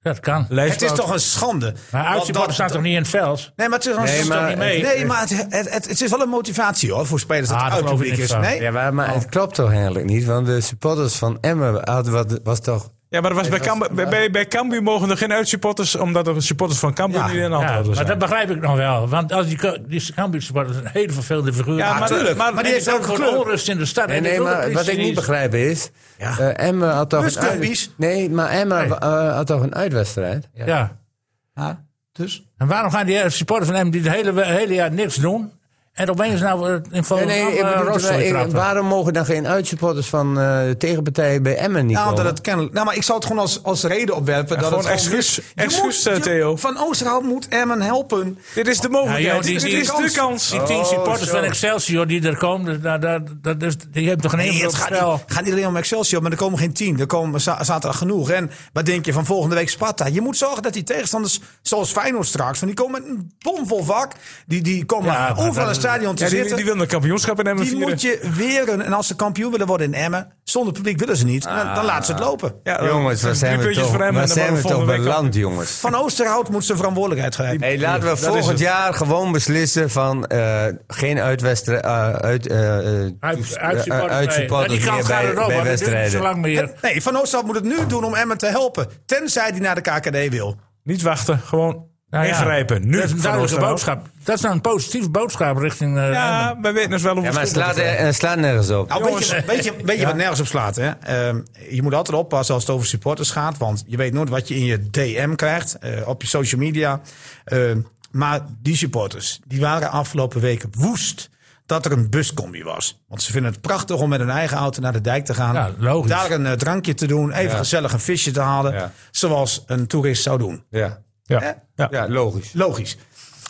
Speaker 2: Dat kan.
Speaker 1: Het is toch een schande.
Speaker 2: Maar
Speaker 1: Want
Speaker 2: uitsupporters
Speaker 1: dat-
Speaker 2: staan toch niet in het veld?
Speaker 1: Nee, maar het is,
Speaker 4: Nee,
Speaker 1: nee,
Speaker 4: maar-
Speaker 1: maar,
Speaker 2: het-
Speaker 1: nee, maar het, het, het, het is wel een motivatie hoor, voor spelers dat
Speaker 2: Ah,
Speaker 1: het
Speaker 2: daar geloof ik
Speaker 1: uitpubliek is.
Speaker 2: niks
Speaker 1: Nee?
Speaker 2: van.
Speaker 4: Ja, maar, maar het klopt toch eigenlijk niet? Want de supporters van Emmen hadden wat, was toch...
Speaker 3: Ja, maar dat was bij, Cambu, bij, bij, bij Cambuur mogen er geen uitsupporters, omdat er supporters van Cambuur
Speaker 1: Ja.
Speaker 3: niet in de hand
Speaker 2: Ja,
Speaker 3: hadden.
Speaker 2: maar
Speaker 3: zijn.
Speaker 2: dat begrijp ik nog wel. Want als die, ko- die Cambuur supporters zijn een hele vervelende figuur.
Speaker 3: Ja, maar-
Speaker 1: Tuurlijk.
Speaker 3: maar-
Speaker 1: Maar,
Speaker 2: En
Speaker 1: die heeft ook een
Speaker 2: zorgen voor
Speaker 1: kleur.
Speaker 2: onrust in de stad.
Speaker 4: Nee,
Speaker 2: En die
Speaker 4: nee,
Speaker 2: wil de
Speaker 4: maar wat
Speaker 2: politie
Speaker 4: ik niet begrijp is...
Speaker 1: Ja.
Speaker 4: eh, Emmen had toch...
Speaker 1: Dus
Speaker 4: een uit-
Speaker 1: clubbies?
Speaker 4: nee, maar Emmen eh, had toch een uitwedstrijd?
Speaker 2: Ja.
Speaker 1: Ja, dus?
Speaker 2: En waarom gaan die eh, supporters van hem die het hele, we- hele jaar niks doen... en opeens nou eh, in
Speaker 4: Nee,
Speaker 2: Volendam
Speaker 4: nee,
Speaker 2: nee,
Speaker 4: ik bedoel, eh,
Speaker 2: trappen?
Speaker 4: waarom mogen dan geen uitsupporters van eh, de tegenpartij bij Emmen niet
Speaker 1: Ja,
Speaker 4: komen?
Speaker 1: omdat het kennelijk. Nou, maar ik zou het gewoon als, als reden opwerpen. dat
Speaker 3: gewoon
Speaker 1: het
Speaker 3: excuus-
Speaker 1: is- Je
Speaker 3: excuus,
Speaker 1: moet-
Speaker 3: eh,
Speaker 1: je-
Speaker 3: Theo.
Speaker 1: Van Oosterhout moet Emmen helpen.
Speaker 3: Dit is de
Speaker 2: Ja,
Speaker 3: mogelijkheid.
Speaker 2: joh, die-
Speaker 3: dit
Speaker 2: die
Speaker 3: is de
Speaker 1: kans.
Speaker 3: kans.
Speaker 2: Die tien
Speaker 4: Oh,
Speaker 2: supporters
Speaker 4: zo.
Speaker 2: van Excelsior die er komen... dus nou, dat, dat is, die hebben toch geen
Speaker 1: Nee,
Speaker 2: invloed op
Speaker 1: het
Speaker 2: het
Speaker 1: gaat
Speaker 2: spel?
Speaker 1: niet, gaat niet alleen om Excelsior, maar er komen geen tien. Er komen za- zaterdag genoeg. En wat denk je van volgende week Sparta? Je moet zorgen dat die tegenstanders, zoals Feyenoord straks, want die komen met een bomvol vak. Die, die komen
Speaker 2: Ja, maar
Speaker 1: overal in
Speaker 2: dat-
Speaker 1: het stadion te
Speaker 3: Ja, die,
Speaker 1: zitten.
Speaker 3: die wil een kampioenschap in Emmen
Speaker 1: Die
Speaker 3: vieren.
Speaker 1: moet je weren. En als ze kampioen willen worden in Emmen, zonder publiek willen ze niet. Dan, dan laten ze het lopen.
Speaker 3: Ja, dan
Speaker 4: jongens, waar zijn
Speaker 3: drie
Speaker 4: we
Speaker 3: puntjes
Speaker 4: toch,
Speaker 3: voor Emmen en dan
Speaker 4: waar zijn we
Speaker 3: worden
Speaker 4: toch
Speaker 3: volgende week
Speaker 4: beland, jongens?
Speaker 1: Van Oosterhout moet zijn verantwoordelijkheid grijpen.
Speaker 4: Hey, laten we
Speaker 3: dat is
Speaker 4: volgend
Speaker 3: het.
Speaker 4: jaar gewoon beslissen van eh, geen uitwedstrijd, eh, uit, eh, eh,
Speaker 2: Uit-
Speaker 4: eh, eh, uitsupporters
Speaker 2: die kans
Speaker 4: meer
Speaker 2: gaat
Speaker 4: bij,
Speaker 2: er ook,
Speaker 4: bij
Speaker 2: maar dat duurt niet zo
Speaker 4: wedstrijden.
Speaker 2: lang meer.
Speaker 1: Nee, Van Oosterhout moet het nu doen om Emmen te helpen. Tenzij die naar de KKD wil.
Speaker 3: Niet wachten, gewoon
Speaker 2: Nou ja,
Speaker 3: ingrijpen. Nu
Speaker 2: dat is een
Speaker 3: Van
Speaker 2: duidelijke
Speaker 3: Oosterhout.
Speaker 2: boodschap. Dat is nou een positieve boodschap richting... eh, Emmen.
Speaker 3: Ja, wij weten dus wel hoe
Speaker 4: Ja,
Speaker 3: het
Speaker 4: maar
Speaker 3: voetbal
Speaker 4: slaat,
Speaker 3: is.
Speaker 4: eh, slaat nergens op.
Speaker 1: Nou, weet je, weet je, weet je wat nergens op slaat? Hè? Ehm, je moet altijd oppassen als het over supporters gaat. Want je weet nooit wat je in je DM krijgt. eh, op je social media. Ehm, maar die supporters, die waren afgelopen weken woest. Dat er een buscombi was. Want ze vinden het prachtig om met hun eigen auto naar de dijk te gaan.
Speaker 2: Ja, logisch.
Speaker 1: Daar een eh, drankje te doen. Even gezellig een visje te halen.
Speaker 4: Ja.
Speaker 1: Zoals een toerist zou doen.
Speaker 4: Ja.
Speaker 3: Ja. Ja.
Speaker 4: ja, logisch.
Speaker 1: Logisch.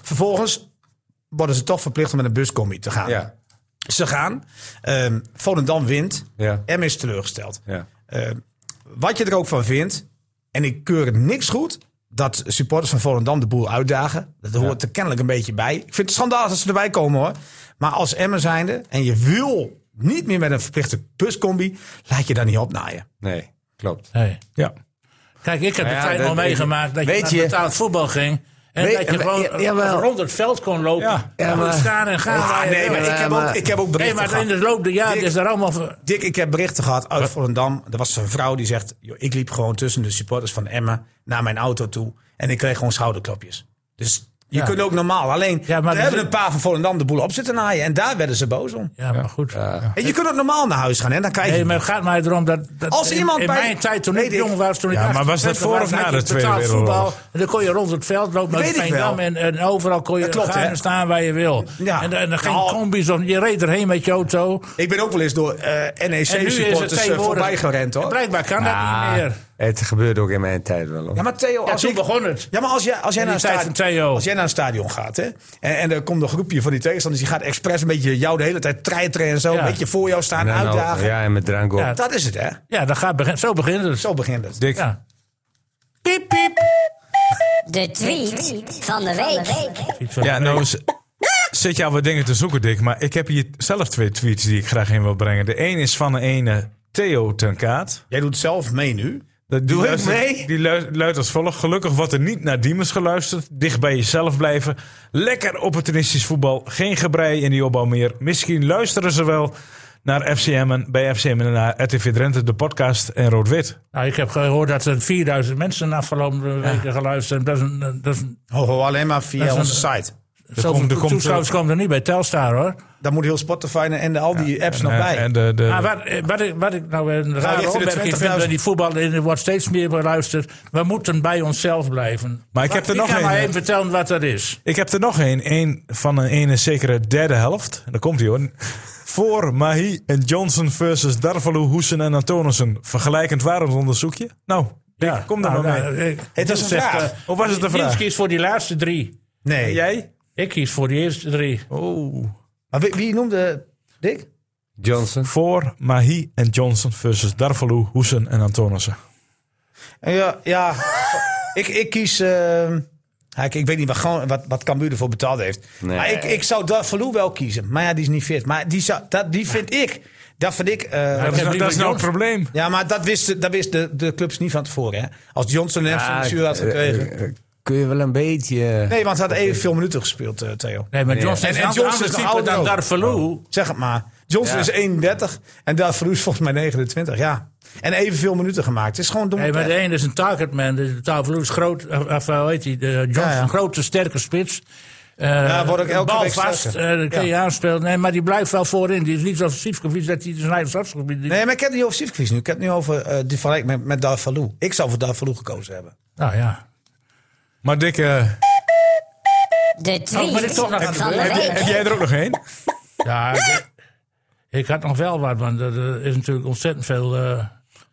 Speaker 1: Vervolgens worden ze toch verplicht om met een buscombi te gaan.
Speaker 4: Ja,
Speaker 1: Ze gaan. Ehm Volendam wint.
Speaker 4: Ja.
Speaker 1: M is teleurgesteld.
Speaker 4: ja.
Speaker 1: Ehm, wat je er ook van vindt. En ik keur het niks goed. Dat supporters van Volendam de boel uitdagen. Dat hoort er kennelijk een beetje bij. Ik vind het schandalig dat ze erbij komen hoor. Maar als Emmen zijnde. En je wil niet meer met een verplichte buscombi. Laat je daar niet opnaaien.
Speaker 4: Nee, klopt.
Speaker 2: Nee.
Speaker 3: Ja.
Speaker 2: Kijk, ik heb
Speaker 4: Nou ja,
Speaker 2: de tijd
Speaker 4: dat-
Speaker 2: nog meegemaakt dat je
Speaker 4: weet
Speaker 2: naar
Speaker 4: je-
Speaker 2: betaald voetbal ging. En
Speaker 4: Weet-
Speaker 2: dat je gewoon
Speaker 4: ja, jawel.
Speaker 2: rond het veld kon lopen.
Speaker 3: Ja.
Speaker 2: Ja,
Speaker 4: Ja, maar-
Speaker 2: staan en gaan. waar je
Speaker 1: Ah, nee,
Speaker 2: wil.
Speaker 1: maar ik heb
Speaker 4: maar-
Speaker 1: ook, ik heb ook
Speaker 2: Nee,
Speaker 1: berichten
Speaker 2: maar
Speaker 1: gehad.
Speaker 2: in de loop der jaren is daar allemaal... ver-
Speaker 1: Dick, ik heb berichten gehad uit Volendam. Er was een vrouw die zegt: "Joh, Ik liep gewoon tussen de supporters van Emmen naar mijn auto toe. En ik kreeg gewoon schouderklopjes. Dus je
Speaker 2: Ja.
Speaker 1: kunt ook normaal. Alleen,
Speaker 2: Ja, maar
Speaker 1: er
Speaker 2: we
Speaker 1: hebben
Speaker 2: zit-
Speaker 1: een paar van Volendam de boel op zitten naaien. En daar werden ze boos om.
Speaker 2: Ja, maar goed.
Speaker 1: En je kunt ook normaal naar huis gaan. En dan krijg je.
Speaker 2: Nee, maar het gaat mij erom dat... dat
Speaker 1: Als
Speaker 2: in,
Speaker 1: iemand
Speaker 2: in
Speaker 1: bij-
Speaker 2: mijn tijd, toen
Speaker 1: Weet
Speaker 2: ik
Speaker 1: ik.
Speaker 2: jong was, toen ik
Speaker 3: Ja, maar
Speaker 2: 28
Speaker 3: was dat voor of
Speaker 2: had
Speaker 3: na
Speaker 2: je
Speaker 3: de Tweede
Speaker 2: betaald
Speaker 3: Wereldoorlog?
Speaker 2: voetbal. En dan kon je rond het veld lopen naar
Speaker 1: Weet ik
Speaker 2: Veendam.
Speaker 1: wel.
Speaker 2: En, en overal kon je
Speaker 1: Dat klopt,
Speaker 2: gaan
Speaker 1: hè?
Speaker 2: en staan waar je wil.
Speaker 1: Ja.
Speaker 2: En, en er geen
Speaker 1: Nou.
Speaker 2: combis. Of, je reed erheen met je auto.
Speaker 1: Ik ben ook wel eens door eh, E
Speaker 2: En nu is het
Speaker 1: NEC-supporters
Speaker 2: tegenwoordig...
Speaker 1: eh, voorbij gerend hoor.
Speaker 2: Blijkbaar kan dat niet meer.
Speaker 4: Het gebeurde ook in mijn tijd wel. hoor.
Speaker 1: Ja, maar Theo,
Speaker 2: Ja,
Speaker 1: als
Speaker 2: toen
Speaker 1: ik-
Speaker 2: begon het.
Speaker 1: Ja, maar als jij, als jij,
Speaker 2: In
Speaker 1: naar, een
Speaker 2: die tijd van
Speaker 1: stadion,
Speaker 2: Theo.
Speaker 1: als jij naar een stadion gaat, hè, en, en er komt een groepje van die tegenstanders, die gaat expres een beetje jou de hele tijd treiteren en zo,
Speaker 2: Ja. nou,
Speaker 1: een beetje voor jou staan,
Speaker 4: En dan ook-
Speaker 1: uitdagen.
Speaker 4: Ja, en met drank op.
Speaker 2: Ja.
Speaker 1: Dat is het, hè?
Speaker 2: Ja, dat gaat begin, zo begint het.
Speaker 1: Zo begint het.
Speaker 3: Dick,
Speaker 2: Ja. Piep, piep.
Speaker 9: De tweet van de week.
Speaker 2: Iets van-
Speaker 3: Ja, nou z- zit je al wat dingen te zoeken, Dick. Maar ik heb hier zelf twee tweets die ik graag in wil brengen. De een is van de ene Theo ten Kaat.
Speaker 1: Jij doet zelf mee nu.
Speaker 3: Dat
Speaker 1: ik mee?
Speaker 3: mee? Die lu- luidt als volgt. Gelukkig wordt er niet naar Diemers geluisterd. Dicht bij jezelf blijven. Lekker opportunistisch voetbal. Geen gebrei in die opbouw meer. Misschien luisteren ze wel naar FCM en bij FCM en naar RTV Drenthe, de podcast en Rood-Wit.
Speaker 2: Nou, ik heb gehoord dat er 4000 mensen de afgelopen weken geluisterd hebben. Dat is een, eh, dat is een-
Speaker 1: Ho, ho, alleen maar
Speaker 2: Dat
Speaker 1: via
Speaker 2: is een-
Speaker 1: onze site.
Speaker 2: zoveel
Speaker 3: komt- er komt-
Speaker 2: toeschouwers komen er niet bij Telstar hoor.
Speaker 1: Daar moet heel Spotify en de- al die apps nog
Speaker 3: En, eh,
Speaker 1: bij.
Speaker 3: en de, de,
Speaker 2: Maar wat, eh, wat, ik, wat ik nou een rare
Speaker 1: richting de
Speaker 2: opmerking vind,
Speaker 1: 20.000.
Speaker 2: dat die voetbal er wordt steeds meer beluisterd. We moeten bij onszelf blijven.
Speaker 3: Maar ik
Speaker 2: Wat-
Speaker 3: heb er
Speaker 2: wie
Speaker 3: nog
Speaker 2: kan
Speaker 3: een,
Speaker 2: mij
Speaker 3: hè?
Speaker 2: even vertellen wat dat is.
Speaker 3: Ik heb er nog één. Eén van een ene zekere derde helft. En Daar komt hij hoor. Voor Mahi en Johnson versus Darvalu, Hoesen en Antonissen. Vergelijkend waarheidsonderzoekje. Nou, Dick, kom daar
Speaker 2: Nou,
Speaker 3: maar mee.
Speaker 2: nou, ik-
Speaker 1: Het was een
Speaker 2: zegt,
Speaker 1: vraag.
Speaker 2: eh,
Speaker 3: Of was het een
Speaker 2: Niels
Speaker 3: vraag?
Speaker 2: kiest voor die laatste drie.
Speaker 1: nee.
Speaker 3: Jij?
Speaker 2: Ik kies voor die eerste drie.
Speaker 3: Oh.
Speaker 1: Maar wie, wie noemde Dick?
Speaker 4: Johnson.
Speaker 3: Voor Mahi en Johnson versus Darvalu, Hoesen en Antonissen.
Speaker 1: Ja, ja. ik, ik kies. ehm, ja, ik, ik weet niet wat, gewoon, wat, wat Cambuur ervoor betaald heeft.
Speaker 4: Nee.
Speaker 1: Maar ik, ik zou Darvalu wel kiezen. Maar ja, die is niet fit. Maar die, zou, dat, die vind ik. Dat vind ik. eh,
Speaker 3: Dat is, nou,
Speaker 2: liever
Speaker 3: dat is nou het
Speaker 2: Johnson.
Speaker 3: probleem.
Speaker 1: ja, maar dat wisten dat wist de, de clubs niet van tevoren. Hè? Als Johnson een
Speaker 4: Ah,
Speaker 1: blessure had gekregen.
Speaker 4: eh, eh, Kun je wel een beetje...
Speaker 1: Nee, want ze had evenveel minuten gespeeld, eh, Theo.
Speaker 2: Nee, maar Johnson
Speaker 1: En-
Speaker 2: is
Speaker 1: en
Speaker 2: een
Speaker 1: Johnson
Speaker 2: ander
Speaker 1: is de
Speaker 2: type
Speaker 1: oude
Speaker 2: dan
Speaker 1: ook.
Speaker 2: Darvalu.
Speaker 1: Zeg het maar. Johnson
Speaker 4: Ja.
Speaker 1: is 31 en Darvalu is volgens mij 29. Ja. En evenveel minuten gemaakt. Het is gewoon dom.
Speaker 2: Nee, maar
Speaker 1: pech.
Speaker 2: de een is een targetman. De Tavelo is groot, of, of eh, hoe heet hij? De Johnson,
Speaker 1: Ja, ja.
Speaker 2: grote, sterke spits. Eh
Speaker 1: Ja, wordt ook elke
Speaker 2: bal
Speaker 1: week
Speaker 2: vast,
Speaker 1: sterker.
Speaker 2: eh, dat kun je aanspelen. Nee, maar die blijft wel voorin. Die is niet zo offensief gebied dat hij zijn eigen strafschopgebied... die-
Speaker 1: Nee, maar ik heb het niet over Sivkovic nu. Ik heb het nu over eh die vergelijking met, met Darvalu. Ik zou voor Darvalu gekozen hebben.
Speaker 2: Nou ja.
Speaker 3: Maar Dick, eh,
Speaker 9: De
Speaker 2: Oh, maar ik
Speaker 9: tweet
Speaker 2: toch nog even
Speaker 9: van de
Speaker 2: doen.
Speaker 9: week.
Speaker 3: heb jij er ook nog één?
Speaker 2: ja Nou, ik, ik had nog wel wat, want er er is natuurlijk ontzettend veel... eh,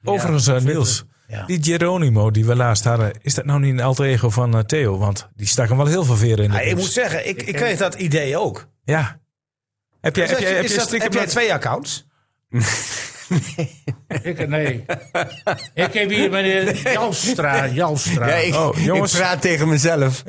Speaker 3: Overigens, eh, Niels.
Speaker 1: Ja.
Speaker 3: Die Geronimo die we laatst hadden, is dat nou niet een alter ego van eh, Theo? Want die stak hem wel heel veel veren in de
Speaker 1: Ja, ik
Speaker 3: koers.
Speaker 1: moet zeggen, ik, ik kreeg dat idee ook.
Speaker 3: Ja. Heb jij,
Speaker 1: Is dat-
Speaker 3: heb jij, heb
Speaker 1: is
Speaker 3: jij
Speaker 1: dat-
Speaker 3: stiekem
Speaker 1: heb jij
Speaker 3: dat-
Speaker 1: twee accounts?
Speaker 2: ik, nee. ik heb hier meneer Jalstra. Jalstra.
Speaker 4: Ja, ik,
Speaker 3: Oh, jongens.
Speaker 4: ik praat tegen mezelf.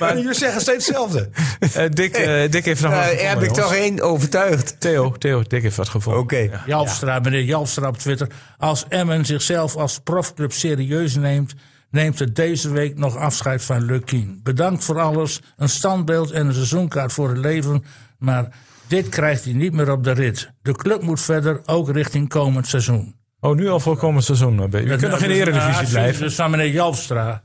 Speaker 1: Maar jullie zeggen steeds hetzelfde.
Speaker 3: Eh, Dick, eh, Dick heeft nog wat
Speaker 4: Eh,
Speaker 3: gevonden,
Speaker 4: heb ik
Speaker 3: jongens.
Speaker 4: toch één overtuigd.
Speaker 3: Theo, Theo, Dick heeft wat gevonden.
Speaker 4: Oké.
Speaker 3: Ja.
Speaker 2: Jalstra, meneer Jalstra op Twitter. Als Emmen zichzelf als profclub serieus neemt, neemt het deze week nog afscheid van Lukien. Bedankt voor alles, een standbeeld en een seizoenkaart voor het leven, maar dit krijgt hij niet meer op de rit. De club moet verder, ook richting komend seizoen. Nou,
Speaker 3: Oh, nu al voor komend seizoen. eh, ben Je Je
Speaker 1: nou,
Speaker 3: kunt nog in de Eredivisie blijven.
Speaker 2: Dus van meneer Jalstra.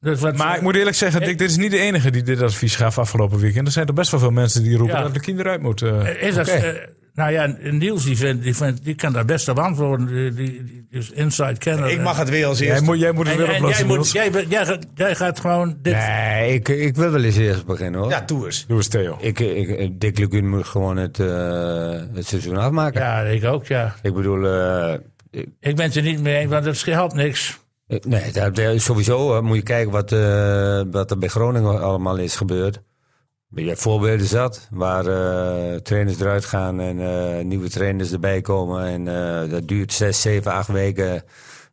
Speaker 2: Dus wat,
Speaker 3: Maar ik moet eerlijk zeggen, Dick, dit is niet de enige die dit advies gaf afgelopen weekend. Er zijn er best wel veel mensen die roepen
Speaker 2: Ja.
Speaker 3: dat de kinderen uit moeten. eh.
Speaker 2: Is dat, eh, nou ja, Niels die, vindt, die, vindt, die kan daar best op antwoorden. Die, die, die is inside kenner.
Speaker 1: Ik mag het weer als
Speaker 3: jij,
Speaker 1: eerste.
Speaker 3: moet, jij moet het
Speaker 2: En,
Speaker 3: weer
Speaker 2: en jij,
Speaker 3: oplossen,
Speaker 2: moet,
Speaker 3: Niels.
Speaker 2: jij, bent- jij, gaat- jij gaat gewoon dit
Speaker 4: Nee, ik, ik wil wel eens eerst beginnen hoor.
Speaker 1: Ja, doe eens.
Speaker 3: Doe eens, Theo.
Speaker 4: Ik, ik, Dick Lucun moet gewoon het, eh, het seizoen afmaken.
Speaker 2: Ja, ik ook, ja.
Speaker 4: Ik bedoel, eh, ik-
Speaker 2: Ik ben het er niet mee eens, want dat helpt niks.
Speaker 4: ik- nee, daar- daar- sowieso eh, moet je kijken wat, eh, wat er bij Groningen allemaal is gebeurd. Je hebt voorbeelden zat waar eh, trainers eruit gaan en eh, nieuwe trainers erbij komen. En eh, dat duurt zes, zeven, acht weken.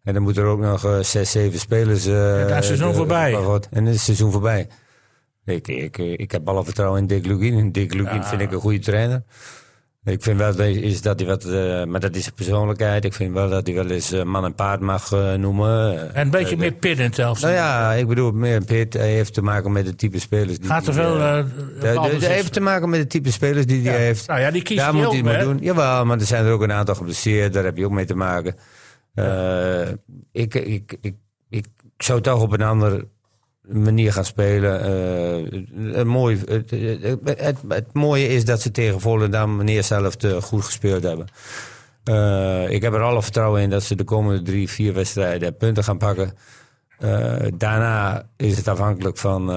Speaker 4: En dan moeten er ook nog eh, zes, zeven spelers. eh,
Speaker 2: dan is het seizoen
Speaker 4: de-
Speaker 2: voorbij.
Speaker 4: wat- En dan is het seizoen voorbij. Ik, ik, eh, ik heb alle vertrouwen in Dick Lugin. En Dick Lugin vind ik een goede trainer. Ik vind wel dat, is dat hij wat, eh, maar dat is zijn persoonlijkheid. Ik vind wel dat hij wel eens eh, man en paard mag eh, noemen. Eh,
Speaker 2: En een beetje meer pinnen zelfs.
Speaker 4: nou ja, ik bedoel, meer Pitt hij heeft te maken met het type spelers. Die
Speaker 2: Gaat te
Speaker 4: hij,
Speaker 2: veel,
Speaker 4: eh,
Speaker 2: eh,
Speaker 4: dat- dat- dat
Speaker 2: balbezit.
Speaker 4: heeft te maken met het type spelers die hij heeft.
Speaker 2: Nou ja, die kiest
Speaker 4: Daar
Speaker 2: hij
Speaker 4: moet
Speaker 2: ook,
Speaker 4: hij maar
Speaker 2: hè?
Speaker 4: doen. Jawel, maar er zijn er ook een aantal geblesseerd. Daar heb je ook mee te maken. Eh, ik, ik, ik, ik zou toch op een andere manier gaan spelen. Eh, een mooi, het, het, het- het mooie is dat ze tegen Volendam neerzelf zelf goed gespeeld hebben. Eh, ik heb er alle vertrouwen in dat ze de komende drie, vier wedstrijden punten gaan pakken. Eh, daarna is het afhankelijk van eh,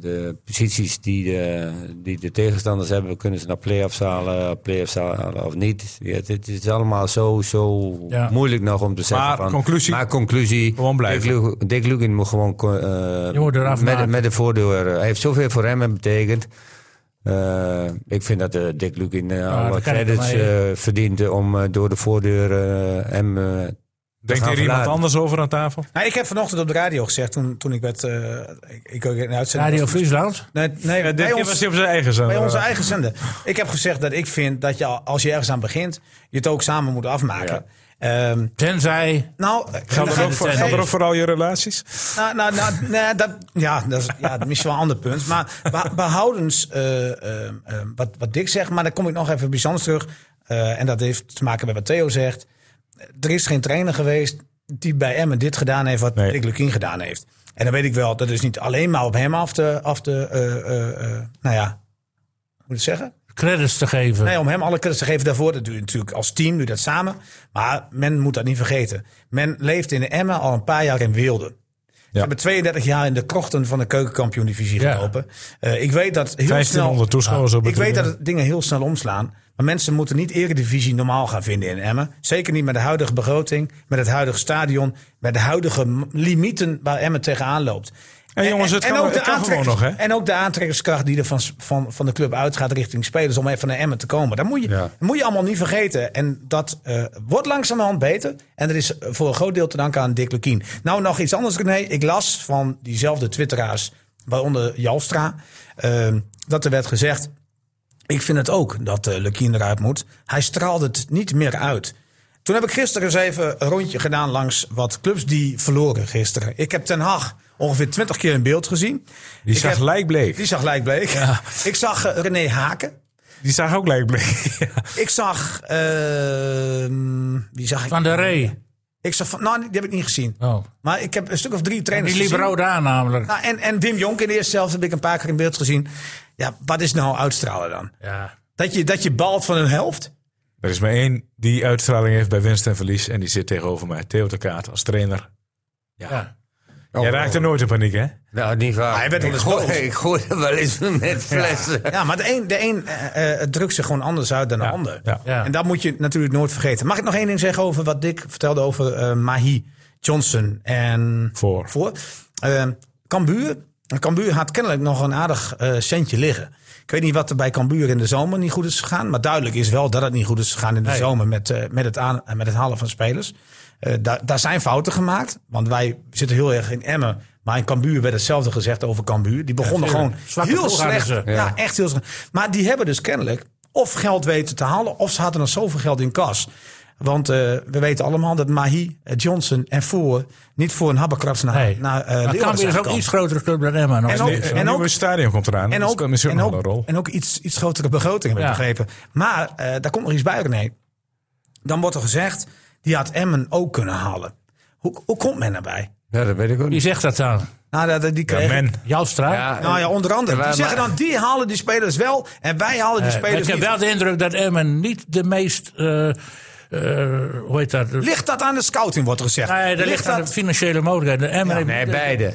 Speaker 4: de posities die de, die de tegenstanders hebben. Kunnen ze naar play-offs halen, play-offs halen of niet? Ja, het, het is allemaal zo, zo
Speaker 2: Ja.
Speaker 4: moeilijk nog om te zeggen.
Speaker 3: Maar
Speaker 4: van,
Speaker 3: conclusie?
Speaker 4: maar conclusie.
Speaker 3: Gewoon blijven.
Speaker 4: Dick Lu- Dick Lugin moet gewoon eh,
Speaker 2: moet eraf
Speaker 4: met,
Speaker 2: maken.
Speaker 4: met de voordeur. Hij heeft zoveel voor hem betekend. Eh, ik vind dat eh, Dick Lugin eh, alle
Speaker 2: dat kan ik
Speaker 4: credits
Speaker 2: wel mee.
Speaker 4: eh, verdient om eh, door de voordeur eh, hem eh,
Speaker 3: Denkt
Speaker 4: gaan
Speaker 3: hier iemand
Speaker 4: verlaten.
Speaker 3: anders over aan tafel?
Speaker 1: Nou, ik heb vanochtend op de radio gezegd, toen, toen ik werd... eh, ik, ik, ook in de uitzending
Speaker 2: Radio
Speaker 1: was-
Speaker 2: Friesland.
Speaker 1: Nee, nee
Speaker 3: Dit
Speaker 1: bij,
Speaker 3: keer
Speaker 1: ons-
Speaker 3: was hij op zijn eigen zender.
Speaker 1: bij onze eigen zender. Ik heb gezegd dat ik vind dat je, al- als je ergens aan begint, je het ook samen moet afmaken. Ehm,
Speaker 2: Tenzij.
Speaker 1: nou,
Speaker 3: Geldt dat
Speaker 2: Hey.
Speaker 3: ook voor- geldt dat ook voor al je relaties?
Speaker 1: Nou, nou, nou, nee, dat, ja, dat is ja, dat is misschien wel een ander punt. Maar beh- behoudens, eh, eh, eh, wat, wat Dick zegt, maar dan kom ik nog even bijzonder terug. eh, en dat heeft te maken met wat Theo zegt. Er is geen trainer geweest die bij Emmen dit gedaan heeft wat
Speaker 3: Nee.
Speaker 1: Dick Lukien gedaan heeft. En dan weet ik wel, dat is niet alleen maar op hem af te, af te eh, eh, eh, nou ja, hoe moet ik het zeggen?
Speaker 2: credits te geven.
Speaker 1: Nee, om hem alle credits te geven daarvoor. Dat doe je natuurlijk als team, doe je dat samen. Maar men moet dat niet vergeten. Men leeft in de Emmen al een paar jaar in Weelde. Ze hebben 32 jaar in de krochten van de keukenkampioen-divisie
Speaker 2: Ja.
Speaker 1: gelopen. Eh, ik weet dat heel
Speaker 3: 1500
Speaker 1: snel...
Speaker 3: toeschouwers op
Speaker 1: ik
Speaker 3: het
Speaker 1: weet dat
Speaker 3: tribune.
Speaker 1: het dingen heel snel omslaan. Maar mensen moeten niet eredivisie normaal gaan vinden in Emmen. Zeker niet met de huidige begroting, met het huidige stadion... met de huidige m- limieten waar Emmen tegenaan loopt.
Speaker 3: En jongens, het kan- het kan gewoon
Speaker 1: aantrekkers-
Speaker 3: nog, hè?
Speaker 1: en ook de aantrekkingskracht die er van, van, van de club uitgaat richting spelers om even naar Emmen te komen. Dat moet je, dat moet je allemaal niet vergeten. En dat eh, wordt langzamerhand beter. En dat is voor een groot deel te danken aan Dick Lukien. Nou, nog iets anders, René. Ik las van diezelfde twitteraars, waaronder Jalstra, eh, dat er werd gezegd... Ik vind het ook dat eh Lukien eruit moet. Hij straalt het niet meer uit. Toen heb ik gisteren eens even een rondje gedaan langs wat clubs die verloren gisteren. Ik heb Ten Haag ongeveer twintig keer in beeld gezien.
Speaker 3: Die
Speaker 1: Ik
Speaker 3: zag
Speaker 1: heb-
Speaker 3: lijkbleek.
Speaker 1: die zag lijkbleek. Ik zag eh, René Haken.
Speaker 3: Die zag ook lijkbleek. Ja.
Speaker 1: Ik zag. ehm wie zag ik?
Speaker 2: Van de Ree.
Speaker 1: Ik zag van, nou, die heb ik niet gezien.
Speaker 2: Oh.
Speaker 1: Maar ik heb een stuk of drie trainers
Speaker 2: Die liep
Speaker 1: gezien.
Speaker 2: rood aan namelijk.
Speaker 1: Nou, en, en Wim Jonk in de eerste helft heb ik een paar keer in beeld gezien. Ja, wat is nou uitstralen dan?
Speaker 2: Ja.
Speaker 1: Dat je, dat je balt van een helft?
Speaker 3: Er is maar één die uitstraling heeft bij winst en verlies. En die zit tegenover mij. Theo de Kaat als trainer.
Speaker 2: Ja.
Speaker 3: Jij raakt er nooit in paniek, hè?
Speaker 4: oh, Nou, niet waar.
Speaker 1: Hij werd wel
Speaker 4: ik,
Speaker 1: eens
Speaker 4: gooi,
Speaker 1: boos.
Speaker 4: ik gooi er wel eens met flessen.
Speaker 1: Ja, maar de een, de een eh, eh, drukt zich gewoon anders uit dan de ander.
Speaker 3: ja.
Speaker 2: Ja.
Speaker 1: En dat moet je natuurlijk nooit vergeten. Mag ik nog één ding zeggen over wat Dick vertelde over eh, Mahi Johnson en
Speaker 3: Voor.
Speaker 1: voor. Eh, Cambuur. Cambuur had kennelijk nog een aardig eh, centje liggen. Ik weet niet wat er bij Cambuur in de zomer niet goed is gegaan. Maar duidelijk is wel dat het niet goed is gegaan in de zomer met, eh, met, het aan, met het halen van spelers. Eh, daar- daar zijn fouten gemaakt. Want wij zitten heel erg in Emmen. Maar in Cambuur werd hetzelfde gezegd over Cambuur. Die begonnen gewoon
Speaker 2: tuurlijk. Zwakke
Speaker 1: heel
Speaker 2: ploeg hadden
Speaker 1: slecht.
Speaker 2: ze.
Speaker 1: Ja, echt heel slecht. Maar die hebben dus kennelijk of geld weten te halen... of ze hadden nog zoveel geld in kas. Want eh, we weten allemaal dat Mahi, eh, Johnson en Voor... niet voor een habbekrats naar,
Speaker 2: Nee.
Speaker 1: naar eh,
Speaker 2: maar
Speaker 1: Leeuwarden
Speaker 2: Cambuur
Speaker 1: zijn
Speaker 2: is dus ook
Speaker 1: gekomen.
Speaker 2: iets grotere club dan Emma. Nog
Speaker 1: En
Speaker 2: steeds.
Speaker 1: ook-
Speaker 3: En ook, nieuwe dus stadion komt eraan.
Speaker 1: En ook,
Speaker 3: dat is ook
Speaker 1: en
Speaker 3: nog
Speaker 1: ook,
Speaker 3: een rol.
Speaker 1: en ook iets, iets grotere begroting, heb ik
Speaker 2: Ja.
Speaker 1: begrepen. Maar eh, daar komt nog iets bij, René. Dan wordt er gezegd, die had Emmen ook kunnen halen. Hoe, hoe komt men daarbij?
Speaker 4: Ja, dat weet ik ook
Speaker 2: Wie
Speaker 4: niet.
Speaker 2: zegt dat dan?
Speaker 1: Nou, dat- dat- die
Speaker 3: Ja,
Speaker 1: kreeg-
Speaker 3: men.
Speaker 2: Jalstra?
Speaker 1: nou ja, onder andere. Die
Speaker 4: maar-
Speaker 1: zeggen dan, die halen die spelers wel en wij halen die
Speaker 2: Eh, maar
Speaker 1: spelers
Speaker 2: ik heb
Speaker 1: niet.
Speaker 2: wel de indruk dat Emmen niet de meest. eh, eh, hoe heet dat?
Speaker 1: Ligt dat aan de scouting, wordt er gezegd.
Speaker 2: Nee, dat ligt aan de financiële mogelijkheden. Emmen heeft-
Speaker 4: Nee, beide.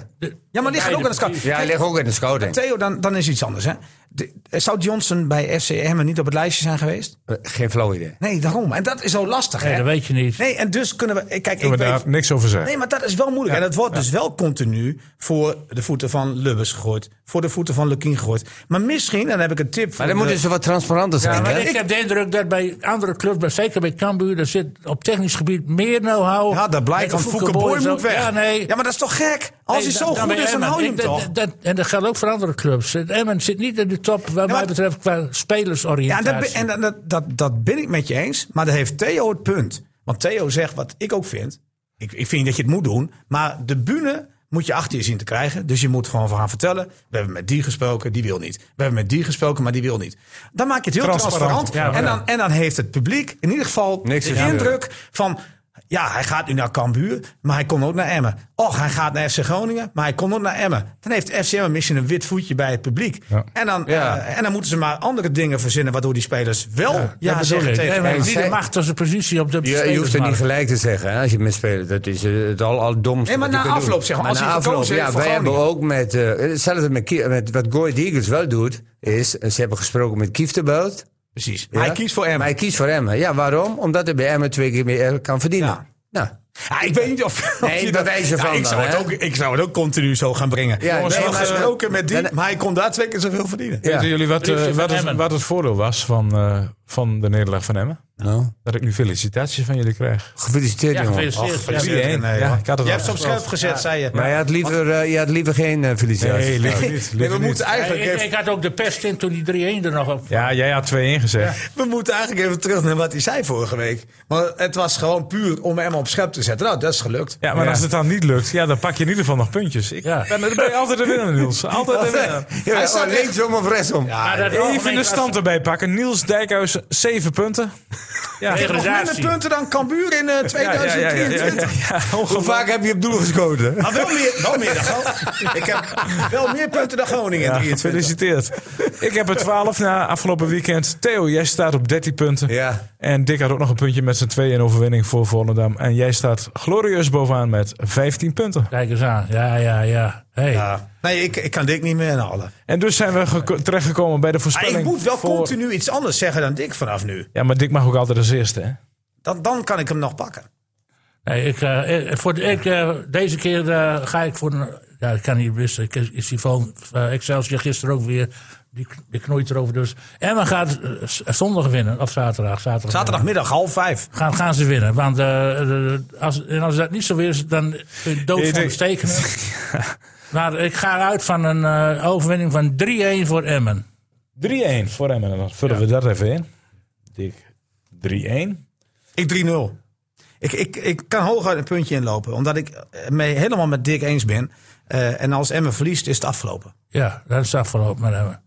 Speaker 1: Ja, maar ligt het ook aan de scouting.
Speaker 4: Ja, hij ligt ook in de schouder.
Speaker 1: Theo, dan, dan is iets anders. Hè? De- zou Johnson bij FC Emmen niet op het lijstje zijn geweest?
Speaker 4: Eh, Geen flauw idee.
Speaker 1: Nee, daarom. En dat is zo lastig.
Speaker 2: Nee,
Speaker 1: hè?
Speaker 2: dat weet je niet.
Speaker 1: Nee, en dus kunnen we. Kijk, ik
Speaker 3: Kunnen we
Speaker 1: weet,
Speaker 3: daar niks over zeggen.
Speaker 1: Nee, maar dat is wel moeilijk. en dat wordt dus wel continu voor de voeten van Lubbers gegooid. Voor de voeten van Lukien gegooid. Maar misschien, en dan heb ik een tip voor.
Speaker 4: Maar dan moeten
Speaker 1: de-
Speaker 4: ze wat transparanter zijn.
Speaker 2: Maar
Speaker 4: hè?
Speaker 2: ik heb de indruk dat bij andere clubs, maar zeker bij Cambuur, er zit op technisch gebied meer know-how.
Speaker 1: ja, dat blijkt,
Speaker 2: En
Speaker 1: want
Speaker 2: Fouke
Speaker 1: Fouke Boy
Speaker 2: zo-
Speaker 1: moet weg.
Speaker 2: Ja, nee.
Speaker 1: maar dat is toch gek? Als
Speaker 2: Nee,
Speaker 1: hij
Speaker 2: dan-
Speaker 1: zo goed
Speaker 2: bij
Speaker 1: is, dan
Speaker 2: Emmen.
Speaker 1: hou je hem
Speaker 2: Ik-
Speaker 1: toch?
Speaker 2: dat- dat- En dat geldt ook voor andere clubs. Emmen zit niet in de top, wat
Speaker 1: maar-
Speaker 2: mij betreft, qua
Speaker 1: Ja,
Speaker 2: spelersoriëntatie.
Speaker 1: en dat, ben- en dat, dat, dat, dat ben ik met je eens. Maar daar heeft Theo het punt. Want Theo zegt wat ik ook vind. Ik, ik vind dat je het moet doen. Maar de bühne moet je achter je zien te krijgen. Dus je moet gewoon van haar vertellen. We hebben met die gesproken, die wil niet. We hebben met die gesproken, maar die wil niet. Dan maak je het heel
Speaker 3: Transparant.
Speaker 1: transparant.
Speaker 3: Ja,
Speaker 1: en, dan, en dan heeft het publiek in ieder geval
Speaker 4: Niks
Speaker 1: de
Speaker 4: te zien.
Speaker 1: indruk van... Ja, hij gaat nu naar Cambuur, maar hij kon ook naar Emmen. Och, hij gaat naar FC Groningen, maar hij kon ook naar Emmen. Dan heeft FC Emmen misschien een wit voetje bij het publiek.
Speaker 3: Ja.
Speaker 1: En dan
Speaker 4: Ja.
Speaker 1: eh, en dan moeten ze maar andere dingen verzinnen waardoor die spelers wel ja,
Speaker 2: Ja, dat bedoel
Speaker 1: zeggen
Speaker 2: ik.
Speaker 1: tegen
Speaker 2: Emmen heeft
Speaker 1: elkaar.
Speaker 2: niet de
Speaker 4: zij-
Speaker 2: macht als een positie op de
Speaker 4: Je, je hoeft het niet
Speaker 2: spelersmarkt.
Speaker 4: gelijk te zeggen hè, als je met spelen. Dat is eh, het al, al domste.
Speaker 1: Nee, maar
Speaker 4: wat je
Speaker 1: na
Speaker 4: kunt
Speaker 1: afloop,
Speaker 4: doen.
Speaker 1: zeg maar, als
Speaker 4: na
Speaker 1: hij gekozen heeft
Speaker 4: ja,
Speaker 1: voor
Speaker 4: wij hebben
Speaker 1: Groningen.
Speaker 4: ook met. eh, hetzelfde met, Kie- met wat Goy Eagles wel doet. Is eh, ze hebben gesproken met Kieftenbelt.
Speaker 1: Precies.
Speaker 4: Ja?
Speaker 1: Maar Hij kiest voor
Speaker 4: Maar
Speaker 1: Emmen.
Speaker 4: hij kiest voor Emmen. Ja, waarom? Omdat hij bij Emmen twee keer meer eh, kan verdienen.
Speaker 1: Ja.
Speaker 4: Nou,
Speaker 1: Ja, ah, ik weet niet of.
Speaker 4: Nee,
Speaker 1: of je
Speaker 4: bij wijze van
Speaker 1: ik, zou
Speaker 4: dan,
Speaker 1: het
Speaker 4: hè?
Speaker 1: ook, ik zou het ook continu zo gaan brengen.
Speaker 4: Ja,
Speaker 1: Jongens,
Speaker 4: nee,
Speaker 1: we
Speaker 4: maar-
Speaker 1: hebben gesproken met die,
Speaker 4: Dan-
Speaker 1: maar hij kon daar twee keer zoveel verdienen.
Speaker 4: ja.
Speaker 3: Weten jullie wat, eh,
Speaker 2: Briefje van
Speaker 3: wat, het,
Speaker 2: Emmen.
Speaker 3: wat het voordeel was van, eh, van de nederlaag van Emmen?
Speaker 4: Nou,
Speaker 3: Dat ik nu felicitaties van jullie krijg.
Speaker 4: gefeliciteerd,
Speaker 2: Ja,
Speaker 4: jongen.
Speaker 2: gefeliciteerd. Ja,
Speaker 3: Zie je, hè?
Speaker 1: nee,
Speaker 3: ja,
Speaker 1: hoor.
Speaker 3: ik had het
Speaker 1: Je
Speaker 3: wel.
Speaker 1: hebt soms scherp gezet, zei je.
Speaker 4: Maar je had liever, eh, je had liever geen eh, felicitaties.
Speaker 3: Nee, liever niet.
Speaker 1: Nee,
Speaker 3: liever
Speaker 1: we
Speaker 3: niet.
Speaker 1: moeten eigenlijk
Speaker 2: ik,
Speaker 1: even,
Speaker 2: ik had ook de pest in toen die 3-1 er nog op.
Speaker 3: Ja, jij had 2-1 gezegd.
Speaker 1: we moeten eigenlijk even terug naar wat hij zei vorige week. Want het was gewoon puur om hem op scherp te zetten. Nou, dat is gelukt.
Speaker 3: Ja, maar
Speaker 4: Ja.
Speaker 3: als het dan niet lukt, ja, dan pak je in ieder geval nog puntjes. Ik
Speaker 2: Ja.
Speaker 3: ben, dan ben je altijd de winnaar, Niels. Altijd de winnaar.
Speaker 4: Ja,
Speaker 1: Hij
Speaker 4: oh,
Speaker 1: staat echt-
Speaker 4: linksom of rechtsom.
Speaker 2: Maar dat
Speaker 3: Even
Speaker 2: algemeen
Speaker 3: de
Speaker 2: was-
Speaker 3: stand erbij pakken. Niels Dijkhuis, 7 punten. Ja, ja,
Speaker 1: Nog minder
Speaker 2: Degradatie.
Speaker 1: punten dan Cambuur in eh,
Speaker 3: ja, ja,
Speaker 1: 2023.
Speaker 3: ja, ja, ja.
Speaker 4: Hoe vaak heb je op doel geschoten?
Speaker 1: Maar wel meer, wel meer dan Groningen. Ik heb wel meer punten dan Groningen in
Speaker 3: Ja,
Speaker 1: 23.
Speaker 3: gefeliciteerd. Ik heb er 12 na afgelopen weekend. Theo, jij staat op 13 punten.
Speaker 4: Ja.
Speaker 3: En Dick had ook nog een puntje met zijn 2-1 overwinning voor Volendam. En jij staat glorieus bovenaan met 15 punten.
Speaker 2: Kijk eens aan. Ja, ja, ja. Hey.
Speaker 1: Ja. Nee, ik, ik kan dit niet meer inhalen.
Speaker 3: En dus zijn we geko- terechtgekomen bij de
Speaker 1: Maar
Speaker 3: voorspelling.
Speaker 1: Ah, ik moet wel
Speaker 3: voor-
Speaker 1: continu iets anders zeggen dan Dick vanaf nu.
Speaker 3: Ja, maar Dick mag ook altijd als eerste, hè?
Speaker 1: Dan, dan kan ik hem nog pakken.
Speaker 2: Nee, ik, eh, eh, voor, de- ik, eh, deze keer eh, ga ik voor een. Ja, ik kan niet wisten. Ik, is die van eh, Excelsior gisteren ook weer. Die, die knoeit erover. Dus. Emma gaat eh, z- zondag winnen. Of zaterdag. zaterdag
Speaker 1: Zaterdagmiddag half vijf.
Speaker 2: Gaan, gaan ze winnen. Want eh, de- de- als, en als dat niet zo is, dan ben je dood
Speaker 3: Ik
Speaker 2: van
Speaker 3: denk-
Speaker 2: bestekenen. Maar ik ga uit van een eh, overwinning van 3-1 voor Emmen.
Speaker 3: 3-1 voor hem. En dan vullen we dat even in. Dick, 3-1.
Speaker 1: Ik 3-0. Ik, ik, ik kan hooguit een puntje inlopen. Omdat ik eh, mee helemaal met Dick eens ben. Eh, en als Emmen verliest, is het afgelopen.
Speaker 2: Ja, dat is afgelopen eh, met Emmen.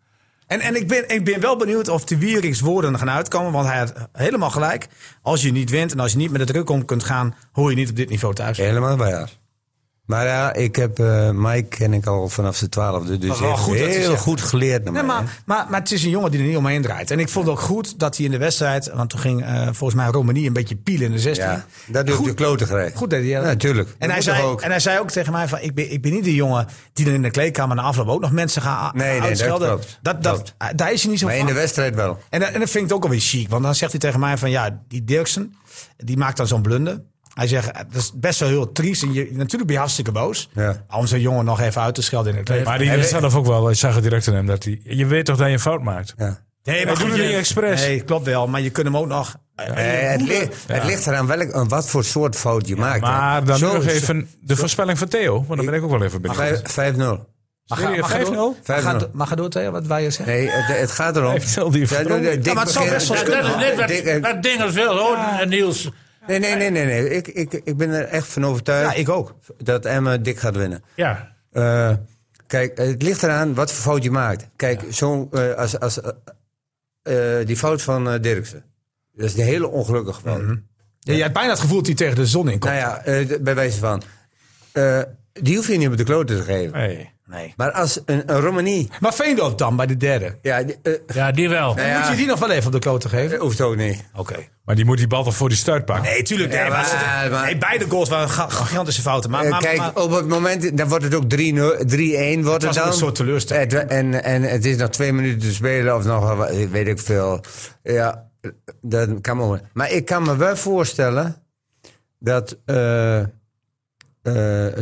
Speaker 1: En, en ik, ben, ik ben wel benieuwd of de Wierings woorden gaan uitkomen. Want hij had helemaal gelijk. Als je niet wint en als je niet met de druk om kunt gaan... hoor je niet op dit niveau thuis.
Speaker 4: Helemaal waar. Maar ja, ik heb eh, Mike ken ik al vanaf zijn twaalfde. Dus
Speaker 1: is wel
Speaker 4: heeft
Speaker 1: goed dat je
Speaker 4: heel
Speaker 1: zegt.
Speaker 4: goed geleerd naar
Speaker 1: Nee,
Speaker 4: mij,
Speaker 1: maar, maar, maar het is een jongen die er niet omheen draait. En ik vond ook goed dat hij in de wedstrijd... want toen ging eh, volgens mij Romani een beetje pielen in de
Speaker 4: hè?
Speaker 1: 16.
Speaker 4: Ja, dat doe ik
Speaker 1: Goed.
Speaker 4: de klote grijp.
Speaker 1: Goed deed hij dat.
Speaker 4: Ja, tuurlijk. Dat
Speaker 1: En hij,
Speaker 4: moet toch
Speaker 1: zei,
Speaker 4: ook.
Speaker 1: en hij zei ook tegen mij: van, ik, ben, ik ben niet de jongen die dan in de kleedkamer na afloop ook nog mensen gaat
Speaker 4: Nee, nee, dat
Speaker 1: uitschelden.
Speaker 4: klopt.
Speaker 1: dat, dat,
Speaker 4: Klopt.
Speaker 1: eh, daar is hij niet zo
Speaker 4: Maar in de
Speaker 1: van.
Speaker 4: wedstrijd wel.
Speaker 1: En, dat- en dat vind ik ook alweer chic. Want dan zegt hij tegen mij: van ja, die Dirksen, die maakt dan zo'n blunder. Hij zegt, eh, dat is best wel heel triest. En je, natuurlijk ben je hartstikke boos.
Speaker 4: Ja.
Speaker 1: Om zo'n jongen nog even uit te schelden in de kleedkamer.
Speaker 3: Maar die wist zelf ook wel. Ik zag het direct aan hem. Dat hij, je weet toch dat je een fout maakt?
Speaker 4: Ja.
Speaker 1: Nee,
Speaker 3: Hij doet
Speaker 1: goed,
Speaker 3: het
Speaker 1: je-
Speaker 3: niet expres.
Speaker 1: Nee, klopt wel. Maar je kunt hem ook nog... eh,
Speaker 4: Eh, het, ligt, het ligt eraan welk, aan wat voor soort fout je maakt. hè.
Speaker 3: Maar dan
Speaker 4: Zo
Speaker 3: nog
Speaker 4: is-
Speaker 3: even de voorspelling van Theo. Want dan ben ik ook wel even benieuwd.
Speaker 4: vijf- 5-0.
Speaker 1: maar
Speaker 3: Wil je
Speaker 1: maar door.
Speaker 3: 5-0?
Speaker 1: Maar ga
Speaker 4: 5-0.
Speaker 1: door- Maar ga door, Theo, wat wij je zeggen.
Speaker 4: Nee, het, het gaat erom.
Speaker 3: Heeft wel die
Speaker 4: Ja,
Speaker 3: verdomme-
Speaker 4: Dick
Speaker 1: Ja, maar het zou
Speaker 4: begint-
Speaker 1: best wel
Speaker 2: Dat,
Speaker 1: kunnen,
Speaker 2: dat is net wat
Speaker 4: Dick, eh,
Speaker 2: dat ding als wil, hoor, Niels.
Speaker 4: Nee, nee, nee, nee. nee. Ik, ik, ik ben er echt van
Speaker 1: Ja,
Speaker 4: overtuigd
Speaker 1: ik ook.
Speaker 4: dat Emma dik gaat winnen.
Speaker 2: Ja.
Speaker 4: Eh, kijk, het ligt eraan wat voor fout je maakt. Kijk, zo, eh, als, als, eh, eh, die fout van eh, Dirksen. Dat is een hele ongelukkige fout.
Speaker 1: Mhm. Ja, je hebt bijna het gevoel dat hij tegen de zon in komt.
Speaker 4: Nou ja, eh, d- bij wijze van. Eh, die hoef je niet op de klote te geven.
Speaker 3: Nee.
Speaker 1: Nee.
Speaker 4: Maar als een, een Romani.
Speaker 1: Maar Veendorp dan, bij de derde.
Speaker 4: Ja, die, eh,
Speaker 2: Ja, die wel.
Speaker 4: nou ja,
Speaker 1: Moet je die nog wel even op de klote geven?
Speaker 4: dat hoeft ook niet.
Speaker 1: Oké.
Speaker 3: Maar die moet die bal toch voor die stuit pakken?
Speaker 1: Nee, tuurlijk. Nee,
Speaker 4: Ja,
Speaker 1: maar,
Speaker 4: maar- maar-
Speaker 1: nee, beide goals waren ga- gigantische fouten. Maar,
Speaker 4: Eh,
Speaker 1: maar,
Speaker 4: Kijk,
Speaker 1: maar-
Speaker 4: op het moment, dan wordt het ook 3-0 3-1. Wordt
Speaker 1: was
Speaker 4: het dan.
Speaker 1: ook een soort teleurstelling.
Speaker 4: Het- en, en het is nog twee minuten te spelen of nog, wat, weet ik veel. Ja, dat kan me Maar ik kan me wel voorstellen dat eh, eh,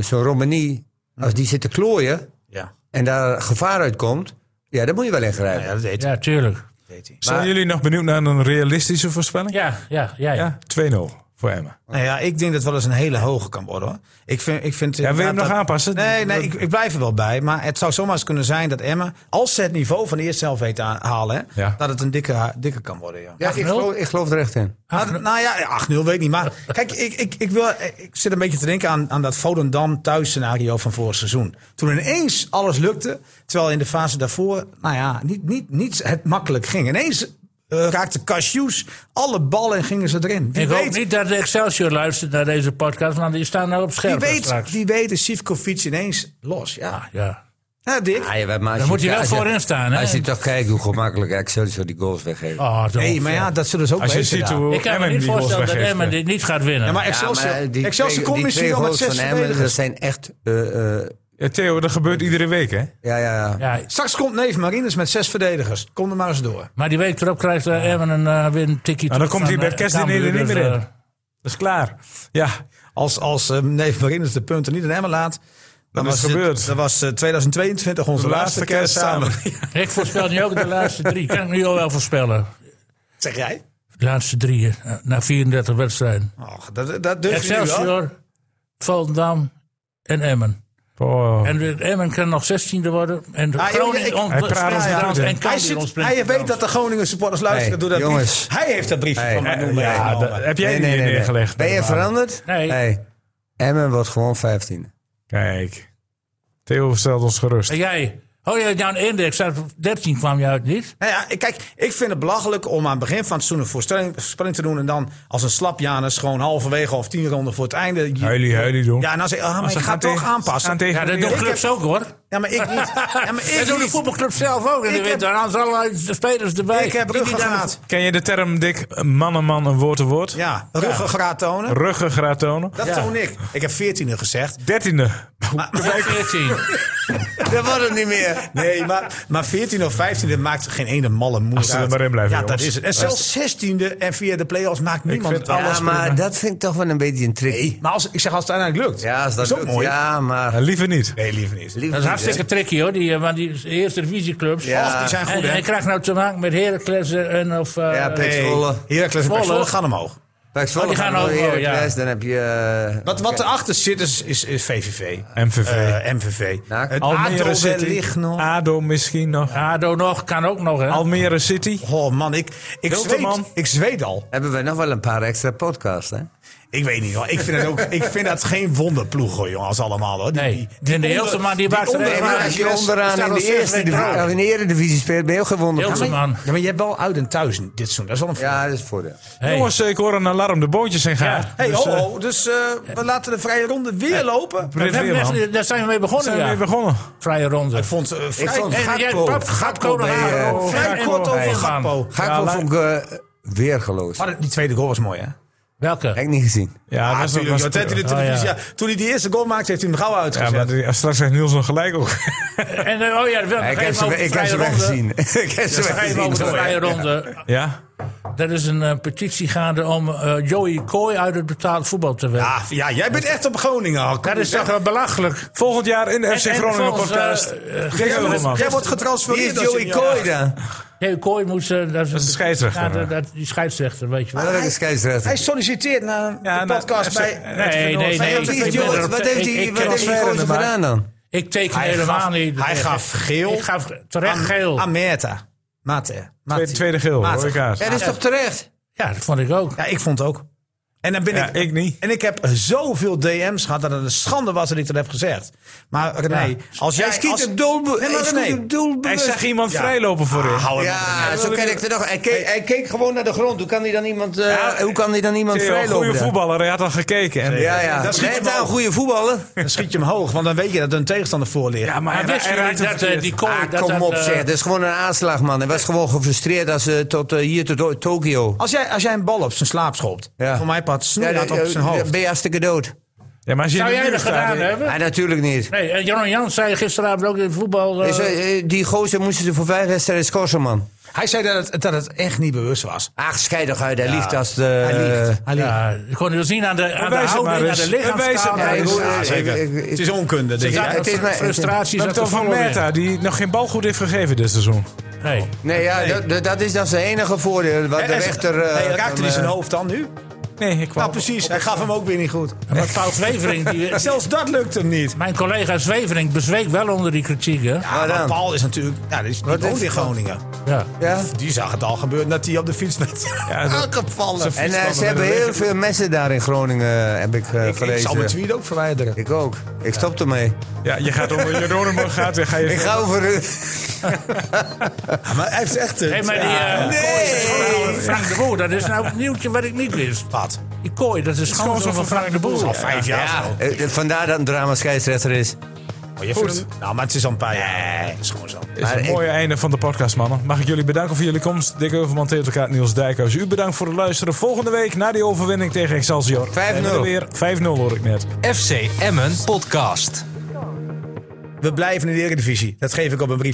Speaker 4: zo'n Romani, als die zit te klooien
Speaker 1: ja.
Speaker 4: en daar gevaar uit komt, ja, dan moet je wel ingrijpen.
Speaker 1: ja, dat weet hij.
Speaker 2: Ja, tuurlijk.
Speaker 1: dat weet hij.
Speaker 3: Zijn jullie nog benieuwd naar een realistische voorspelling?
Speaker 2: Ja, ja, ja. ja.
Speaker 3: Ja, 2-0 voor Emma.
Speaker 1: Nou ja, ik denk dat het wel eens een hele hoge kan worden. Hoor. Ik vind, ik vind,
Speaker 3: Ja, wil je hem
Speaker 1: inderdaad
Speaker 3: nog
Speaker 1: dat-
Speaker 3: aanpassen?
Speaker 1: Nee, nee ik, ik blijf er wel bij. Maar het zou zomaar eens kunnen zijn dat Emmen, als ze het niveau van de eerste helft weten aan- halen, hè,
Speaker 3: Ja.
Speaker 1: dat het een dikke, dikke kan worden. Ja.
Speaker 4: Ja, ik, geloof, ik geloof er echt in.
Speaker 1: Nou, d- nou ja, 8-0 weet ik niet. Maar kijk, ik, ik, ik, wil, ik zit een beetje te denken aan, aan dat Volendam thuisscenario van vorig seizoen. Toen ineens alles lukte, terwijl in de fase daarvoor, nou ja, niet, niet, niet het makkelijk ging. Ineens eh, raakten Cashews alle ballen en gingen ze erin. Wie
Speaker 2: Ik hoop
Speaker 1: weet,
Speaker 2: niet dat de Excelsior luistert naar deze podcast, want die staan nou op
Speaker 1: wie
Speaker 2: scherp
Speaker 1: weet,
Speaker 2: straks.
Speaker 1: wie weet is Sivkovic ineens los. Ja,
Speaker 2: Ja.
Speaker 1: ja Dick.
Speaker 4: Ah, ja, maar als
Speaker 2: Dan moet je wel
Speaker 4: als
Speaker 2: voorin staan, hè?
Speaker 4: Als je toch kijkt hoe gemakkelijk Excelsior die goals weggeeft.
Speaker 2: Oh, zo.
Speaker 1: Nee, maar ja, dat zullen ze ook
Speaker 3: Als je
Speaker 1: weten.
Speaker 3: ziet
Speaker 1: daar.
Speaker 3: hoe
Speaker 2: ik kan me
Speaker 3: Emmen
Speaker 2: niet
Speaker 3: die goals
Speaker 2: voorstellen dat
Speaker 3: weggeeft.
Speaker 2: Emmen dit niet gaat winnen.
Speaker 1: Ja, maar
Speaker 4: Ja, maar
Speaker 1: Excelsior,
Speaker 4: die
Speaker 1: Excelsior
Speaker 4: twee-
Speaker 1: komt
Speaker 4: die
Speaker 1: misschien
Speaker 4: twee
Speaker 1: wel met
Speaker 4: goals
Speaker 1: zes
Speaker 4: van Emmen, Dat
Speaker 1: verdedigers.
Speaker 4: zijn echt... eh, eh,
Speaker 3: Ja, Theo, dat gebeurt iedere week, hè?
Speaker 4: ja, ja, ja.
Speaker 2: Ja,
Speaker 1: Straks komt Neef Marines met zes verdedigers. Kom er maar eens door.
Speaker 2: maar die week erop krijgt eh, Emmen een, eh, weer een tikkie
Speaker 3: dan
Speaker 2: terug
Speaker 3: komt hij
Speaker 2: van,
Speaker 3: bij
Speaker 2: eh,
Speaker 3: Kerstdiner er
Speaker 2: Cambuur,
Speaker 3: niet
Speaker 2: dus,
Speaker 3: meer in.
Speaker 2: eh,
Speaker 3: Dat is klaar. Ja,
Speaker 1: Als, als eh, neef Marinus de punten niet in Emmen laat. Dan
Speaker 3: is
Speaker 1: was het-
Speaker 3: gebeurd.
Speaker 1: Dat was eh, 2022 onze
Speaker 3: de
Speaker 1: laatste kerst samen.
Speaker 2: eh, Ik voorspel nu ook de laatste drie. Kan ik nu al wel voorspellen.
Speaker 1: zeg jij?
Speaker 2: De laatste drie, eh, na 34 wedstrijden.
Speaker 1: Och, dat, dat durf je nu wel.
Speaker 2: Excelsior, Volendam en Emmen.
Speaker 3: Oh.
Speaker 2: En de- Emmen kan nog 16e worden. En
Speaker 1: Ah,
Speaker 2: Groningen
Speaker 1: ik-
Speaker 2: ont-
Speaker 3: Hij praat
Speaker 2: speelt
Speaker 3: ons
Speaker 2: gedaan
Speaker 3: uit, hè.
Speaker 2: en
Speaker 1: Hij,
Speaker 2: Cambuur
Speaker 1: zit,
Speaker 2: ontspringt
Speaker 1: hij weet
Speaker 2: gedaan.
Speaker 1: dat de Groningen supporters luisteren.
Speaker 4: Hey,
Speaker 1: door dat
Speaker 4: jongens.
Speaker 1: brief. Hij heeft dat briefje
Speaker 4: Hey,
Speaker 1: van mij
Speaker 3: eh, ja,
Speaker 1: meegenomen.
Speaker 3: dat- heb jij die hier neergelegd?
Speaker 4: Ben je
Speaker 3: Barbara?
Speaker 4: veranderd?
Speaker 2: Nee.
Speaker 4: Hey, Emmen wordt gewoon 15.
Speaker 3: Kijk. Theo stelt ons gerust.
Speaker 2: En jij? Oh ja, jouw index, uit 13 kwam je uit, niet?
Speaker 1: Nou ja, kijk, ik vind het belachelijk om aan het begin van het seizoen een voorstelling- voorspelling te doen. En dan als een slap Janus gewoon halverwege of tien ronden voor het einde. je-
Speaker 3: Huilie, huilie doen.
Speaker 1: Ja, en dan zeg je, ah, maar
Speaker 3: Als
Speaker 1: ik
Speaker 3: ze
Speaker 1: ga
Speaker 3: gaan
Speaker 1: het toch
Speaker 3: tegen- ze gaan
Speaker 1: aanpassen.
Speaker 3: tegen
Speaker 2: Ja, dat
Speaker 3: de-
Speaker 2: doen
Speaker 1: Ik
Speaker 2: clubs ook hoor.
Speaker 1: Ja, maar ik niet. Ja, maar
Speaker 2: Dat
Speaker 1: ik
Speaker 2: doen de
Speaker 1: niet.
Speaker 2: voetbalclub zelf ook in de
Speaker 1: Ik
Speaker 2: winter. En anders allerlei de spelers erbij.
Speaker 1: Ik heb
Speaker 2: Die niet aan de
Speaker 1: ruggengraat.
Speaker 3: Ken je de term, Dick? Man en man, een woord een woord?
Speaker 1: Ja, ruggengraat tonen.
Speaker 3: Ruggengraat tonen.
Speaker 1: Dat toon ik. Ik heb veertiende gezegd.
Speaker 3: Dertiende.
Speaker 2: voetbal 14.
Speaker 1: Dat wordt het niet meer. Nee, maar, maar 14 of 15 dat maakt geen ene malle moer
Speaker 3: Als ze er
Speaker 1: uit.
Speaker 3: maar in blijven,
Speaker 1: Ja, dat
Speaker 3: jongens.
Speaker 1: is het. En zelfs 16e en via de play-offs maakt niemand
Speaker 3: vind
Speaker 1: het
Speaker 3: alles
Speaker 1: alles.
Speaker 4: Ja, maar dat vind ik toch wel een beetje een trick.
Speaker 1: Maar als, ik zeg als het uiteindelijk lukt.
Speaker 4: Ja, als dat
Speaker 1: is ook
Speaker 4: lukt.
Speaker 1: mooi.
Speaker 4: Ja, maar...
Speaker 3: Liever niet.
Speaker 1: Nee, liever niet.
Speaker 4: Liever
Speaker 2: Dat is
Speaker 4: niet,
Speaker 2: hartstikke tricky hoor, die, eh, want die eerste divisieclubs.
Speaker 4: Ja.
Speaker 1: Och, die zijn goed,
Speaker 2: en
Speaker 1: hè?
Speaker 2: hij krijgt nou te maken met Heracles en of... eh,
Speaker 4: hè? Ja, Pek Zwolle.
Speaker 1: Heracles en Pek
Speaker 2: Zwolle.
Speaker 1: Zwolle gaan omhoog.
Speaker 4: Pek Zwolle
Speaker 2: Oh, die
Speaker 4: gaat
Speaker 2: gaan
Speaker 4: door
Speaker 2: ook wel, ja.
Speaker 4: Heracles, Dan heb je... eh,
Speaker 1: Wat, wat erachter zit is, is, is VVV.
Speaker 3: MVV.
Speaker 1: Eh, MVV.
Speaker 4: Nak.
Speaker 1: Het
Speaker 3: Almere
Speaker 1: ADO
Speaker 3: City.
Speaker 1: wellicht nog.
Speaker 3: ADO misschien nog.
Speaker 2: ADO nog, kan ook nog hè.
Speaker 3: Almere City.
Speaker 1: Oh man, ik, ik, zweet,
Speaker 3: Hilterman.
Speaker 1: ik zweet al.
Speaker 4: Hebben we nog wel een paar extra podcasts, hè?
Speaker 1: Ik weet niet hoor. Ik vind, het ook, ik vind dat geen wonderploeg hoor, jongens, allemaal hoor. Die,
Speaker 2: Nee,
Speaker 1: die,
Speaker 2: de Hilterman, die maakt er
Speaker 1: onder-
Speaker 2: echt
Speaker 1: Ja,
Speaker 2: maar
Speaker 4: Maar als je onderaan
Speaker 2: staat
Speaker 4: in
Speaker 2: al
Speaker 4: de,
Speaker 2: zes
Speaker 4: eerste
Speaker 2: weken
Speaker 4: divisie,
Speaker 2: uit.
Speaker 4: of in de eredivisie speelt, ben je ook gewonnen.
Speaker 1: Ja, maar-
Speaker 2: man.
Speaker 1: Ja, maar je hebt wel uit en thuis dit seizoen. Dat is wel een
Speaker 4: Ja, dat is het voordeel.
Speaker 2: Hey.
Speaker 3: Jongens, ik hoor een alarm. De boontjes zijn gaar.
Speaker 1: Hey,
Speaker 3: Dus,
Speaker 1: ho,
Speaker 3: eh,
Speaker 1: ho, dus eh, we laten de vrije ronde weer lopen.
Speaker 2: We
Speaker 3: Brent
Speaker 2: hebben
Speaker 3: Weerman.
Speaker 2: net- daar zijn we mee begonnen,
Speaker 3: Zijn we
Speaker 2: ja.
Speaker 3: weer begonnen?
Speaker 2: Vrije ronde.
Speaker 1: Ik vond, eh vrij,
Speaker 4: vond
Speaker 1: eh,
Speaker 2: En jij
Speaker 4: Gakpo.
Speaker 2: pap, Gakpo naar
Speaker 4: bij, eh,
Speaker 2: ADO.
Speaker 1: vrij
Speaker 2: En-
Speaker 1: kort over
Speaker 2: Hey,
Speaker 1: Gakpo.
Speaker 4: Ga ik wel voor eh, weergeloos. Heb
Speaker 1: Maar die tweede goal was mooi, hè? Ah,
Speaker 2: Welke?
Speaker 4: ik niet gezien.
Speaker 3: Ja, dat is
Speaker 1: natuurlijk.
Speaker 3: was
Speaker 1: want hij had hij de
Speaker 2: Oh, ja.
Speaker 1: televisie- ja, Toen hij die eerste goal maakte, heeft hij hem gauw
Speaker 3: Ja,
Speaker 1: uitgezet.
Speaker 3: maar die- straks zegt Niels nog gelijk ook.
Speaker 2: En, eh, oh ja, wel,
Speaker 4: ik heb ze,
Speaker 2: over
Speaker 4: ik heb
Speaker 2: vrije ronde.
Speaker 4: ze weggezien. ik heb ze
Speaker 2: Dan ga je hem
Speaker 4: weggezien.
Speaker 2: over de
Speaker 4: hoor.
Speaker 2: vrije ronde.
Speaker 3: ja?
Speaker 2: Er is een eh, petitie gaande om eh, Joey Kooi uit het betaald voetbal te werken.
Speaker 1: Ah, ja, jij bent echt op Groningen. al. Kom
Speaker 2: dat is
Speaker 1: eens,
Speaker 2: toch wel belachelijk.
Speaker 3: Volgend jaar in de FC
Speaker 2: en
Speaker 3: Groningen
Speaker 2: volgens,
Speaker 3: podcast.
Speaker 2: eh, eh,
Speaker 3: Dick Heuvelman.
Speaker 1: hè? Jij wordt
Speaker 4: Wie
Speaker 1: getransfereerd.
Speaker 4: is
Speaker 1: als
Speaker 4: Joey
Speaker 1: junior.
Speaker 4: Kooi dan?
Speaker 2: Joey Kooi moet... eh, dat is
Speaker 3: een scheidsrechter.
Speaker 2: Ja, dat- dat- die scheidsrechter, weet je wel.
Speaker 4: Welke
Speaker 1: Hij
Speaker 4: scheidsrechter?
Speaker 1: solliciteert naar
Speaker 3: Ja,
Speaker 1: de
Speaker 3: nou,
Speaker 1: podcast
Speaker 3: FC
Speaker 1: bij...
Speaker 2: Nee, nee, nee.
Speaker 1: Wat
Speaker 2: ik
Speaker 4: Wie
Speaker 2: ben
Speaker 4: is Joey?
Speaker 2: erop-
Speaker 4: Wat heeft
Speaker 2: ik-
Speaker 4: die
Speaker 2: ik-
Speaker 4: wat heeft die
Speaker 2: ik-
Speaker 4: gozer gedaan dan?
Speaker 2: Ik teken
Speaker 1: Hij
Speaker 2: helemaal
Speaker 1: gaf-
Speaker 2: niet.
Speaker 1: hij gaf geel.
Speaker 2: Ik gaf terecht geel.
Speaker 1: Amerta. Mate.
Speaker 3: Tweede, tweede geel,
Speaker 1: Matig.
Speaker 3: rode kaart.
Speaker 4: Ja, dat is toch terecht?
Speaker 2: Ja, dat vond ik ook.
Speaker 1: Ja, ik vond het ook. En dan ben
Speaker 3: Ja,
Speaker 1: ik,
Speaker 3: ik niet.
Speaker 1: En ik heb zoveel DM's gehad dat het een schande was dat ik dat heb gezegd. Maar René,
Speaker 2: Ja.
Speaker 1: als jij...
Speaker 4: Hij schiet
Speaker 1: als,
Speaker 4: hem doelbe-
Speaker 1: Nee, maar
Speaker 4: hij schiet
Speaker 1: René,
Speaker 4: hem
Speaker 3: Hij
Speaker 4: doelbewust.
Speaker 3: zag iemand vrijlopen voorin.
Speaker 2: Ah,
Speaker 1: hou hem op.
Speaker 4: Ja, zo ken ik het nog. Hij keek, hij keek gewoon naar de grond. Hoe kan hij dan iemand, eh, hoe kan hij dan iemand
Speaker 3: Theo,
Speaker 4: vrijlopen?
Speaker 3: goede
Speaker 4: daar?
Speaker 3: voetballer, hij had al gekeken. En,
Speaker 4: Ja, ja.
Speaker 1: Dat schiet
Speaker 4: Net
Speaker 1: hem
Speaker 4: aan,
Speaker 1: ook.
Speaker 4: goede voetballer.
Speaker 1: Dan schiet je hem hoog, want dan weet je dat er een tegenstander voor ligt.
Speaker 3: Ja, maar
Speaker 2: Maar
Speaker 3: hij,
Speaker 2: wist
Speaker 3: hij
Speaker 2: jullie
Speaker 3: raakte
Speaker 2: dat eh,
Speaker 3: verkeerd.
Speaker 2: die Kooi...
Speaker 4: Ah,
Speaker 2: dat
Speaker 4: kom
Speaker 2: dat,
Speaker 4: op
Speaker 2: eh,
Speaker 4: zeg, dat is gewoon een aanslag man. Hij was gewoon gefrustreerd als, eh, tot eh, hier tot o- Tokio.
Speaker 1: Als jij, als jij een bal op zijn slaap schopt,
Speaker 4: Ja. eh,
Speaker 1: voor mij pad snoeihard
Speaker 4: dan-
Speaker 1: op zijn
Speaker 4: dan
Speaker 1: hoofd.
Speaker 4: ben je hartstikke dood.
Speaker 3: Ja, maar als je
Speaker 2: Zou
Speaker 3: in de
Speaker 2: jij dat
Speaker 3: buurt staat,
Speaker 2: gedaan
Speaker 3: eh,
Speaker 2: hebben?
Speaker 4: Ah, natuurlijk niet.
Speaker 2: Nee, en Jan Jans zei gisteravond ook in het voetbal... eh,
Speaker 4: Is, eh, eh, die gozer moesten ze voor vijf wedstrijden scorsen man.
Speaker 1: Hij zei dat het, dat het echt niet bewust was.
Speaker 4: Ach, scheidig uit, hij liegt als de...
Speaker 1: Hij liegt. Hij liegt.
Speaker 2: ja, ik kon het zien aan de, aan de
Speaker 3: Bewijs
Speaker 2: houding,
Speaker 3: het maar
Speaker 2: aan
Speaker 3: eens.
Speaker 2: de
Speaker 3: Bewijs het
Speaker 2: lichaamstaal.
Speaker 3: maar
Speaker 2: Ja,
Speaker 4: Ja, ik-
Speaker 3: eens.
Speaker 2: ik-
Speaker 4: ik-
Speaker 1: zeker.
Speaker 4: ik- ik-
Speaker 1: het is onkunde, denk ik.
Speaker 4: Ja, het is maar-
Speaker 2: frustratie
Speaker 3: Dat
Speaker 2: zat er
Speaker 3: toch van
Speaker 2: vol in.
Speaker 3: Merta, die nog geen balgoed heeft gegeven dit seizoen.
Speaker 2: Nee.
Speaker 4: Nee, ja, dat, dat is dan zijn enige voordeel. Wat de
Speaker 1: En- en-
Speaker 4: rechter... eh,
Speaker 1: nee, raakte
Speaker 4: dan,
Speaker 1: hij zijn
Speaker 4: eh,
Speaker 1: hoofd dan nu?
Speaker 3: Nee, ik kwam.
Speaker 1: Nou, precies. Hij gaf hem ook weer niet goed.
Speaker 2: Maar Paul Zwevering, die,
Speaker 1: Zelfs dat lukt hem niet.
Speaker 2: mijn collega Zwevering bezweek wel onder die kritiek. Hè?
Speaker 1: Ja, maar
Speaker 4: dan?
Speaker 1: Paul is natuurlijk... Ja, die, is- die
Speaker 4: Wat
Speaker 1: woont
Speaker 4: heeft-
Speaker 1: in Groningen.
Speaker 2: Ja.
Speaker 4: Ja?
Speaker 1: Die zag het al gebeuren dat hij op de fiets werd
Speaker 3: Ja, dat-
Speaker 1: aangevallen.
Speaker 4: En eh, ze hebben heel veel messen daar in Groningen, heb ik eh,
Speaker 1: Ik zal mijn
Speaker 4: gelezen.
Speaker 1: tweet ook verwijderen.
Speaker 4: Ik ook. Ik stop ermee.
Speaker 3: Ja, je gaat onder Jeronimo gaat en ga je...
Speaker 4: Ik ga over...
Speaker 1: Maar hij heeft echt...
Speaker 2: Hey, maar die, eh, kooi is gewoon van Frank de Boer, dat is nou een nieuwtje wat ik niet wist.
Speaker 1: Wat?
Speaker 2: Die kooi, dat is gewoon van Frank de Boer.
Speaker 1: Al vijf jaar zo.
Speaker 4: Eh, Vandaar dat een drama scheidsrechter is.
Speaker 1: Maar je vindt hem- Nou, maar het is al een paar jaar. Het is gewoon zo.
Speaker 3: Het is een mooie einde van de podcast, mannen. Mag ik jullie bedanken voor jullie komst. Dick Heuvelman, Theo Terkaat, Niels Dijkhuis. U bedankt voor het luisteren. Volgende week, na die overwinning tegen Excelsior... 5-0.
Speaker 4: 5-0.
Speaker 3: Weer 5-0 hoor ik net.
Speaker 5: FC Emmen podcast.
Speaker 1: We blijven in de Eredivisie. Dat geef ik op een brief.